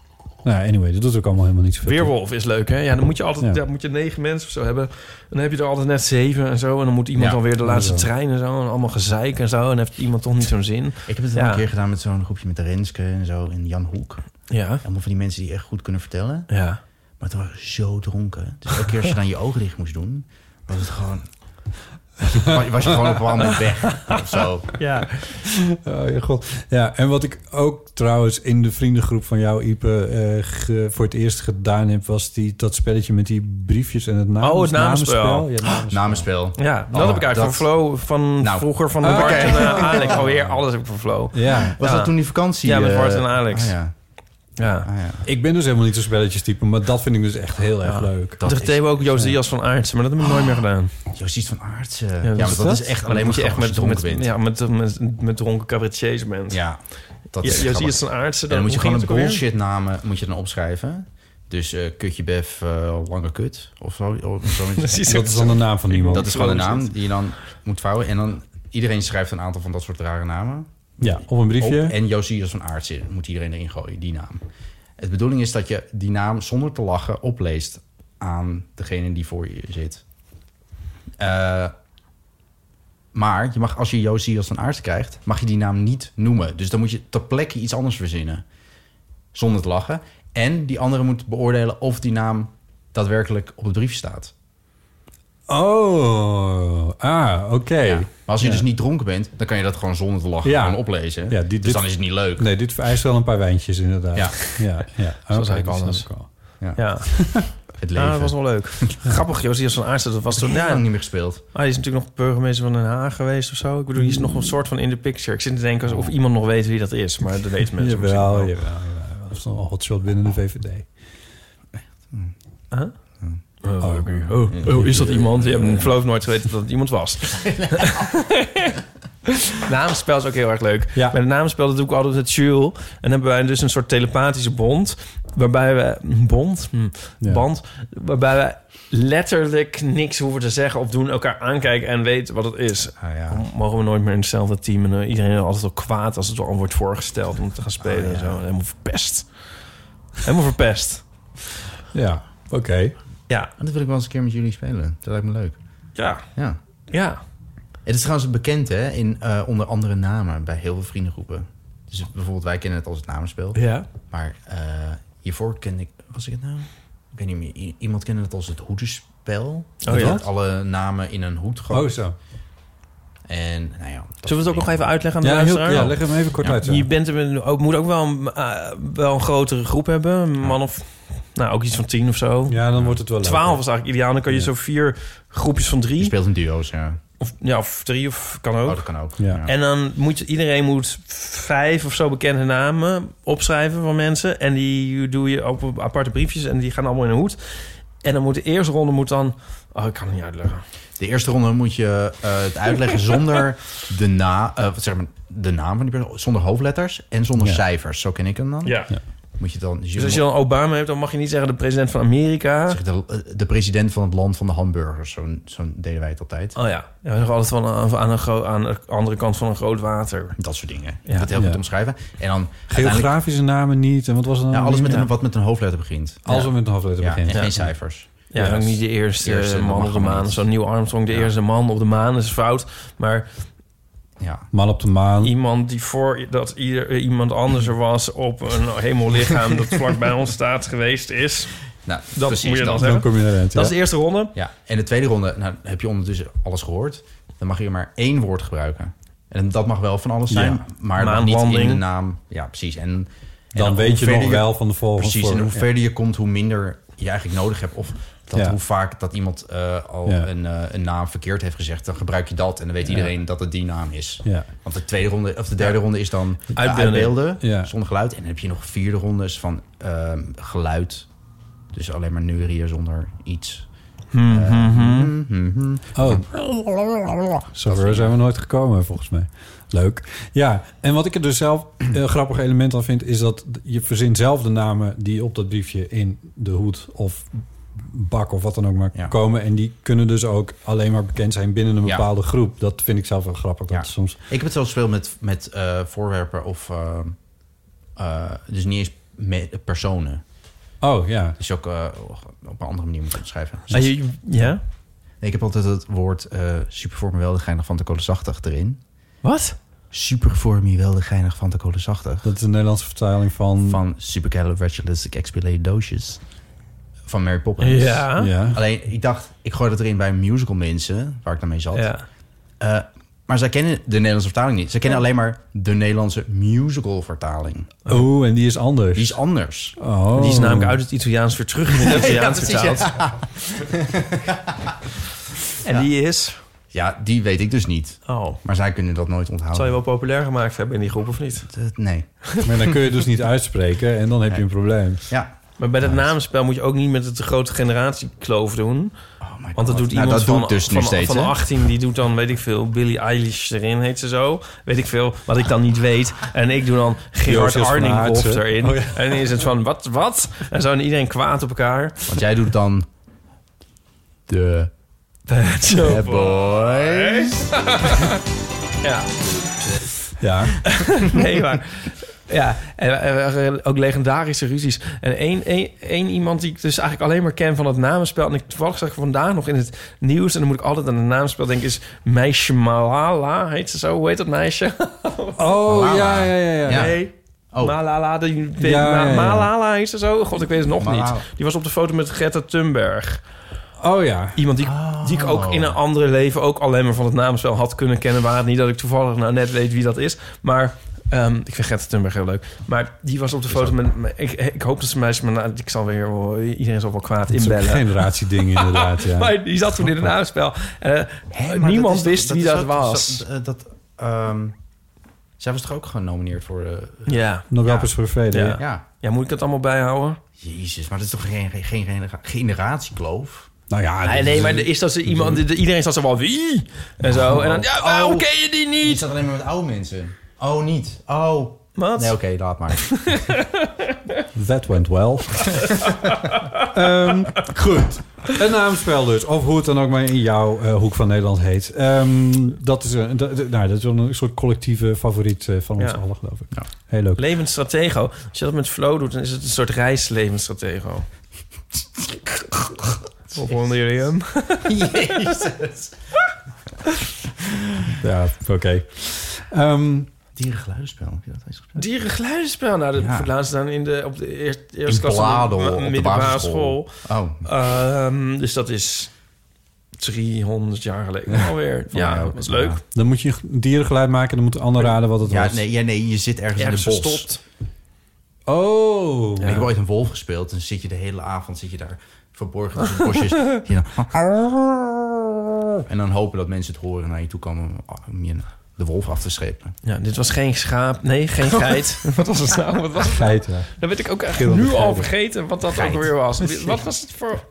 Speaker 4: Nou, anyway, dat doet ook allemaal helemaal niet zoveel. toe.
Speaker 2: Weerwolf is leuk, hè? Ja, dan moet je altijd
Speaker 4: Ja.
Speaker 2: daar moet je negen mensen of zo hebben. En dan heb je er altijd net zeven en zo. En dan moet iemand
Speaker 3: Ja,
Speaker 2: dan weer de laatste
Speaker 3: zo.
Speaker 2: trein en zo. En allemaal gezeik en zo. En heeft iemand toch niet zo'n zin.
Speaker 3: Ik heb het wel
Speaker 2: ja.
Speaker 3: een keer gedaan met zo'n groepje met de Renske en zo en Jan Hoek.
Speaker 2: Ja.
Speaker 3: Allemaal van die mensen die echt goed kunnen vertellen.
Speaker 2: Ja.
Speaker 3: Maar het waren zo dronken. Dus elke keer als je dan je ogen dicht moest doen, was het gewoon... Was je gewoon op een bepaald moment weg of zo.
Speaker 2: Ja.
Speaker 4: Oh, ja, god. Ja, en wat ik ook trouwens in de vriendengroep van jou, Ipe, eh, ge- voor het eerst gedaan heb, was die, dat spelletje met die briefjes en het namens,
Speaker 2: Oh, het namenspel.
Speaker 4: Ja, namens-
Speaker 3: Namenspel.
Speaker 2: Ja, dat
Speaker 4: Oh,
Speaker 2: heb ik eigenlijk
Speaker 4: dat-
Speaker 2: van Flo van
Speaker 4: Nou.
Speaker 2: vroeger van
Speaker 4: Ah,
Speaker 2: Bart
Speaker 4: oké.
Speaker 2: en eh, Alex. Alweer alles heb ik van Flo.
Speaker 4: Ja.
Speaker 3: Oh, Was dat toen die vakantie,
Speaker 2: Ja, met
Speaker 3: eh,
Speaker 2: Bart en Alex.
Speaker 3: ah, ja. Ah,
Speaker 2: Ja.
Speaker 4: Ik ben dus helemaal niet zo'n spelletjes type, maar dat vind ik dus echt heel erg
Speaker 2: Ja.
Speaker 4: leuk.
Speaker 2: Dat deden we ook Joost Diaz van Aartsen, maar dat heb ik nooit meer gedaan.
Speaker 3: Joost Diaz van Aartsen. Ja, maar dat is echt alleen maar grappig als je
Speaker 2: met,
Speaker 3: dronken bent.
Speaker 2: Ja, met, met, met dronken cabaretiers bent.
Speaker 3: Ja, dat
Speaker 2: ja,
Speaker 3: is
Speaker 2: Joost
Speaker 3: grappig.
Speaker 2: Diaz van Aartsen.
Speaker 3: En dan moet je
Speaker 2: hoe
Speaker 3: gewoon een
Speaker 2: ging het ook
Speaker 3: bullshit namen moet je dan opschrijven. Dus eh, kutje bef, eh, lange kut of zo. Of zo
Speaker 4: Dat is Dat is dan de naam van iemand.
Speaker 3: Dat is gewoon een naam
Speaker 4: Bullshit.
Speaker 3: die je dan moet vouwen. En dan iedereen schrijft een aantal van dat soort rare namen.
Speaker 4: Ja, op een briefje.
Speaker 3: Op, Oh, en Josias van Aartsen moet iedereen erin gooien, die naam. De bedoeling is dat je die naam zonder te lachen opleest aan degene die voor je zit. Eh, maar je mag, als je Josias van Aartsen krijgt, mag je die naam niet noemen. Dus dan moet je ter plekke iets anders verzinnen. Zonder te lachen. En die andere moet beoordelen of die naam daadwerkelijk op het briefje staat.
Speaker 4: Oh, ah, oké.
Speaker 3: Maar als je
Speaker 4: Ja.
Speaker 3: dus niet dronken bent, dan kan je dat gewoon zonder te lachen
Speaker 4: Ja.
Speaker 3: gewoon oplezen.
Speaker 4: Ja, die-
Speaker 3: dus
Speaker 4: dit-
Speaker 3: dan is het niet leuk.
Speaker 4: Nee, dit vereist wel een paar wijntjes inderdaad.
Speaker 3: Ja.
Speaker 4: ja, ja.
Speaker 3: Zo
Speaker 4: Oké,
Speaker 3: zei ik
Speaker 4: dat snap
Speaker 3: alles.
Speaker 4: ik al.
Speaker 3: Ja. Het
Speaker 2: Ja,
Speaker 3: leven.
Speaker 2: Ah, dat was wel leuk. Grappig, Josias van Aartsen. Dat was
Speaker 3: Heb
Speaker 2: toen
Speaker 3: ik heel
Speaker 2: ja,
Speaker 3: lang niet meer gespeeld.
Speaker 2: Ah, die is natuurlijk nog burgemeester van Den Haag geweest of zo. Ik bedoel, die is nog een soort van in the picture. Ik zit te denken of iemand nog weet wie dat is, maar dat weten mensen misschien
Speaker 4: Jawel,
Speaker 2: wel.
Speaker 4: jawel, jawel. Dat is dan een hotshot binnen de VVD.
Speaker 2: Huh? Oh, oké. oh, oh, is dat iemand? Je hebt een geloof nooit geweten dat het iemand was. Namenspel is ook heel erg leuk. Bij de namenspel dat doe ik altijd met Jules. En hebben wij dus een soort telepathische bond. Waarbij we... Bond? Hm, Band? Waarbij we letterlijk niks hoeven te zeggen of doen. Elkaar aankijken en weten wat het is. Dan Mogen we nooit meer in hetzelfde team. En eh, iedereen is altijd al kwaad als het al wordt voorgesteld om te gaan spelen. en zo. Helemaal verpest. Helemaal verpest.
Speaker 4: Ja, oké.
Speaker 2: Ja.
Speaker 3: Dat wil ik wel eens een keer met jullie spelen. Dat lijkt me leuk.
Speaker 2: Ja.
Speaker 3: Ja.
Speaker 2: Ja.
Speaker 3: Het is trouwens bekend, hè, in, eh, onder andere namen bij heel veel vriendengroepen. Dus bijvoorbeeld, wij kennen het als het namenspel.
Speaker 2: Ja.
Speaker 3: Maar eh, hiervoor kende ik... Was ik het nou? Ik weet niet meer. I- Iemand kende het als het hoedenspel.
Speaker 2: Oh, ja?
Speaker 3: Dat alle namen in een hoed gooien.
Speaker 2: Oh, zo.
Speaker 3: En, nou ja. dat
Speaker 2: Zullen we het ook nog even uitleggen aan de
Speaker 3: Ja, heel-
Speaker 2: luisteraar?
Speaker 3: ja, leg hem even kort uit, ja.
Speaker 2: Je bent, er met- ook, moet ook wel een, eh, wel een grotere groep hebben. Een man of... Nou, ook iets van tien of zo.
Speaker 4: Ja, dan wordt het wel
Speaker 2: Twaalf
Speaker 4: leuk,
Speaker 2: is eigenlijk ideaal. Dan kan je zo vier groepjes van drie... Je
Speaker 3: speelt in duo's, ja. Oh,
Speaker 2: Of, ja, of drie, of kan ook.
Speaker 3: dat kan ook.
Speaker 4: Ja. ja.
Speaker 2: En dan moet je, iedereen moet vijf of zo bekende namen opschrijven van mensen. En die doe je op aparte briefjes en die gaan allemaal in een hoed. En dan moet de eerste ronde moet dan... Oh, ik kan het niet uitleggen.
Speaker 3: De eerste ronde moet je eh, het uitleggen zonder de, na, eh, wat zeg maar, de naam van die persoon. Zonder hoofdletters en zonder
Speaker 2: Ja.
Speaker 3: cijfers. Zo ken ik hem dan.
Speaker 2: Ja.
Speaker 3: Moet je dan,
Speaker 2: Dus als je dan Obama hebt, dan mag je niet zeggen de president van Amerika.
Speaker 3: Zeg de, eh, de president van het land van de hamburgers. Zo, zo deden wij het altijd.
Speaker 2: Oh ja, ja nog altijd van aan, aan, een gro- aan de andere kant van een groot water.
Speaker 3: Dat soort dingen.
Speaker 2: Ja.
Speaker 3: Dat heel goed
Speaker 2: Ja.
Speaker 3: omschrijven. En dan uiteindelijk-
Speaker 4: Geografische namen niet. En wat was het dan?
Speaker 3: ja, alles met
Speaker 4: Ja.
Speaker 3: een, wat met een hoofdletter begint.
Speaker 4: Alles
Speaker 3: Ja.
Speaker 4: wat met een hoofdletter
Speaker 3: Ja,
Speaker 4: begint.
Speaker 3: En
Speaker 4: Ja.
Speaker 3: geen cijfers.
Speaker 2: Ja, ook niet de eerste, man op de maan. Zo'n Neil Armstrong, de
Speaker 3: Ja.
Speaker 2: eerste man op de maan is fout. Maar
Speaker 3: ja.
Speaker 4: Man op de maan.
Speaker 2: iemand die voor dat ieder, iemand anders er was op een hemellichaam dat vlakbij ons staat geweest is.
Speaker 3: Nou,
Speaker 2: dat
Speaker 3: precies,
Speaker 2: moet je dan
Speaker 3: dan-
Speaker 2: zeggen.
Speaker 3: dan kom je eruit,
Speaker 2: dat
Speaker 3: ja.
Speaker 2: is de eerste ronde.
Speaker 3: Ja, en de tweede ronde, nou heb je ondertussen alles gehoord. Dan mag je maar één woord gebruiken. En dat mag wel van alles zijn,
Speaker 4: Ja.
Speaker 3: maar het mag niet in
Speaker 4: Maanlanding.
Speaker 3: de naam. Ja, precies. En, en
Speaker 4: Dan weet
Speaker 3: hoe
Speaker 4: je nog
Speaker 3: verder
Speaker 4: wel van de volgende
Speaker 3: Precies,
Speaker 4: voor-
Speaker 3: en hoe
Speaker 4: ja.
Speaker 3: verder je komt, hoe minder je eigenlijk nodig hebt. Of Dat
Speaker 4: Ja.
Speaker 3: hoe vaak dat iemand eh, al
Speaker 4: Ja.
Speaker 3: een, eh, een naam verkeerd heeft gezegd, dan gebruik je dat. En dan weet
Speaker 4: Ja.
Speaker 3: iedereen dat het die naam is.
Speaker 4: Ja.
Speaker 3: Want de tweede ronde, of de derde
Speaker 4: Ja.
Speaker 3: ronde is dan eh,
Speaker 4: Uitbeelden.
Speaker 3: uitbeelden
Speaker 4: Ja.
Speaker 3: zonder geluid. En dan heb je nog vierde rondes van ehm, geluid. Dus alleen maar neurieën zonder iets.
Speaker 4: Hmm,
Speaker 2: Mhm.
Speaker 3: Eh,
Speaker 4: hmm, hmm.
Speaker 3: hmm, hmm, hmm.
Speaker 4: Oh.
Speaker 3: Of-
Speaker 4: Zover Oh. zijn we nooit gekomen, volgens mij. Leuk. Ja, en wat ik er dus zelf een grappig element aan vind... is dat je verzint zelf de namen die op dat briefje in de hoed of bak of wat dan ook maar komen. En die kunnen dus ook alleen maar bekend zijn binnen een
Speaker 3: Ja.
Speaker 4: bepaalde groep. Dat vind ik zelf wel grappig. Dat
Speaker 3: Ja.
Speaker 4: soms...
Speaker 3: Ik heb het wel gespeeld met, met eh, voorwerpen of... eh, eh, dus niet eens met personen.
Speaker 4: Oh, ja.
Speaker 3: Dus je ook eh, op een andere manier moet schrijven.
Speaker 2: Ah, je- ja?
Speaker 3: Nee, ik heb altijd het woord eh super voor me wel de geinig van de kolenzachtig erin.
Speaker 2: Wat?
Speaker 3: Super voor me wel de geinig van de kolenzachtig.
Speaker 4: Dat is een Nederlandse vertaling van...
Speaker 3: Van supercalifragilisticexpialidocious. Van Mary Poppins.
Speaker 2: Ja. Ja.
Speaker 3: Alleen, ik dacht, ik gooi dat erin bij musical mensen, waar ik dan mee zat.
Speaker 2: Ja.
Speaker 3: Eh, maar zij kennen de Nederlandse vertaling niet. Ze kennen
Speaker 2: Ja.
Speaker 3: alleen maar de Nederlandse musical vertaling.
Speaker 4: Oh, en die is anders. Die
Speaker 3: is anders.
Speaker 4: Oh.
Speaker 2: Die is namelijk uit het Italiaans weer terug in het Italiaans vertaald. En die is?
Speaker 3: Ja, die weet ik dus niet.
Speaker 2: Oh.
Speaker 3: Maar zij kunnen dat nooit onthouden.
Speaker 2: Zou je wel populair gemaakt hebben in die groep of niet?
Speaker 3: nee.
Speaker 4: Maar dan kun je dus niet uitspreken en dan heb je een probleem.
Speaker 3: Ja.
Speaker 2: Maar bij dat naamspel moet je ook niet met de grote generatiekloof doen. Want dat doet
Speaker 3: Nou,
Speaker 2: iemand
Speaker 3: dat
Speaker 2: van,
Speaker 3: doet dus nu
Speaker 2: van,
Speaker 3: steeds,
Speaker 2: van
Speaker 3: hè?
Speaker 2: 18, die doet dan, weet ik veel, Billie Eilish erin, heet ze zo. Weet ik veel, wat ik dan niet weet. En ik doe dan Gerard
Speaker 3: Jozef van
Speaker 2: Arninghoff
Speaker 3: Aartsen.
Speaker 2: erin.
Speaker 3: Oh, ja.
Speaker 2: En dan is het van, wat, wat? En zo en iedereen kwaad op elkaar.
Speaker 3: Want jij doet dan de
Speaker 2: Bad
Speaker 3: Shop Boys.
Speaker 2: ja.
Speaker 4: Ja.
Speaker 2: nee, maar... Ja, en, en- en ook legendarische ruzies. En één, één, één iemand die ik dus eigenlijk alleen maar ken van het namenspel... en ik toevallig zag ik vandaag nog in het nieuws... en dan moet ik altijd aan het namenspel denken... is meisje Malala, heet ze zo? Hoe heet dat meisje?
Speaker 4: Oh, ja, ja, ja, ja.
Speaker 2: Nee.
Speaker 4: Oh.
Speaker 2: Malala, die, die-
Speaker 4: Ja,
Speaker 2: Ma-
Speaker 4: ja, ja.
Speaker 2: Malala heet ze zo? God, ik weet het nog
Speaker 4: Malala.
Speaker 2: niet. Die was op de foto met Greta Thunberg.
Speaker 4: Oh ja.
Speaker 2: Iemand die, die ik ook
Speaker 4: Oh.
Speaker 2: in een andere leven ook alleen maar van het naamspel had kunnen kennen. Waar het niet dat ik toevallig nou net weet wie dat is. Maar ehm, ik vind Greta Thunberg heel leuk. Maar die was op de foto met... met- Ik, ik hoop dat ze mij... Maar nou, ik zal weer... wel- Iedereen zal wel kwaad
Speaker 4: Het is ook
Speaker 2: inbellen.
Speaker 4: een generatieding inderdaad, ja.
Speaker 2: maar die zat toen in het naamspel. Eh,
Speaker 3: Maar
Speaker 2: niemand
Speaker 3: dat is
Speaker 2: wist
Speaker 3: toch-
Speaker 2: wie
Speaker 3: is
Speaker 2: dat
Speaker 3: ook-
Speaker 2: was.
Speaker 3: zo- eh, dat, ehm, zij was toch ook genomineerd voor... eh,
Speaker 2: ja.
Speaker 4: Nobelprijs voor de Vrede,
Speaker 2: Ja.
Speaker 4: ja.
Speaker 3: Ja.
Speaker 2: ja, moet ik dat allemaal bijhouden?
Speaker 3: Jezus, maar dat is toch geen, geen, geen genera- generatiekloof?
Speaker 4: Nou ja...
Speaker 2: nee, Ah, nee, maar er is dat ze iemand, iedereen zat zo van wie? En zo. En dan,
Speaker 4: Oh.
Speaker 2: ja, waarom ken je die niet?
Speaker 3: Je zat alleen maar met oude mensen. Oh, niet. Oh.
Speaker 2: Wat?
Speaker 3: Nee, oké, laat maar.
Speaker 4: That went well. Ehm, goed. Een naamspel dus. Of hoe het dan ook maar in jouw eh, hoek van Nederland heet. Ehm, dat, is een, dat, nou, dat is wel een soort collectieve favoriet eh, van ons
Speaker 2: Ja.
Speaker 4: allen, geloof ik. Heel leuk.
Speaker 2: Levensstratego. Als je dat met flow doet, dan is het een soort reislevensstratego. Op onder jullie hem?
Speaker 3: Jezus.
Speaker 4: Ja, oké. Ehm,
Speaker 3: Dierengeluidenspel, heb je dat eens gespeeld?
Speaker 2: Dierengeluidenspel. Nou, dat
Speaker 3: Ja.
Speaker 2: voor het laatst dan in de, op de eerst, eerste
Speaker 3: In
Speaker 2: klas van
Speaker 3: Bladel,
Speaker 2: ma-
Speaker 3: op de basisschool. Oh.
Speaker 2: Ehm, dus dat is 300 jaar geleden alweer.
Speaker 4: Van
Speaker 2: Ja,
Speaker 4: mij
Speaker 2: dat
Speaker 4: ook,
Speaker 2: was leuk.
Speaker 4: Dan moet je een dierengeluid maken. Dan moet de ander raden wat het
Speaker 3: Ja,
Speaker 4: was.
Speaker 3: nee, ja, nee, je zit ergens,
Speaker 2: Ergens
Speaker 3: in een bos.
Speaker 2: verstopt.
Speaker 4: Oh.
Speaker 3: Ik heb ooit een wolf gespeeld. En dan zit je de hele avond zit je daar verborgen tussen bosjes. Zit je dan- en dan hopen dat mensen het horen en naar je toe komen om je de wolf af te schepen.
Speaker 2: Ja, dit was geen schaap. Nee, geen
Speaker 3: Oh.
Speaker 2: geit. wat was het nou? Wat was het?
Speaker 4: Geit, ja.
Speaker 2: Dan weet ik ook echt
Speaker 4: Schilder
Speaker 2: nu
Speaker 4: geit.
Speaker 2: al vergeten wat dat
Speaker 3: Geit.
Speaker 2: ook weer was. Wat was het voor...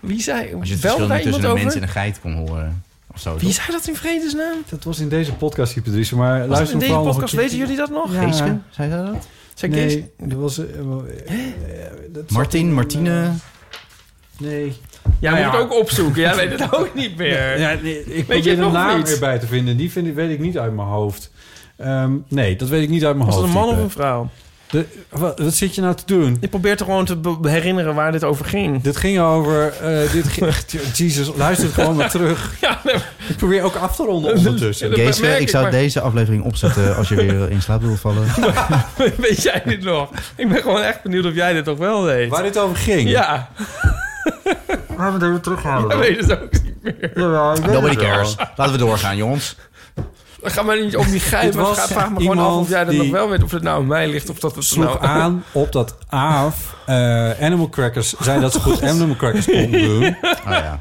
Speaker 2: Wie zei...
Speaker 3: Als je het
Speaker 2: belde
Speaker 3: verschil
Speaker 2: daar iemand
Speaker 3: niet tussen een
Speaker 2: over?
Speaker 3: mens en een geit kon horen. Of zo,
Speaker 2: Wie
Speaker 3: toch?
Speaker 2: zei dat in vredesnaam?
Speaker 4: Dat was in deze podcast, Hyperdrice. Maar
Speaker 2: Was het
Speaker 4: luister
Speaker 2: in deze
Speaker 4: vooral nog
Speaker 2: podcast,
Speaker 4: een keer-
Speaker 2: weten jullie dat nog?
Speaker 4: Ja.
Speaker 3: Geeske? Zei zij dat?
Speaker 2: Zei
Speaker 4: nee,
Speaker 2: Kees?
Speaker 4: dat was... eh, eh, dat zat
Speaker 3: Martin,
Speaker 4: in een,
Speaker 3: Martine?
Speaker 4: eh, nee.
Speaker 2: Jij
Speaker 4: Nou
Speaker 2: moet
Speaker 4: ja.
Speaker 2: het ook opzoeken. Jij weet het ook niet meer.
Speaker 4: Ja, nee, ik
Speaker 2: weet je
Speaker 4: probeer
Speaker 2: het
Speaker 4: de
Speaker 2: nog
Speaker 4: naam
Speaker 2: niet?
Speaker 4: weer bij te vinden. Die vind ik, weet ik niet uit mijn hoofd. Ehm, nee, dat weet ik niet uit mijn
Speaker 2: Was dat
Speaker 4: hoofd.
Speaker 2: een man of
Speaker 4: Ipe.
Speaker 2: een vrouw?
Speaker 4: De- wat, wat zit je nou te doen?
Speaker 2: Ik probeer te gewoon te be- herinneren waar dit over ging.
Speaker 4: Dit ging over... eh dit ging, Jesus, luister het gewoon maar terug. ik probeer ook af te ronden ondertussen.
Speaker 3: Geeske, ik zou deze aflevering opzetten als je weer in slaap wil vallen.
Speaker 2: Weet jij dit nog? Ik ben gewoon echt benieuwd of jij dit toch wel weet.
Speaker 4: Waar dit over ging?
Speaker 2: Ja.
Speaker 4: Laten
Speaker 11: dus
Speaker 4: we het even terughalen.
Speaker 2: Ik weet het ook niet meer.
Speaker 3: Nobody cares. Laten we doorgaan, jongens.
Speaker 11: Ga maar niet om die
Speaker 4: Het
Speaker 11: gein, maar
Speaker 4: was
Speaker 11: ga, vraag me gewoon af
Speaker 4: iemand
Speaker 11: of jij dat
Speaker 4: die-
Speaker 11: nog wel weet. Of het nou aan mij ligt of dat het
Speaker 4: sloeg
Speaker 11: nou...
Speaker 4: aan op dat Aaf eh, Animal Crackers zei dat ze goed Animal Crackers konden doen.
Speaker 3: Oh
Speaker 11: ja.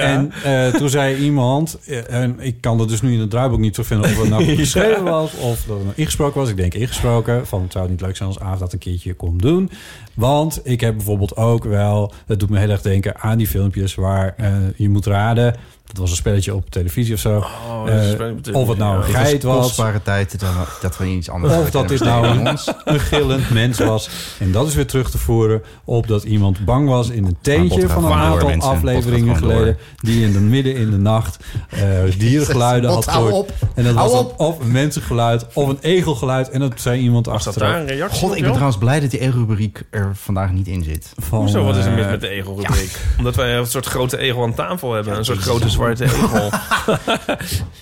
Speaker 4: En eh, toen zei iemand, eh, en ik kan dat dus nu in het draaiboek niet zo vinden of het nou goed
Speaker 11: Ja.
Speaker 4: geschreven was of dat het nou ingesproken was. Ik denk ingesproken, van het zou niet leuk zijn als Aaf dat een keertje kon doen. Want ik heb bijvoorbeeld ook wel, het doet me heel erg denken aan die filmpjes waar eh, je moet raden. Dat was een spelletje op televisie of zo.
Speaker 3: Oh, dat is een
Speaker 4: Eh,
Speaker 3: spelletje op televisie,
Speaker 4: of het nou een
Speaker 3: ja. Dat
Speaker 4: geit
Speaker 3: was
Speaker 4: was.
Speaker 3: kostbare tijd, dan- dat we iets anders
Speaker 4: Of dat
Speaker 3: uitkennen
Speaker 4: dit nou
Speaker 3: besteden
Speaker 4: een,
Speaker 3: aan
Speaker 4: een
Speaker 3: ons.
Speaker 4: gillend mens was. En dat is weer terug te voeren op dat iemand bang was in een
Speaker 3: Maar
Speaker 4: teentje
Speaker 3: bot gaat
Speaker 4: van een
Speaker 3: gewoon door,
Speaker 4: aantal
Speaker 3: mensen.
Speaker 4: afleveringen
Speaker 3: Bot gaat gewoon
Speaker 4: geleden. Die in de midden in de nacht eh, dierengeluiden
Speaker 3: Bot,
Speaker 4: had
Speaker 3: hou
Speaker 4: gehoord.
Speaker 3: op.
Speaker 4: En dat
Speaker 3: Hou
Speaker 4: was dan of een mensengeluid of een egelgeluid. En dat zei iemand achteraf.
Speaker 3: God, ik ben trouwens blij dat die egelrubriek er vandaag niet in zit.
Speaker 2: Hoezo, wat
Speaker 4: eh,
Speaker 2: is er mis met de egelrubriek? Oh, eh, Omdat wij een soort grote egel aan tafel hebben. een soort grote zwarte egel.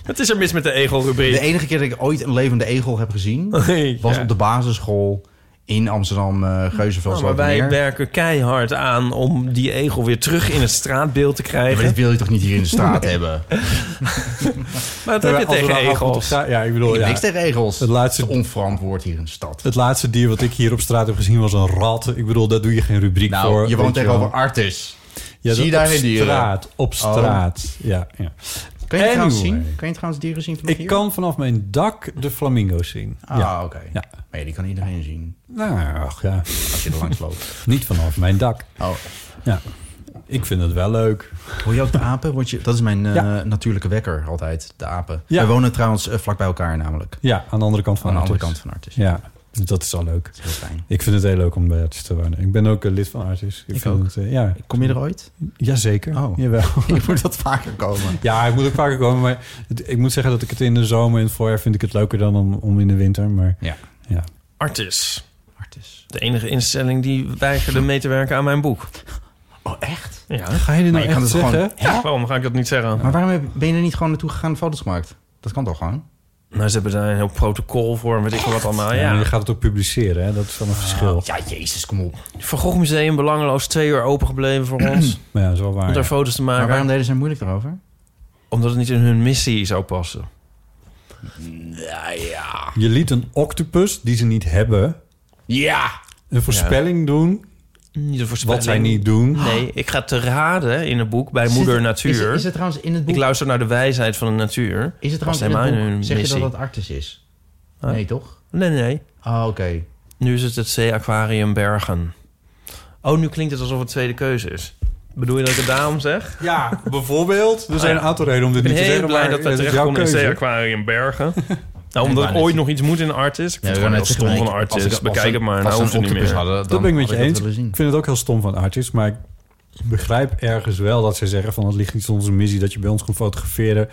Speaker 2: Wat is er mis met de egelrubriek?
Speaker 3: De enige keer dat ik ooit een levende egel heb gezien... was op de basisschool in Amsterdam, eh Geuzenveld.
Speaker 2: Nou, maar wij werken keihard aan om die egel weer terug in het straatbeeld te krijgen.
Speaker 3: maar dit wil je toch niet hier in de straat hebben?
Speaker 2: Oh, Maar dat heb je tegen egels.
Speaker 4: Ja, ik bedoel,
Speaker 3: Ik heb
Speaker 4: ja.
Speaker 3: niks tegen egels.
Speaker 4: Het laatste,
Speaker 3: onverantwoord hier in de stad.
Speaker 4: het laatste dier wat ik hier op straat heb gezien was een rat. Ik bedoel, daar doe je geen rubriek
Speaker 3: Nou,
Speaker 4: voor.
Speaker 3: je woont
Speaker 4: weet wel.
Speaker 3: tegenover Artis.
Speaker 4: Ja,
Speaker 3: Zie je
Speaker 4: dat-
Speaker 3: daar
Speaker 4: op
Speaker 3: geen dieren?
Speaker 4: straat. Op
Speaker 3: Oh.
Speaker 4: straat. Ja, ja.
Speaker 3: Kan je het trouwens
Speaker 4: Anyway.
Speaker 3: zien? Kan je trouwens dieren zien vanaf
Speaker 4: Ik
Speaker 3: hier?
Speaker 4: kan vanaf mijn dak de flamingo's zien.
Speaker 3: Ah,
Speaker 4: ja.
Speaker 3: oké.
Speaker 4: Ja.
Speaker 3: Maar ja, die kan iedereen zien.
Speaker 4: Nou, ach ja.
Speaker 3: Als je er langs loopt.
Speaker 4: Niet vanaf mijn dak.
Speaker 3: Oh.
Speaker 4: Ja. Ik vind het wel leuk.
Speaker 3: Hoor je ook de apen? Word je, dat is mijn eh,
Speaker 4: Ja.
Speaker 3: natuurlijke wekker altijd, de apen.
Speaker 4: Ja.
Speaker 3: Wij wonen trouwens eh, vlak bij elkaar namelijk.
Speaker 4: Ja, aan de andere kant van
Speaker 3: Aan de andere
Speaker 4: Artis.
Speaker 3: kant van Artis.
Speaker 4: Ja, dus dat is al leuk.
Speaker 3: is heel fijn.
Speaker 4: Ik vind het heel leuk om bij Artis te wonen. Ik ben ook eh, lid van Artis. Ik, vind
Speaker 3: ook.
Speaker 4: Het, eh, ja.
Speaker 3: Kom je er ooit?
Speaker 4: Jazeker. Oh. Jawel.
Speaker 3: Ik moet dat vaker komen.
Speaker 4: Ja, ik moet ook vaker komen. Maar het- ik moet zeggen dat ik het in de zomer en het voorjaar vind ik het leuker dan om, om in de winter. Maar
Speaker 3: ja.
Speaker 4: ja.
Speaker 2: Artis. Artis. De enige instelling die weigerde mee te werken aan mijn boek.
Speaker 3: Oh, echt?
Speaker 2: Ja.
Speaker 4: Ga je dit nou
Speaker 3: Maar je kan
Speaker 4: echt
Speaker 3: het gewoon-
Speaker 4: zeggen?
Speaker 2: Ja, waarom ga ik dat niet zeggen?
Speaker 3: Maar waarom heb- ben je er niet gewoon naartoe gegaan en foto's gemaakt? Dat kan toch gewoon?
Speaker 2: Nou, ze hebben daar een heel protocol voor en weet ik veel wat allemaal.
Speaker 4: Ja,
Speaker 2: Ja.
Speaker 4: maar je gaat het ook publiceren, hè? dat is wel een verschil.
Speaker 3: Ah, Ja, jezus, kom op.
Speaker 2: Van Gogh Museum belangeloos twee uur open gebleven voor ons.
Speaker 4: Maar ja, dat is wel waar.
Speaker 2: om daar
Speaker 4: ja.
Speaker 2: foto's te maken.
Speaker 3: Maar waarom deden ze er moeilijk erover?
Speaker 2: Omdat het niet in hun missie zou passen.
Speaker 3: Ja, ja.
Speaker 4: Je liet een octopus die ze niet hebben.
Speaker 3: Ja!
Speaker 4: Een voorspelling doen.
Speaker 2: Niet een voorspelling.
Speaker 4: Wat zij niet doen.
Speaker 2: Nee, ik ga te raden in het boek bij
Speaker 3: Zit-
Speaker 2: Moeder
Speaker 3: is-
Speaker 2: Natuur.
Speaker 3: is het trouwens in het boek-
Speaker 2: Ik luister naar de wijsheid van de natuur.
Speaker 3: Is het
Speaker 2: Past
Speaker 3: trouwens in het
Speaker 2: helemaal in
Speaker 3: boek,
Speaker 2: hun
Speaker 3: zeg je dat
Speaker 2: missie.
Speaker 3: dat Artis is?
Speaker 2: Huh?
Speaker 3: Nee, toch?
Speaker 2: Nee, nee.
Speaker 3: Ah, oké.
Speaker 2: Nu is het het Zee-Aquarium Bergen. Oh, nu klinkt het alsof het tweede keuze is. Bedoel je dat ik het daarom zeg?
Speaker 4: Ja, bijvoorbeeld. Er
Speaker 2: Ah,
Speaker 4: zijn
Speaker 2: ja.
Speaker 4: een aantal redenen om dit
Speaker 2: ik
Speaker 4: niet
Speaker 2: ben
Speaker 4: te
Speaker 2: heel
Speaker 4: zeggen.
Speaker 2: blij
Speaker 4: maar
Speaker 2: dat we
Speaker 4: het is
Speaker 2: terecht
Speaker 4: jouw
Speaker 2: konden in het
Speaker 4: keuze.
Speaker 2: Zee-Aquarium Bergen. Nou, omdat
Speaker 3: wou
Speaker 2: ik
Speaker 3: net
Speaker 2: ooit nog iets moet in Artis. Ik vind
Speaker 3: Ja,
Speaker 2: het
Speaker 3: ik wou
Speaker 2: gewoon heel
Speaker 3: net zeggen,
Speaker 2: stom van
Speaker 3: maar ik- als
Speaker 2: Artis.
Speaker 3: ik- als
Speaker 2: Bekijk
Speaker 3: ik-
Speaker 2: het maar,
Speaker 3: als
Speaker 2: nou
Speaker 3: we
Speaker 2: hoeft
Speaker 3: een
Speaker 2: het niet meer.
Speaker 3: octopus hadden,
Speaker 4: Dat ben ik met je
Speaker 3: had ik dat
Speaker 4: eens.
Speaker 3: willen zien.
Speaker 4: Ik vind het ook heel stom van Artis, maar ik begrijp ergens wel dat ze zeggen van het ligt niet in onze missie dat je bij ons komt fotograferen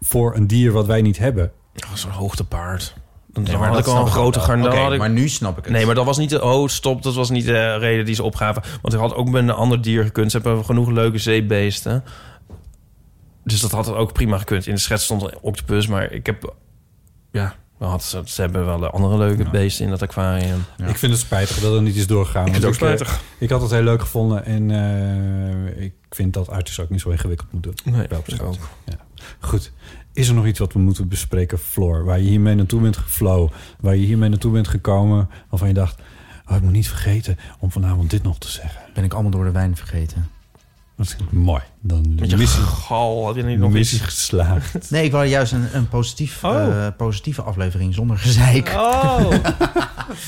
Speaker 4: voor een dier wat wij niet hebben.
Speaker 2: Oh, zo'n hoogtepaard. Dan
Speaker 4: Nee, maar
Speaker 2: had
Speaker 4: dat
Speaker 2: ik al een
Speaker 4: snap ik
Speaker 2: grote
Speaker 4: ook wel.
Speaker 2: garnaal.
Speaker 4: Oké,
Speaker 2: had ik-
Speaker 4: maar nu snap ik het.
Speaker 2: Nee, maar dat was niet de... Oh, stop, dat was niet de reden die ze opgaven. Want ik had ook met een ander dier gekund. Ze hebben genoeg leuke zeebeesten. Dus dat had het ook prima gekund. In de schets stond een octopus, maar ik heb... Ja, dan had ze, ze hebben wel de andere leuke beesten in dat aquarium.
Speaker 4: Ik vind het spijtig dat het niet is doorgegaan.
Speaker 2: Ik vind
Speaker 4: want
Speaker 2: het ook
Speaker 4: eh,
Speaker 2: spijtig.
Speaker 4: Ik had het heel leuk gevonden en eh, ik vind dat Artis ook niet zo ingewikkeld moet doen.
Speaker 2: Nee,
Speaker 4: Wel
Speaker 2: vind ik
Speaker 4: precies. Ja. Goed. Is er nog iets wat we moeten bespreken, Floor? Waar je hiermee naartoe bent geflow, waar je hiermee naartoe bent gekomen, waarvan je dacht, oh, ik moet niet vergeten om vanavond dit nog te zeggen.
Speaker 3: Ben ik allemaal door de wijn vergeten.
Speaker 4: Dat is mooi. Dan
Speaker 2: Met je
Speaker 4: missie,
Speaker 2: gal, heb je niet nog
Speaker 4: missie
Speaker 2: iets?
Speaker 4: geslaagd.
Speaker 3: Nee, ik wou juist een, een positief, eh, positieve aflevering zonder gezeik.
Speaker 2: Oh!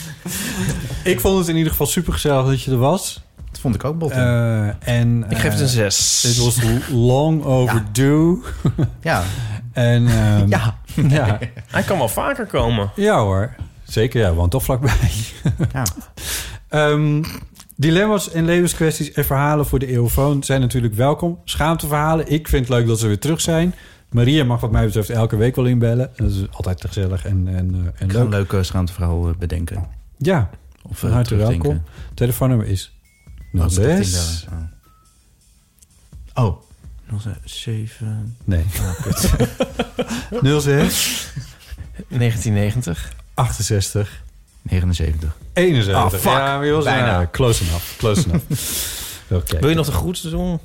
Speaker 4: Ik vond het in ieder geval super gezellig dat je er was.
Speaker 3: Dat vond ik ook, Botte.
Speaker 2: Eh.
Speaker 4: en,
Speaker 2: Ik geef het een
Speaker 4: eh,
Speaker 2: zes.
Speaker 4: Dit was long overdue.
Speaker 3: Ja.
Speaker 4: en, ehm, ja. ja.
Speaker 2: Hij kan wel vaker komen.
Speaker 4: hoor. Zeker, ja. Want toch vlakbij.
Speaker 3: ja.
Speaker 4: Ehm, dilemma's en levenskwesties en verhalen voor de eeuwfoon zijn natuurlijk welkom. Schaamteverhalen. Ik vind het leuk dat ze weer terug zijn. Maria mag wat mij betreft elke week wel inbellen. Dat is altijd gezellig en, en, eh, en
Speaker 3: Ik ga een
Speaker 4: leuk.
Speaker 3: leuke schaamteverhaal eh, bedenken.
Speaker 4: Ja,
Speaker 3: Of,
Speaker 4: van
Speaker 3: eh,
Speaker 4: harte
Speaker 3: terugdenken.
Speaker 4: welkom. Telefoonnummer is
Speaker 3: Oh,
Speaker 4: 06...
Speaker 3: Oh. 07.
Speaker 4: Nee.
Speaker 3: Oh, kut.
Speaker 4: 06
Speaker 2: 1990.
Speaker 4: 68
Speaker 3: 79.
Speaker 4: 71.
Speaker 3: Oh, fuck.
Speaker 4: Ja, maar je was
Speaker 3: Bijna.
Speaker 4: bijna. close enough. Close enough. Oké.
Speaker 2: Wil je nog de groeten doen?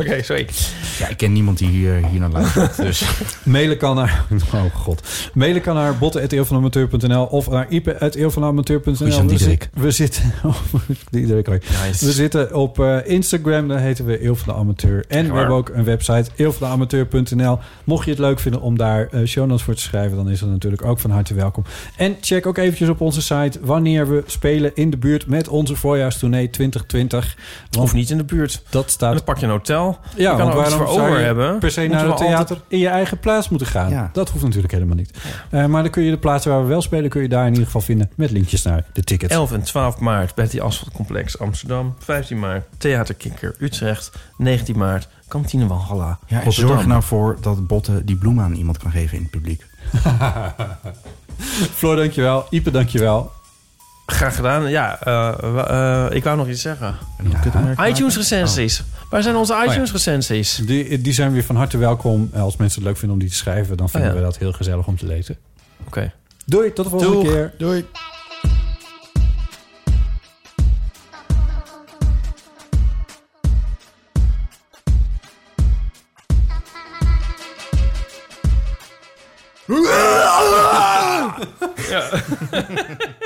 Speaker 2: Oké, sorry.
Speaker 3: Ja, ik ken niemand die hier, hier naar luistert. Dus.
Speaker 4: Mailen kan naar... Oh god. Mailen kan naar botten.eeuwvanamateur.nl of naar
Speaker 3: Goeie
Speaker 4: ipe.eeuwvanamateur.nl.
Speaker 3: zo'n
Speaker 4: We,
Speaker 3: Diederik.
Speaker 4: zi- we zitten... Oh, Diederik, hoi.
Speaker 3: Nice.
Speaker 4: We zitten op eh, Instagram, daar heten we Eeuw van de Amateur. En we
Speaker 3: Gaar.
Speaker 4: hebben ook een website, eeuwvandeamateur.nl. Mocht je het leuk vinden om daar eh, show notes voor te schrijven... dan is dat natuurlijk ook van harte welkom. En check ook eventjes op onze site wanneer we spelen in de buurt... met onze voorjaarstournee 2020.
Speaker 2: Of niet in de buurt.
Speaker 4: Dat staat...
Speaker 2: Dan pak je een hotel.
Speaker 4: Ja,
Speaker 2: je kan
Speaker 4: want
Speaker 2: er ook iets
Speaker 4: waarom
Speaker 2: voor
Speaker 4: zou
Speaker 2: over
Speaker 4: je
Speaker 2: hebben.
Speaker 4: per se
Speaker 2: Moeten
Speaker 4: naar het
Speaker 2: we
Speaker 4: theater
Speaker 2: altijd-
Speaker 4: in je eigen plaats moeten gaan? Dat hoeft natuurlijk helemaal niet. Eh, maar dan kun je de plaatsen waar we wel spelen... kun je daar in ieder geval vinden met linkjes naar de tickets.
Speaker 2: 11 en 12 maart Betty Asfaltcomplex Amsterdam. 15 maart Theaterkikker Utrecht. 19 maart Kantine Walhalla.
Speaker 3: Ja, en
Speaker 2: Rotterdam.
Speaker 3: zorg nou voor dat Botten die bloemen aan iemand kan geven in het publiek.
Speaker 4: Floor, dankjewel. Ipe, dankjewel.
Speaker 2: Graag gedaan. Ja, eh, wa- eh, ik wou nog iets zeggen. iTunes recensies.
Speaker 4: Oh.
Speaker 2: Waar zijn onze iTunes recensies?
Speaker 4: Die, die zijn weer van harte welkom. Eh, Als mensen het leuk vinden om die te schrijven... dan vinden
Speaker 2: Oh ja.
Speaker 4: we dat heel gezellig om te lezen.
Speaker 2: Oké.
Speaker 4: Doei, tot de volgende
Speaker 2: Doeg.
Speaker 4: keer. Doei.
Speaker 3: Ah!
Speaker 2: Ja.